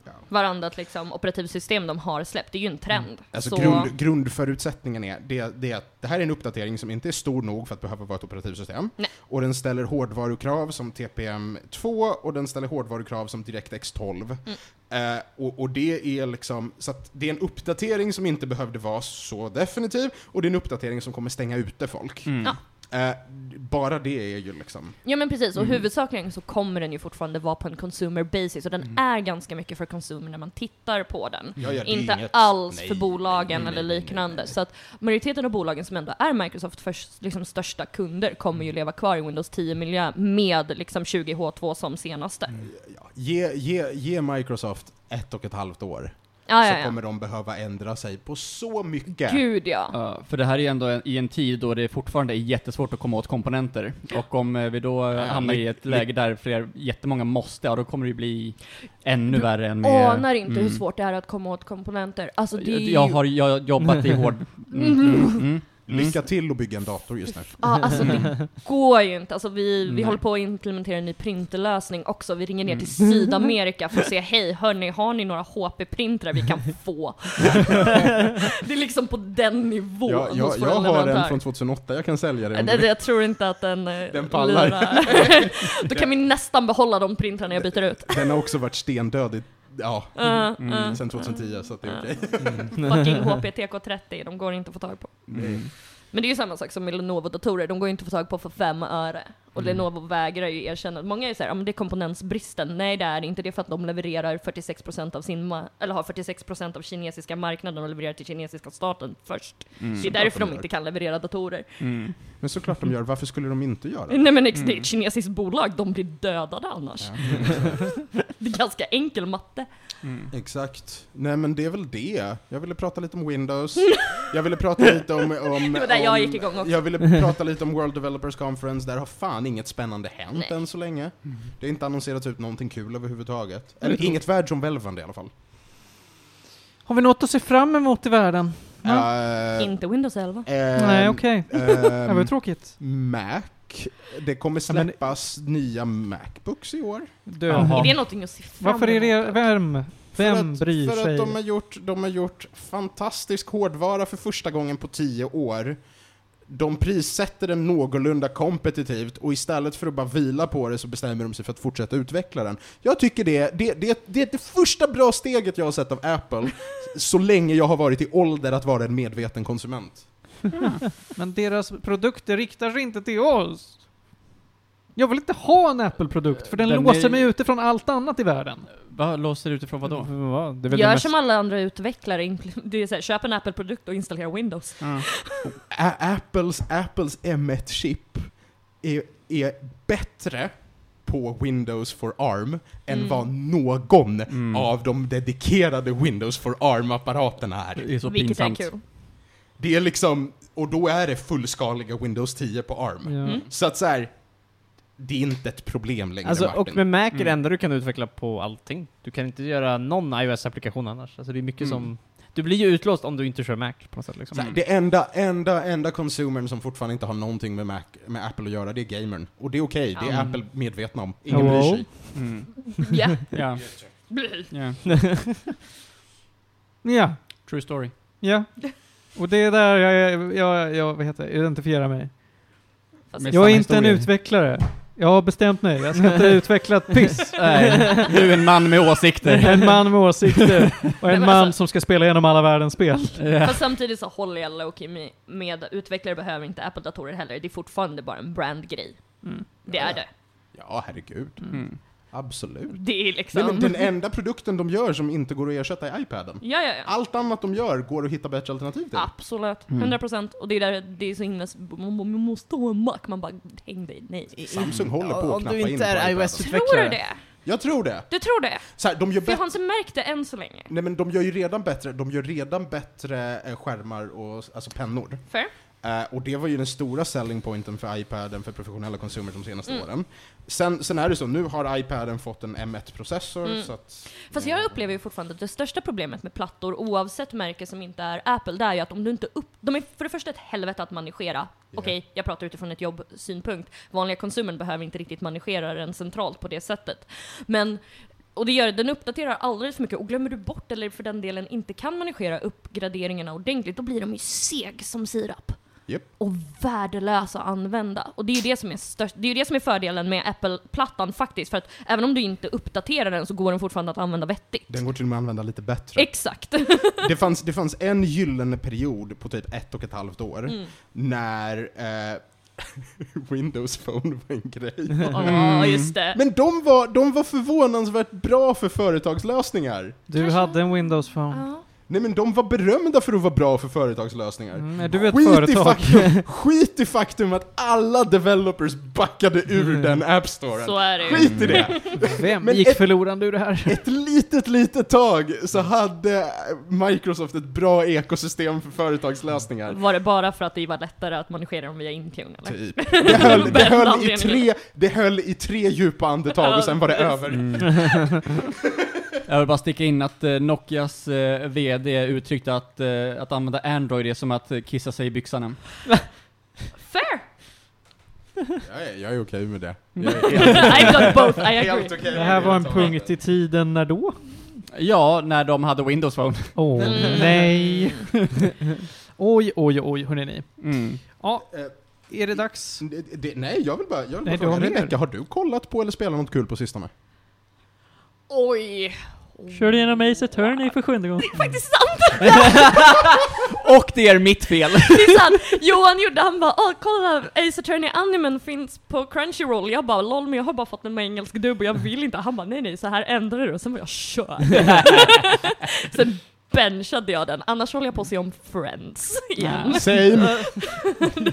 B: Ja.
E: varannat liksom, operativsystem de har släppt. Det är ju en trend.
B: Alltså
E: så,
B: grund, grundförutsättningen är, det, det är att det här är en uppdatering som inte är stor nog för att behöva vara ett operativsystem.
E: Nej.
B: Och den ställer hårdvarukrav som TPM2 och den ställer hårdvarukrav som DirectX 12.
E: Mm.
B: Eh, och, och det är liksom, så att det är en uppdatering som inte behövde vara så definitiv och det är en uppdatering som kommer stänga ute folk.
E: Ja.
B: Eh, bara det är ju liksom...
E: Ja men precis, och huvudsakligen så kommer den ju fortfarande vara på en consumer basis och den
B: Mm.
E: är ganska mycket för consumer när man tittar på den.
B: Ja, ja, det är
E: Inte
B: inget-
E: alls
B: nej,
E: för bolagen
B: nej, nej,
E: eller
B: nej, nej,
E: liknande.
B: nej.
E: Så att majoriteten av bolagen som ändå är Microsofts först, liksom största kunder kommer ju leva kvar i Windows 10-miljö med liksom 20H2 som senaste.
B: Mm. Ja, ge, ge, ge Microsoft ett och ett halvt år,
E: Ah, Ja,
B: så
E: ja, ja.
B: kommer de behöva ändra sig på så mycket.
E: Gud ja.
C: Ja, Eh, för det här är ju ändå en, i en tid då det fortfarande är jättesvårt att komma åt komponenter. Och om eh, vi då eh, hamnar i ett läge där fler, jättemånga måste, ja då kommer det ju bli ännu värre än med...
E: Anar inte hur
C: Mm.
E: svårt det är att komma åt komponenter. Alltså det är
C: Jag,
E: ju...
C: jag har jag har jobbat i hård... Mm, mm, mm.
B: Lycka till att bygga en dator just nu.
E: Ja, alltså det går ju inte. Alltså vi, vi
C: Nej.
E: håller på att implementera en ny printerlösning också. Vi ringer ner till
B: Mm.
E: Sydamerika för att se, hej hörni, har ni några HP-printrar vi kan få? det är liksom på den nivån
B: Jag, jag,
E: hos våra
B: jag har en
E: leverantörer.
B: från 2008, jag kan sälja den.
E: Nej, det- Jag tror inte att den... eh,
B: Den pallar.
E: lurar. Då kan vi nästan behålla de printrarna jag byter ut.
B: Den har också varit stendöd i, ja, mm,
E: Eh, eh,
B: sen 2010 så att det är okej.
E: Fucking HP-TK30, de går inte att få tag på. Men det är ju samma sak som med Lenovo-datorer, de går ju inte att få tag på för fem öre. Och
D: Mm.
E: Lenovo vägrar ju erkänna, många är såhär, ja men det är komponentsbristen. Nej det är inte det, är för att de levererar 46% av sin, ma- eller har 46% av kinesiska marknaden och levererar till kinesiska staten först. Det är därför
B: de
E: de
B: gör.
E: inte kan leverera datorer.
B: Men såklart de gör, varför skulle de inte göra det?
E: Nej men ex- det är ett kinesiskt bolag, de blir dödade annars.
A: Mm.
E: det är ganska enkel matte.
B: Exakt. Nej men det är väl det. Jag ville prata lite om Windows, jag ville prata lite om... om
E: Det var där jag
B: om-
E: gick igång också.
B: Jag ville prata lite om World Developers Conference, där har fan inget spännande hänt
E: Nej.
B: än så länge.
A: Mm.
B: Det har inte annonserats ut någonting kul
E: Mm.
B: överhuvudtaget. Eller inget världsomvälvande i alla fall.
A: Har vi något att se fram emot i världen?
B: Eh,
E: Inte Windows 11.
B: eh,
A: Nej, okej.
B: ehm,
A: Det var tråkigt.
B: Mac. Det kommer
A: Men-
B: släppas nya Macbooks i år.
A: Döva.
E: Är det någonting att se fram
A: Varför är det, vem, vem
B: för att,
A: bryr
B: för
A: sig?
B: Att de, har gjort, de har gjort fantastisk hårdvara för första gången på tio år. De prissätter den någorlunda kompetitivt och istället för att bara vila på det så bestämmer de sig för att fortsätta utveckla den. Jag tycker det, det, det, det är det första bra steget jag har sett av Apple så länge jag har varit i ålder att vara en medveten konsument.
A: Men deras produkter riktar sig inte till oss. Jag vill inte ha en Apple-produkt, för den,
C: Den
A: låser
C: är-
A: mig ute från allt annat i världen.
C: Vad låser utifrån vadå?
D: Va? Det är väl det
E: Gör
D: mest-
E: som alla andra utvecklare, impl- det är så här, köp en Apple-produkt och installera Windows.
B: A- Apples, Apples M1-chip är, är bättre på Windows for ARM än
E: Mm.
B: vad någon
C: Mm.
B: av de dedikerade Windows for ARM-apparaterna är.
C: Det är så
E: vilket
C: pinsamt.
E: är kul.
B: Det är liksom, och då är det fullskaliga Windows 10 på ARM.
A: Ja.
E: Mm.
B: Så att så här, det är inte ett problem längre
D: Alltså,
B: Martin.
D: och med Mac är det
C: Mm.
D: enda du kan utveckla på allting. Du kan inte göra någon iOS-applikation annars. Alltså det är mycket
C: Mm.
D: som... Du blir ju utlåst om du inte kör Mac på något sätt liksom.
B: Så här, det enda, enda, enda consumern som fortfarande inte har någonting med, Mac, med Apple att göra, det är gamern. Och det är okej, det är
D: Mm.
B: Apple medvetna om. Ingen bryr
A: Hello?
B: sig.
C: Mm.
E: Ja.
C: Ja.
E: Bli.
C: ja.
A: Ja,
C: True story.
A: ja. Och det är där jag, jag, jag vad heter det, identifierar mig.
E: Fast
C: Med
A: Jag är
C: samma
A: inte en
C: historia.
A: utvecklare. Jag har bestämt mig. Jag ska inte utveckla ett piss.
C: Nej, du är en man med åsikter.
A: En man med åsikter och
E: Nej,
A: en
E: men
A: man
E: alltså-
A: som ska spela igenom alla världens spel.
E: Fast samtidigt så håller jag Loki med, med utvecklare behöver inte Apple-datorer heller. Det är fortfarande bara en brandgrej.
A: Mm.
E: Det
B: Ja,
E: är
B: ja.
E: det.
B: Ja, herregud.
C: Mm.
B: Absolut.
E: Det är liksom...
B: Nej, men den enda produkten de gör som inte går att ersätta är iPaden.
E: Ja, ja, ja.
B: Allt annat de gör går att hitta bättre alternativ till.
E: Absolut.
C: Mm.
E: 100 procent. Och det är där det är så himla... Man, man måste ha en Mac. Man bara, häng dig. Nej.
B: Samsung håller på att
D: Om
B: knappa
D: du
B: in på
D: inte är
B: iPaden.
E: Tror du
D: iOS-utvecklare.
E: det?
B: Jag tror det.
E: Du tror det?
B: Så här, de, gör
E: För jag har
B: bättre,
E: inte märkt det än så länge.
B: nej, men de gör ju redan bättre, de gör redan bättre eh, skärmar och alltså pennor.
E: Fair?
B: Eh, och det var ju den stora selling pointen för iPaden för professionella konsumenter de senaste
E: Mm.
B: åren. Sen, sen är det så, nu har iPaden fått en M1-processor
E: Mm.
B: så att...
E: Fast jag upplever ju fortfarande att det största problemet med plattor, oavsett märke som inte är Apple, det är ju att om du inte upp... De är för det första ett helvete att managera. Okej, jag pratar utifrån ett jobbsynpunkt. Vanliga konsumenter behöver inte riktigt managera den centralt på det sättet. Men, och det gör den uppdaterar alldeles för mycket och glömmer du bort, eller för den delen inte kan managera uppgraderingarna ordentligt, då blir de ju seg som sirap.
B: Japp.
E: Och värdelösa att använda. Och det är ju det som är, störst, det är ju det som är fördelen med Apple-plattan faktiskt, för att även om du inte uppdaterar den så går den fortfarande att använda vettigt.
B: Den går till och med att använda lite bättre.
E: Exakt.
B: det, fanns, det fanns en gyllene period på typ ett och ett halvt år
E: Mm.
B: när eh, Windows Phone var en grej.
E: Ja, just det.
B: Men de var, de var förvånansvärt bra för företagslösningar.
A: Du
E: Kanske-
A: hade en Windows Phone.
E: Ja.
B: Nej men de var berömda för att vara bra för företagslösningar.
A: Mm, är du ett
B: Skit i,
A: företag?
B: faktum, skit i faktum att alla developers backade ur den appstoren.
E: Mm. Så eh, är det ju. Mm.
B: Skit i det!
A: Vem
B: Men
A: gick
B: ett-
A: förlorande ur det här?
B: Ett litet, litet tag så hade Microsoft ett bra ekosystem för företagslösningar.
E: Var det bara för att det var lättare att managera dem via Intune eller?
B: Typ. Det höll, det,
E: Den
B: höll i
E: anledningen.
B: tre, det höll i tre djupa andetag och sen var det över.
C: Jag vill bara sticka in att eh, Nokias eh, VD uttryckte att, eh, att använda Android är som att eh, kissa sig i byxorna.
E: Fair!
B: Jag är, jag är okej med det.
E: I got both, I agree.
B: okej
A: Det här var en punkt i tiden när då?
C: Ja, när de hade Windows Phone.
A: Åh
E: Mm.
A: nej. oj, oj, oj, hörni ni.
C: Mm.
A: Ja,
B: Eh,
A: är det dags?
B: Det- det- Nej, jag vill bara, jag vill
A: Nej,
B: bara
A: du har
B: fråga.
A: mer.
B: Rebecka, har du kollat på eller spelat något kul på sistone?
E: Oj.
A: Körde igenom Ace Attorney för sjunde gången.
E: Faktiskt sant!
C: Och det är mitt fel!
E: Det är sant! Johan gjorde, han bara åh kolla Ace Attorney animen finns på Crunchyroll. Jag bara lol men jag har bara fått den med engelsk dubb och jag vill inte. Han bara nej nej så här ändrar du och sen var jag kör. sen benchade jag den, annars håller jag på att se om Friends igen.
B: Same!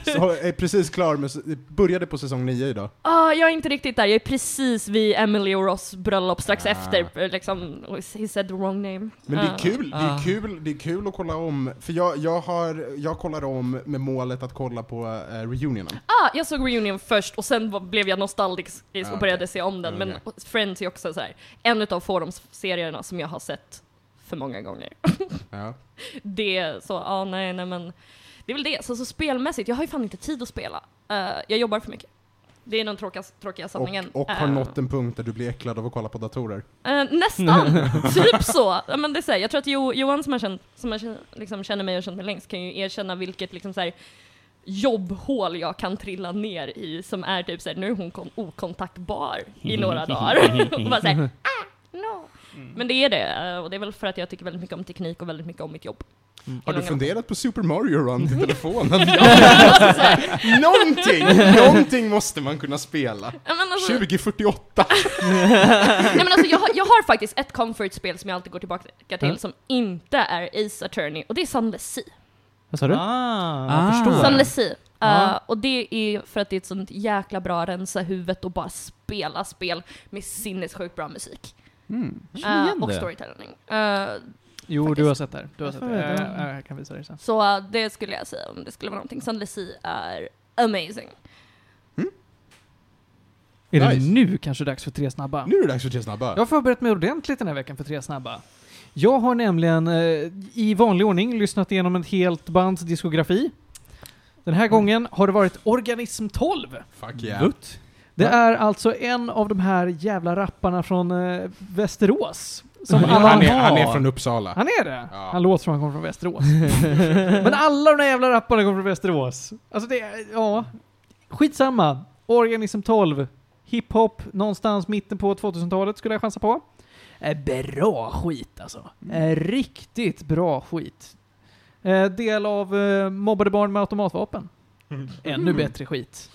B: Så är precis klar med, s- började på säsong 9 idag.
E: Ah, jag är inte riktigt där, jag är precis vid Emily och Ross bröllop strax
B: Ah.
E: efter. eh, Liksom, he said the wrong name.
B: Men det
E: Ah.
B: är kul, det
C: Ah.
B: är kul, det är kul att kolla om, för jag, jag har, jag kollar om med målet att kolla på eh, reunionen.
E: Ah, jag såg Reunion först och sen var- blev jag nostalgisk
B: Ah,
E: och
B: okej. Ah,
E: började se om den. Men
B: Okej.
E: Friends är också så här, en utav forumserierna som jag har sett för många gånger.
B: Ja.
E: Det, så, ja nej, nej men. Det är väl det. Så, så spelmässigt, jag har ju fan inte tid att spela. Eh, jag jobbar för mycket. Det är den tråkiga, tråkiga
B: Och,
E: sanningen.
B: och har
E: Eh,
B: nått en punkt där du blir äcklad av att kolla på datorer.
E: Eh, nästan! typ så. Ja, men det är så här, jag tror att jo, Johan som, har känt, som har, känt- liksom, känner mig och känt mig längst kan ju erkänna vilket liksom, så här, jobbhål jag kan trilla ner i som är typ så här, nu är hon kon- okontaktbar i några dagar. och bara så här, ah, no. Men det är det, eh, och det är väl för att jag tycker väldigt mycket om teknik och väldigt mycket om mitt jobb.
B: Har du
E: Långa- Mm.
B: funderat på Super Mario Run till telefonen? alltså, någonting! Någonting måste man kunna spela.
E: Ja, men alltså-
B: 2048!
E: Nej, men alltså, jag, har- jag har faktiskt ett comfort-spel som jag alltid går tillbaka till som inte är Ace Attorney och det är Sunless Sea.
D: Vad sa du?
C: Ah.
D: Ah, jag förstår.
E: Sunless Sea.
D: Ja.
E: Eh, och det är för att det är ett sånt jäkla bra rensa huvudet och bara spela spel med sinnessjukt bra musik. Eh, och storytelling. Eh,
A: Jo,
E: Faktiskt.
A: du har sett det här. Du har sett det.
D: Ja,
A: Jag,
D: ja.
A: jag, jag kan visa dig sen.
E: så eh, det skulle jag säga om det skulle vara någonting. Sunless Sea är amazing.
A: Är det
B: Nice.
A: nu kanske dags för tre snabba?
B: Nu är det dags för Tre snabba.
A: Jag har förberett mig ordentligt den här veckan för tre snabba. Jag har nämligen eh, i vanlig ordning lyssnat igenom ett helt bands diskografi. Den
B: Mm.
A: här gången har det varit Organism 12.
B: Fuck yeah.
A: Det
D: Va?
A: är alltså en av de här jävla rapparna från eh, Västerås. Som alla
B: Han är, han är från Uppsala.
A: Han är det?
B: Ja.
A: Han låter som han kommer från Västerås. Men alla de där jävla rapparna kommer från Västerås. Alltså det, är- ja. Skitsamma. Organism 12. Hiphop någonstans mitten på 2000-talet skulle jag chansa på. Eh, Bra skit alltså.
B: Mm.
A: Eh, Riktigt bra skit. Eh, Del av eh, mobbade barn med automatvapen. Ännu
B: Mm.
A: bättre skit.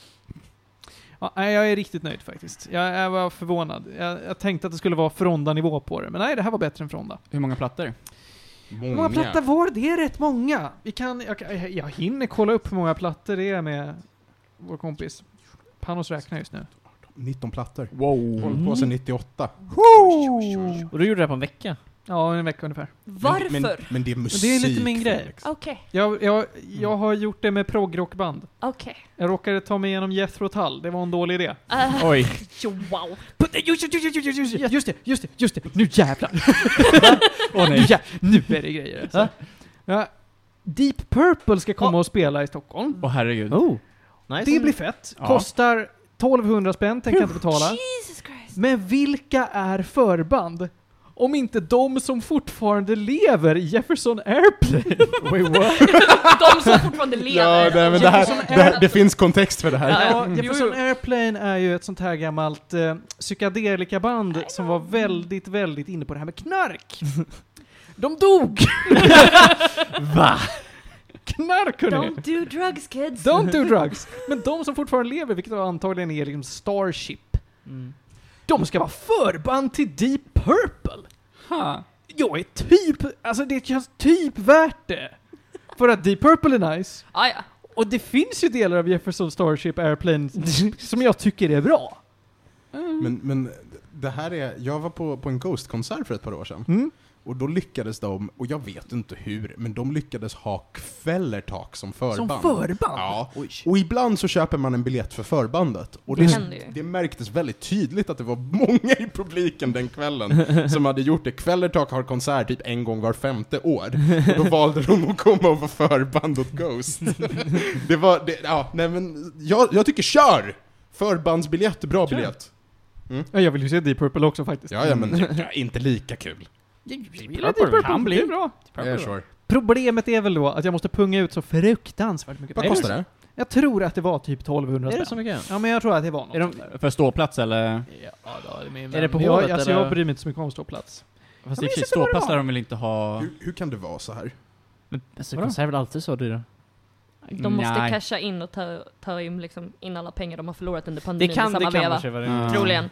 A: Ja, nej, jag är riktigt nöjd faktiskt. Jag, jag var förvånad. Jag, jag tänkte att det skulle vara Fronda-nivå på det, men nej, det här var bättre än Fronda.
C: Hur många plattor?
A: Hur många plattor var det? Det är rätt många. Mm, Vi kan, jag, kan- jag, jag hinner kolla upp hur många plattor det är med vår kompis. Panos räknar just nu.
B: 19 plattor.
D: Wow.
B: Hållit på sedan 98.
D: Och du gjorde det här på en vecka?
A: Ja, en vecka ungefär.
E: Varför?
B: Men, men, men det är musik.
D: lite min grej.
B: Felix.
E: Okej,
A: Jag, jag, jag har gjort det med proggrockband.
E: okej.
A: Jag råkade ta mig igenom Jethro Tull, det var en dålig idé.
E: Eh,
D: Oj.
E: jo, wow.
A: Just det, just det, just det, just det, just det. nu jävlar!
C: Åh
A: Nu,
C: nej.
A: jä- nu är det grejer. Så. Ja, Deep Purple ska komma och spela i Stockholm.
C: Åh herregud.
D: Oh. Nice.
A: Det blir fett.
C: Ja.
A: Kostar 1200 spänn, tänker jag inte betala.
E: Jesus Christ.
A: Men vilka är förband? Om inte de som fortfarande lever i Jefferson Airplane.
D: Wait, what?
E: De som fortfarande lever.
B: Ja, nej, men det, här, det, här, det finns kontext för det här.
E: Ja,
A: ja,
E: mm.
A: Jefferson
E: Jo,
A: Airplane är ju ett sånt här gammalt eh, psykedelikaband som var väldigt, väldigt inne på det här med knark. De dog! Va? Knark hörni!
E: Don't do drugs kids.
A: Don't do drugs! Men de som fortfarande lever, vilket antagligen är liksom Starship,
D: Mm.
A: de ska vara förband till Deep Purple!
C: Ha.
A: Jag är typ, alltså det känns typ värt det. För att Deep Purple är nice.
E: Ah, ja.
A: Och det finns ju delar av Jefferson Starship Airplane som jag tycker är bra.
B: Men, men det här är, jag var på, på en Ghost-konsert för ett par år sedan.
A: Mm.
B: Och då lyckades de, och jag vet inte hur, men de lyckades ha Kvellertak som förband.
A: Som förband?
B: Ja. Och ibland så köper man en biljett för förbandet. Och
E: Det
B: det,
E: händer ju.
B: det märktes väldigt tydligt att det var många i publiken den kvällen som hade gjort det. Kvellertak har konsert typ en gång var femte år. Och då valde de att komma och vara förband åt Ghost. Det var, det, ja, nej men, jag, jag tycker kör! Förbandsbiljett, bra
A: Kör.
B: biljett.
A: Ja, jag vill ju se Deep Purple också faktiskt. Mm.
B: Ja, ja men ja, inte lika kul.
A: Deep Purple kan bli bra.
D: Typ
B: Yeah, sure.
A: Problemet är väl då att jag måste punga ut så fruktansvärt mycket
B: Vad kostar det?
A: Jag tror att det var typ 1200
D: Är
A: spänn.
D: det så mycket?
A: Ja, men jag tror att det var något.
D: Är de-
A: sånt där.
C: För ståplats eller?
D: Är det på
A: jag,
D: hovet
A: alltså,
D: eller?
A: Jag bryr mig inte så mycket om ståplats. Ja,
C: Fast i
A: men
C: och för sig
A: jag tycker bara det
C: ståplats
A: var.
C: där de vill inte ha...
B: Hur, hur kan det vara så här?
D: Men alltså,
A: Vadå?
D: konserter är väl alltid så dyra?
E: De måste
C: Nej.
E: casha in och ta, ta in, liksom, in alla pengar de har förlorat under
D: Det
E: pandemin
D: kan,
E: i samma
D: det kan
E: veva.
D: kanske vara
C: Ja.
D: det.
E: Troligen.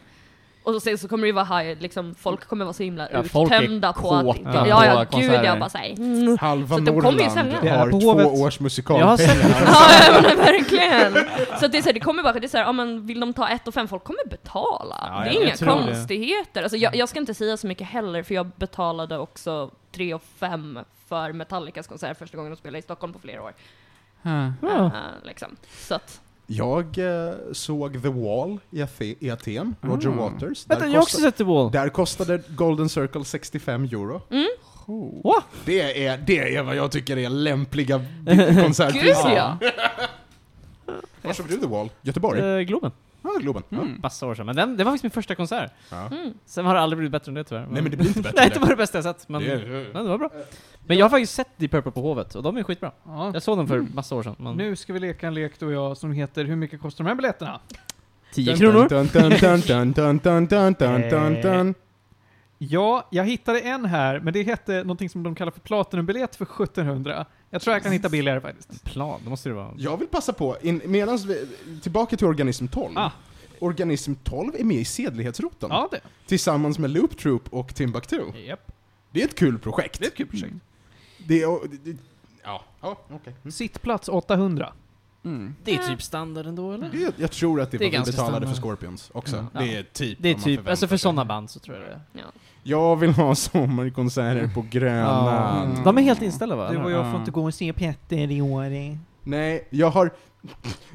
E: Och sen så kommer det ju vara high, liksom, folk kommer vara så himla
C: Ja, folk är
E: uttömda på att...
C: kåta
E: Ja,
C: på
E: ja, gud
C: konserter.
E: jag bara såhär... Mm.
B: Halva
E: Så de kommer ju
B: Norrland
E: sälja.
A: Det är
B: har
A: på
B: två
A: Hovet.
B: års
D: Jag har
B: musikalpengar.
D: sett
E: Ja, ja, men verkligen! Så att det, är så här, det kommer bara, det är så här, ja, men vill de ta ett och fem, folk kommer betala.
C: Ja,
E: det
C: jag-
E: är inga
D: jag tror det.
E: konstigheter. Alltså, jag, jag ska inte säga så mycket heller, för jag betalade också tre och fem för Metallicas konsert första gången de spelade i Stockholm på flera år.
C: Ha.
A: Ja.
E: Eh, liksom. Så att,
B: Jag eh, såg The Wall i Athe- i Aten, Roger
C: Mm.
B: Waters. Där,
D: Vänta, jag har också
B: kostade,
D: sett The Wall.
B: där kostade Golden Circle 65 euro. Oh.
E: mm,
D: Wow.
B: Det är, det är vad jag tycker är lämpliga
E: Gud
B: konsertpriser.
E: ja!
B: Var såg du The Wall? Göteborg?
D: Eh, Globen.
B: Ja, Globen.
C: Mm.
D: Massa år sedan. Men den, det var faktiskt min första konsert.
B: Ja.
E: Mm.
D: Sen har det aldrig blivit bättre än det tyvärr.
B: Nej men det blir inte bättre.
D: Nej, det var det bästa jag sett. Men,
B: Det
D: det,
B: är-
D: men det var bra. Men jag har faktiskt sett Deep Purple på Hovet och de är skitbra.
A: Ja. Mm.
D: Jag såg dem för massa år sedan. Men
A: Nu ska vi leka en lek du och jag som heter Hur mycket kostar de här biljetterna?
D: 10 kronor.
B: Dun, dun, dun, dun, dun, dun, dun, dun, dun, dun.
A: Ja, jag hittade en här, men det hette någonting som de kallar för platinumbiljett för 1700. Jag tror jag kan hitta billigare faktiskt.
D: Plan, det måste det vara.
B: Jag vill passa på, in, medans vi, tillbaka till Organism 12.
A: Ah.
B: Organism 12 är med i Sedlighetsroten.
A: Ja, det.
B: Tillsammans med Loop Troop och Timbuktu.
A: Japp.
B: Det är ett kul projekt.
A: Det är ett kul projekt.
B: Det är, det, det, ja, ja okej.
D: Mm.
A: Sittplats 800.
C: Mm.
D: Det är typ standard ändå eller?
B: Det- Jag tror att det,
D: Det är
B: är vad vi
D: ganska
B: betalade för
D: standard.
B: Scorpions också.
D: Ja.
B: Det är typ
D: Det är
B: vad man
D: typ,
B: förväntar
D: alltså för
B: sig.
D: sådana band så tror jag det är.
E: ja.
B: Jag vill ha sommarkonserter på Grönan.
C: Mm.
D: De är helt inställda va?
A: Du och jag får
B: Ja.
A: inte gå och se Petter i år.
B: Nej, jag har,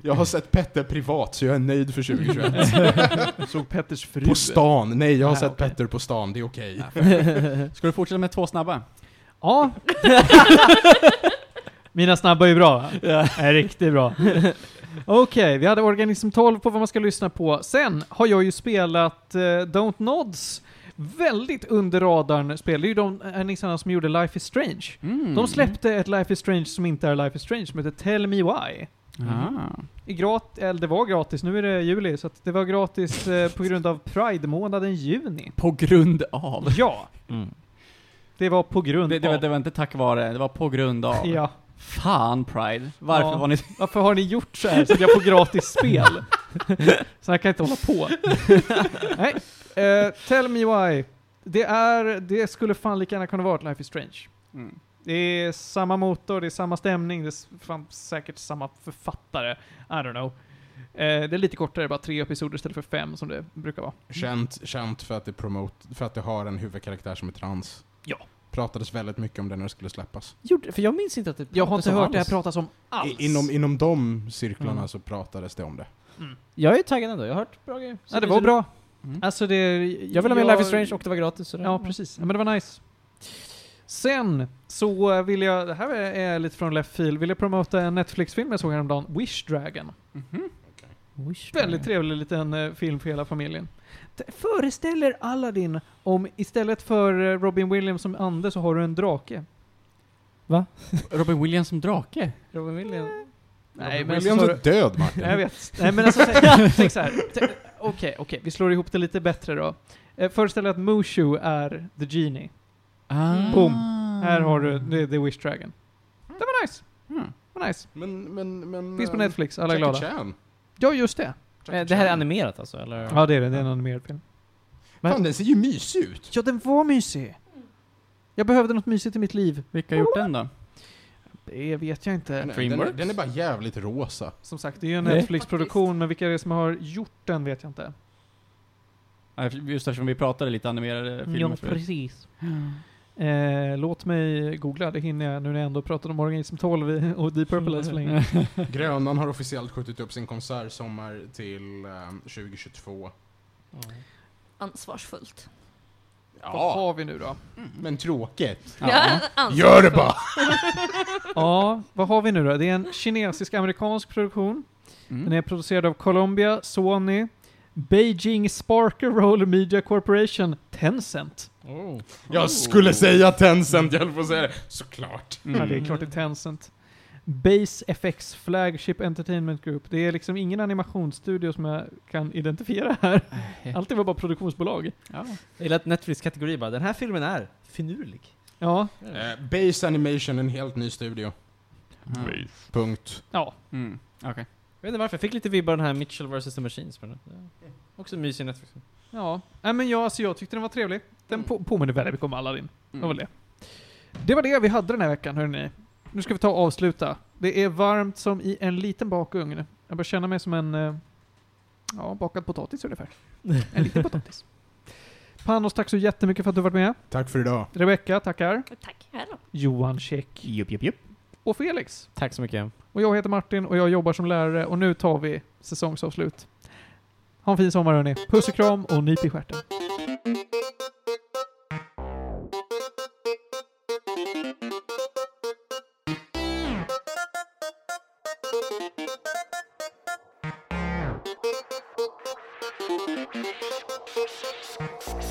B: jag har sett Petter privat så jag är nöjd för 2021.
A: Såg Petters fru.
B: på stan, nej jag har
A: Nej,
B: sett
A: okej.
B: Petter på stan, det är okej.
C: Ska du fortsätta med två snabba?
A: Ja. Mina snabba är ju bra va? Är riktigt bra. Okej, vi hade Organism 12 på vad man ska lyssna på. Sen har jag ju spelat eh, Don't Nods. Väldigt under radarn spel. Det är ju de eh, nissarna som gjorde Life is Strange.
C: Mm.
A: De släppte ett Life is Strange som inte är Life is Strange, som heter Tell Me Why.
C: Ah.
A: I grat- eller det var gratis, nu är det juli, så att det var gratis eh, på grund av Pride-månaden juni.
C: På grund av.
A: Ja,
D: Mm.
A: det var på grund
C: Det, det, var,
A: av.
C: det var inte tack vare, det var på grund av.
A: Ja.
C: Fan Pride, varför
A: Ja.
C: var ni...
A: Varför har ni gjort så här så att jag får gratis spel? så här kan jag inte hålla på. Nej. Eh, tell me why. Det, är, det skulle fan lika gärna kunna vara ett Life is Strange.
C: Mm.
A: Det är samma motor, det är samma stämning, det är s- fan säkert samma författare. I don't know. Eh, det är lite kortare, bara tre episoder istället för fem som det brukar vara.
B: Känt, känt för att det promote, för att det har en huvudkaraktär som är trans.
A: Ja.
B: Pratades väldigt mycket om det när det skulle släppas.
D: Gjorde, för jag minns inte att det
A: Jag har inte
D: pratades om
A: hört det här
D: alls.
A: pratas om alls.
B: I, inom, inom de cirklarna
D: Mm.
B: så pratades det om det.
D: Jag är taggad ändå, jag har hört bra grejer.
A: ja, det var bra.
C: Mm.
A: Alltså det...
D: Jag vill ha med Life is Strange och det var gratis. Så det-
A: Ja, precis. Ja, men det Mm. var nice. Sen så eh, vill jag, det här är är lite från left field, vill jag promota en Netflix-film jag såg häromdagen, Wish Dragon.
D: Wish.
A: Väldigt trevlig liten eh, film för hela familjen. Det föreställer Aladdin om istället för eh, Robin Williams som ande så har du en drake.
C: Robin Williams som drake?
D: Robin Williams.
A: Nej,
B: Robin
A: men
B: Williams
A: så-
B: är död Martin.
A: Nej, jag vet. Nej, men alltså, tänk- tänk så här. Tänk- Okej, okej, vi slår ihop det lite bättre då. Eh, Föreställ att Mushu är the genie.
C: Ah.
A: Mm. Boom. Här har du the, the Wish Dragon. Hmm. Det var nice.
C: Mm.
A: Det var nice.
B: Men, men, men...
A: Finns på
B: eh,
A: Netflix, alla är
B: Jackie
A: glada.
B: Chan.
A: Ja, just det.
B: Jackie
D: Det här är
B: Chan.
D: animerat alltså, eller?
A: Ja, det är det. Det är en animerad film.
B: Fan, den ser ju mysig ut.
A: Ja, den var mysig. Jag behövde något mysigt i mitt liv.
C: Vilka har gjort den då?
A: Det vet jag
B: Den
A: inte.
B: är, den, är,
C: Dreamworks?
B: den är bara jävligt rosa.
A: Som sagt, det är ju en
C: Nej.
A: Netflix-produktion, men vilka det är som har gjort den vet jag inte.
C: Ja, Just eftersom vi pratade lite animerade filmer förut.
A: Mm, precis. Eh, låt mig googla, det hinner jag nu när jag ändå pratat om Organism 12 i- och Deep Purple än så länge.
B: Grönan har officiellt skjutit upp sin konsert sommar till ehm, 2022.
E: Ansvarsfullt.
A: Vad
B: Ja,
A: har vi nu då?
B: men tråkigt.
C: Ja.
E: Ansvarsfullt.
B: Gör det bara!
A: Ja, vad har vi nu då? Det är en kinesisk-amerikansk produktion. Den
C: Mm.
A: är producerad av Columbia, Sony, Beijing Sparker Roller Media Corporation, Tencent.
B: Oh. Jag skulle säga Tencent, jag höll på att säga det. Såklart.
C: Mm.
A: Ja, det är klart det är Tencent. Base FX Flagship Entertainment Group. Det är liksom ingen animationsstudio som jag kan identifiera här. Allt det var bara produktionsbolag.
C: Ja.
D: Jag gillar att Netflix kategori bara, den här filmen är finurlig.
A: Ja,
B: Eh, Base Animation, en helt ny studio.
A: Mm.
B: Punkt.
A: ja.
C: Mm. Okej.
D: Jag vet inte varför, jag fick lite vibbar av den här Mitchell vs the Machines. Men, ja. Också mysig Netflix.
A: Ja. Nej, men jag, alltså, jag tyckte den var trevlig. Den på, påminner väldigt mycket om Aladdin. Det var
C: Mm.
A: väl det. Det var det vi hade den här veckan, hörni. Nu ska vi ta och avsluta. Det är varmt som i en liten bakugn. Jag börjar känna mig som en eh, ja, bakad potatis ungefär. En liten potatis. Panos, tack så jättemycket för att du varit med.
B: Tack för idag.
A: Rebecka, tackar.
E: Tack, hej då.
A: Johan Käck.
D: Jupp, jupp, jupp.
A: och Felix.
D: Tack så mycket.
A: Och jag heter Martin och jag jobbar som lärare och nu tar vi säsongsavslut. Ha en fin sommar hörni. Puss och kram och nyp i stjärten.
G: Thank you.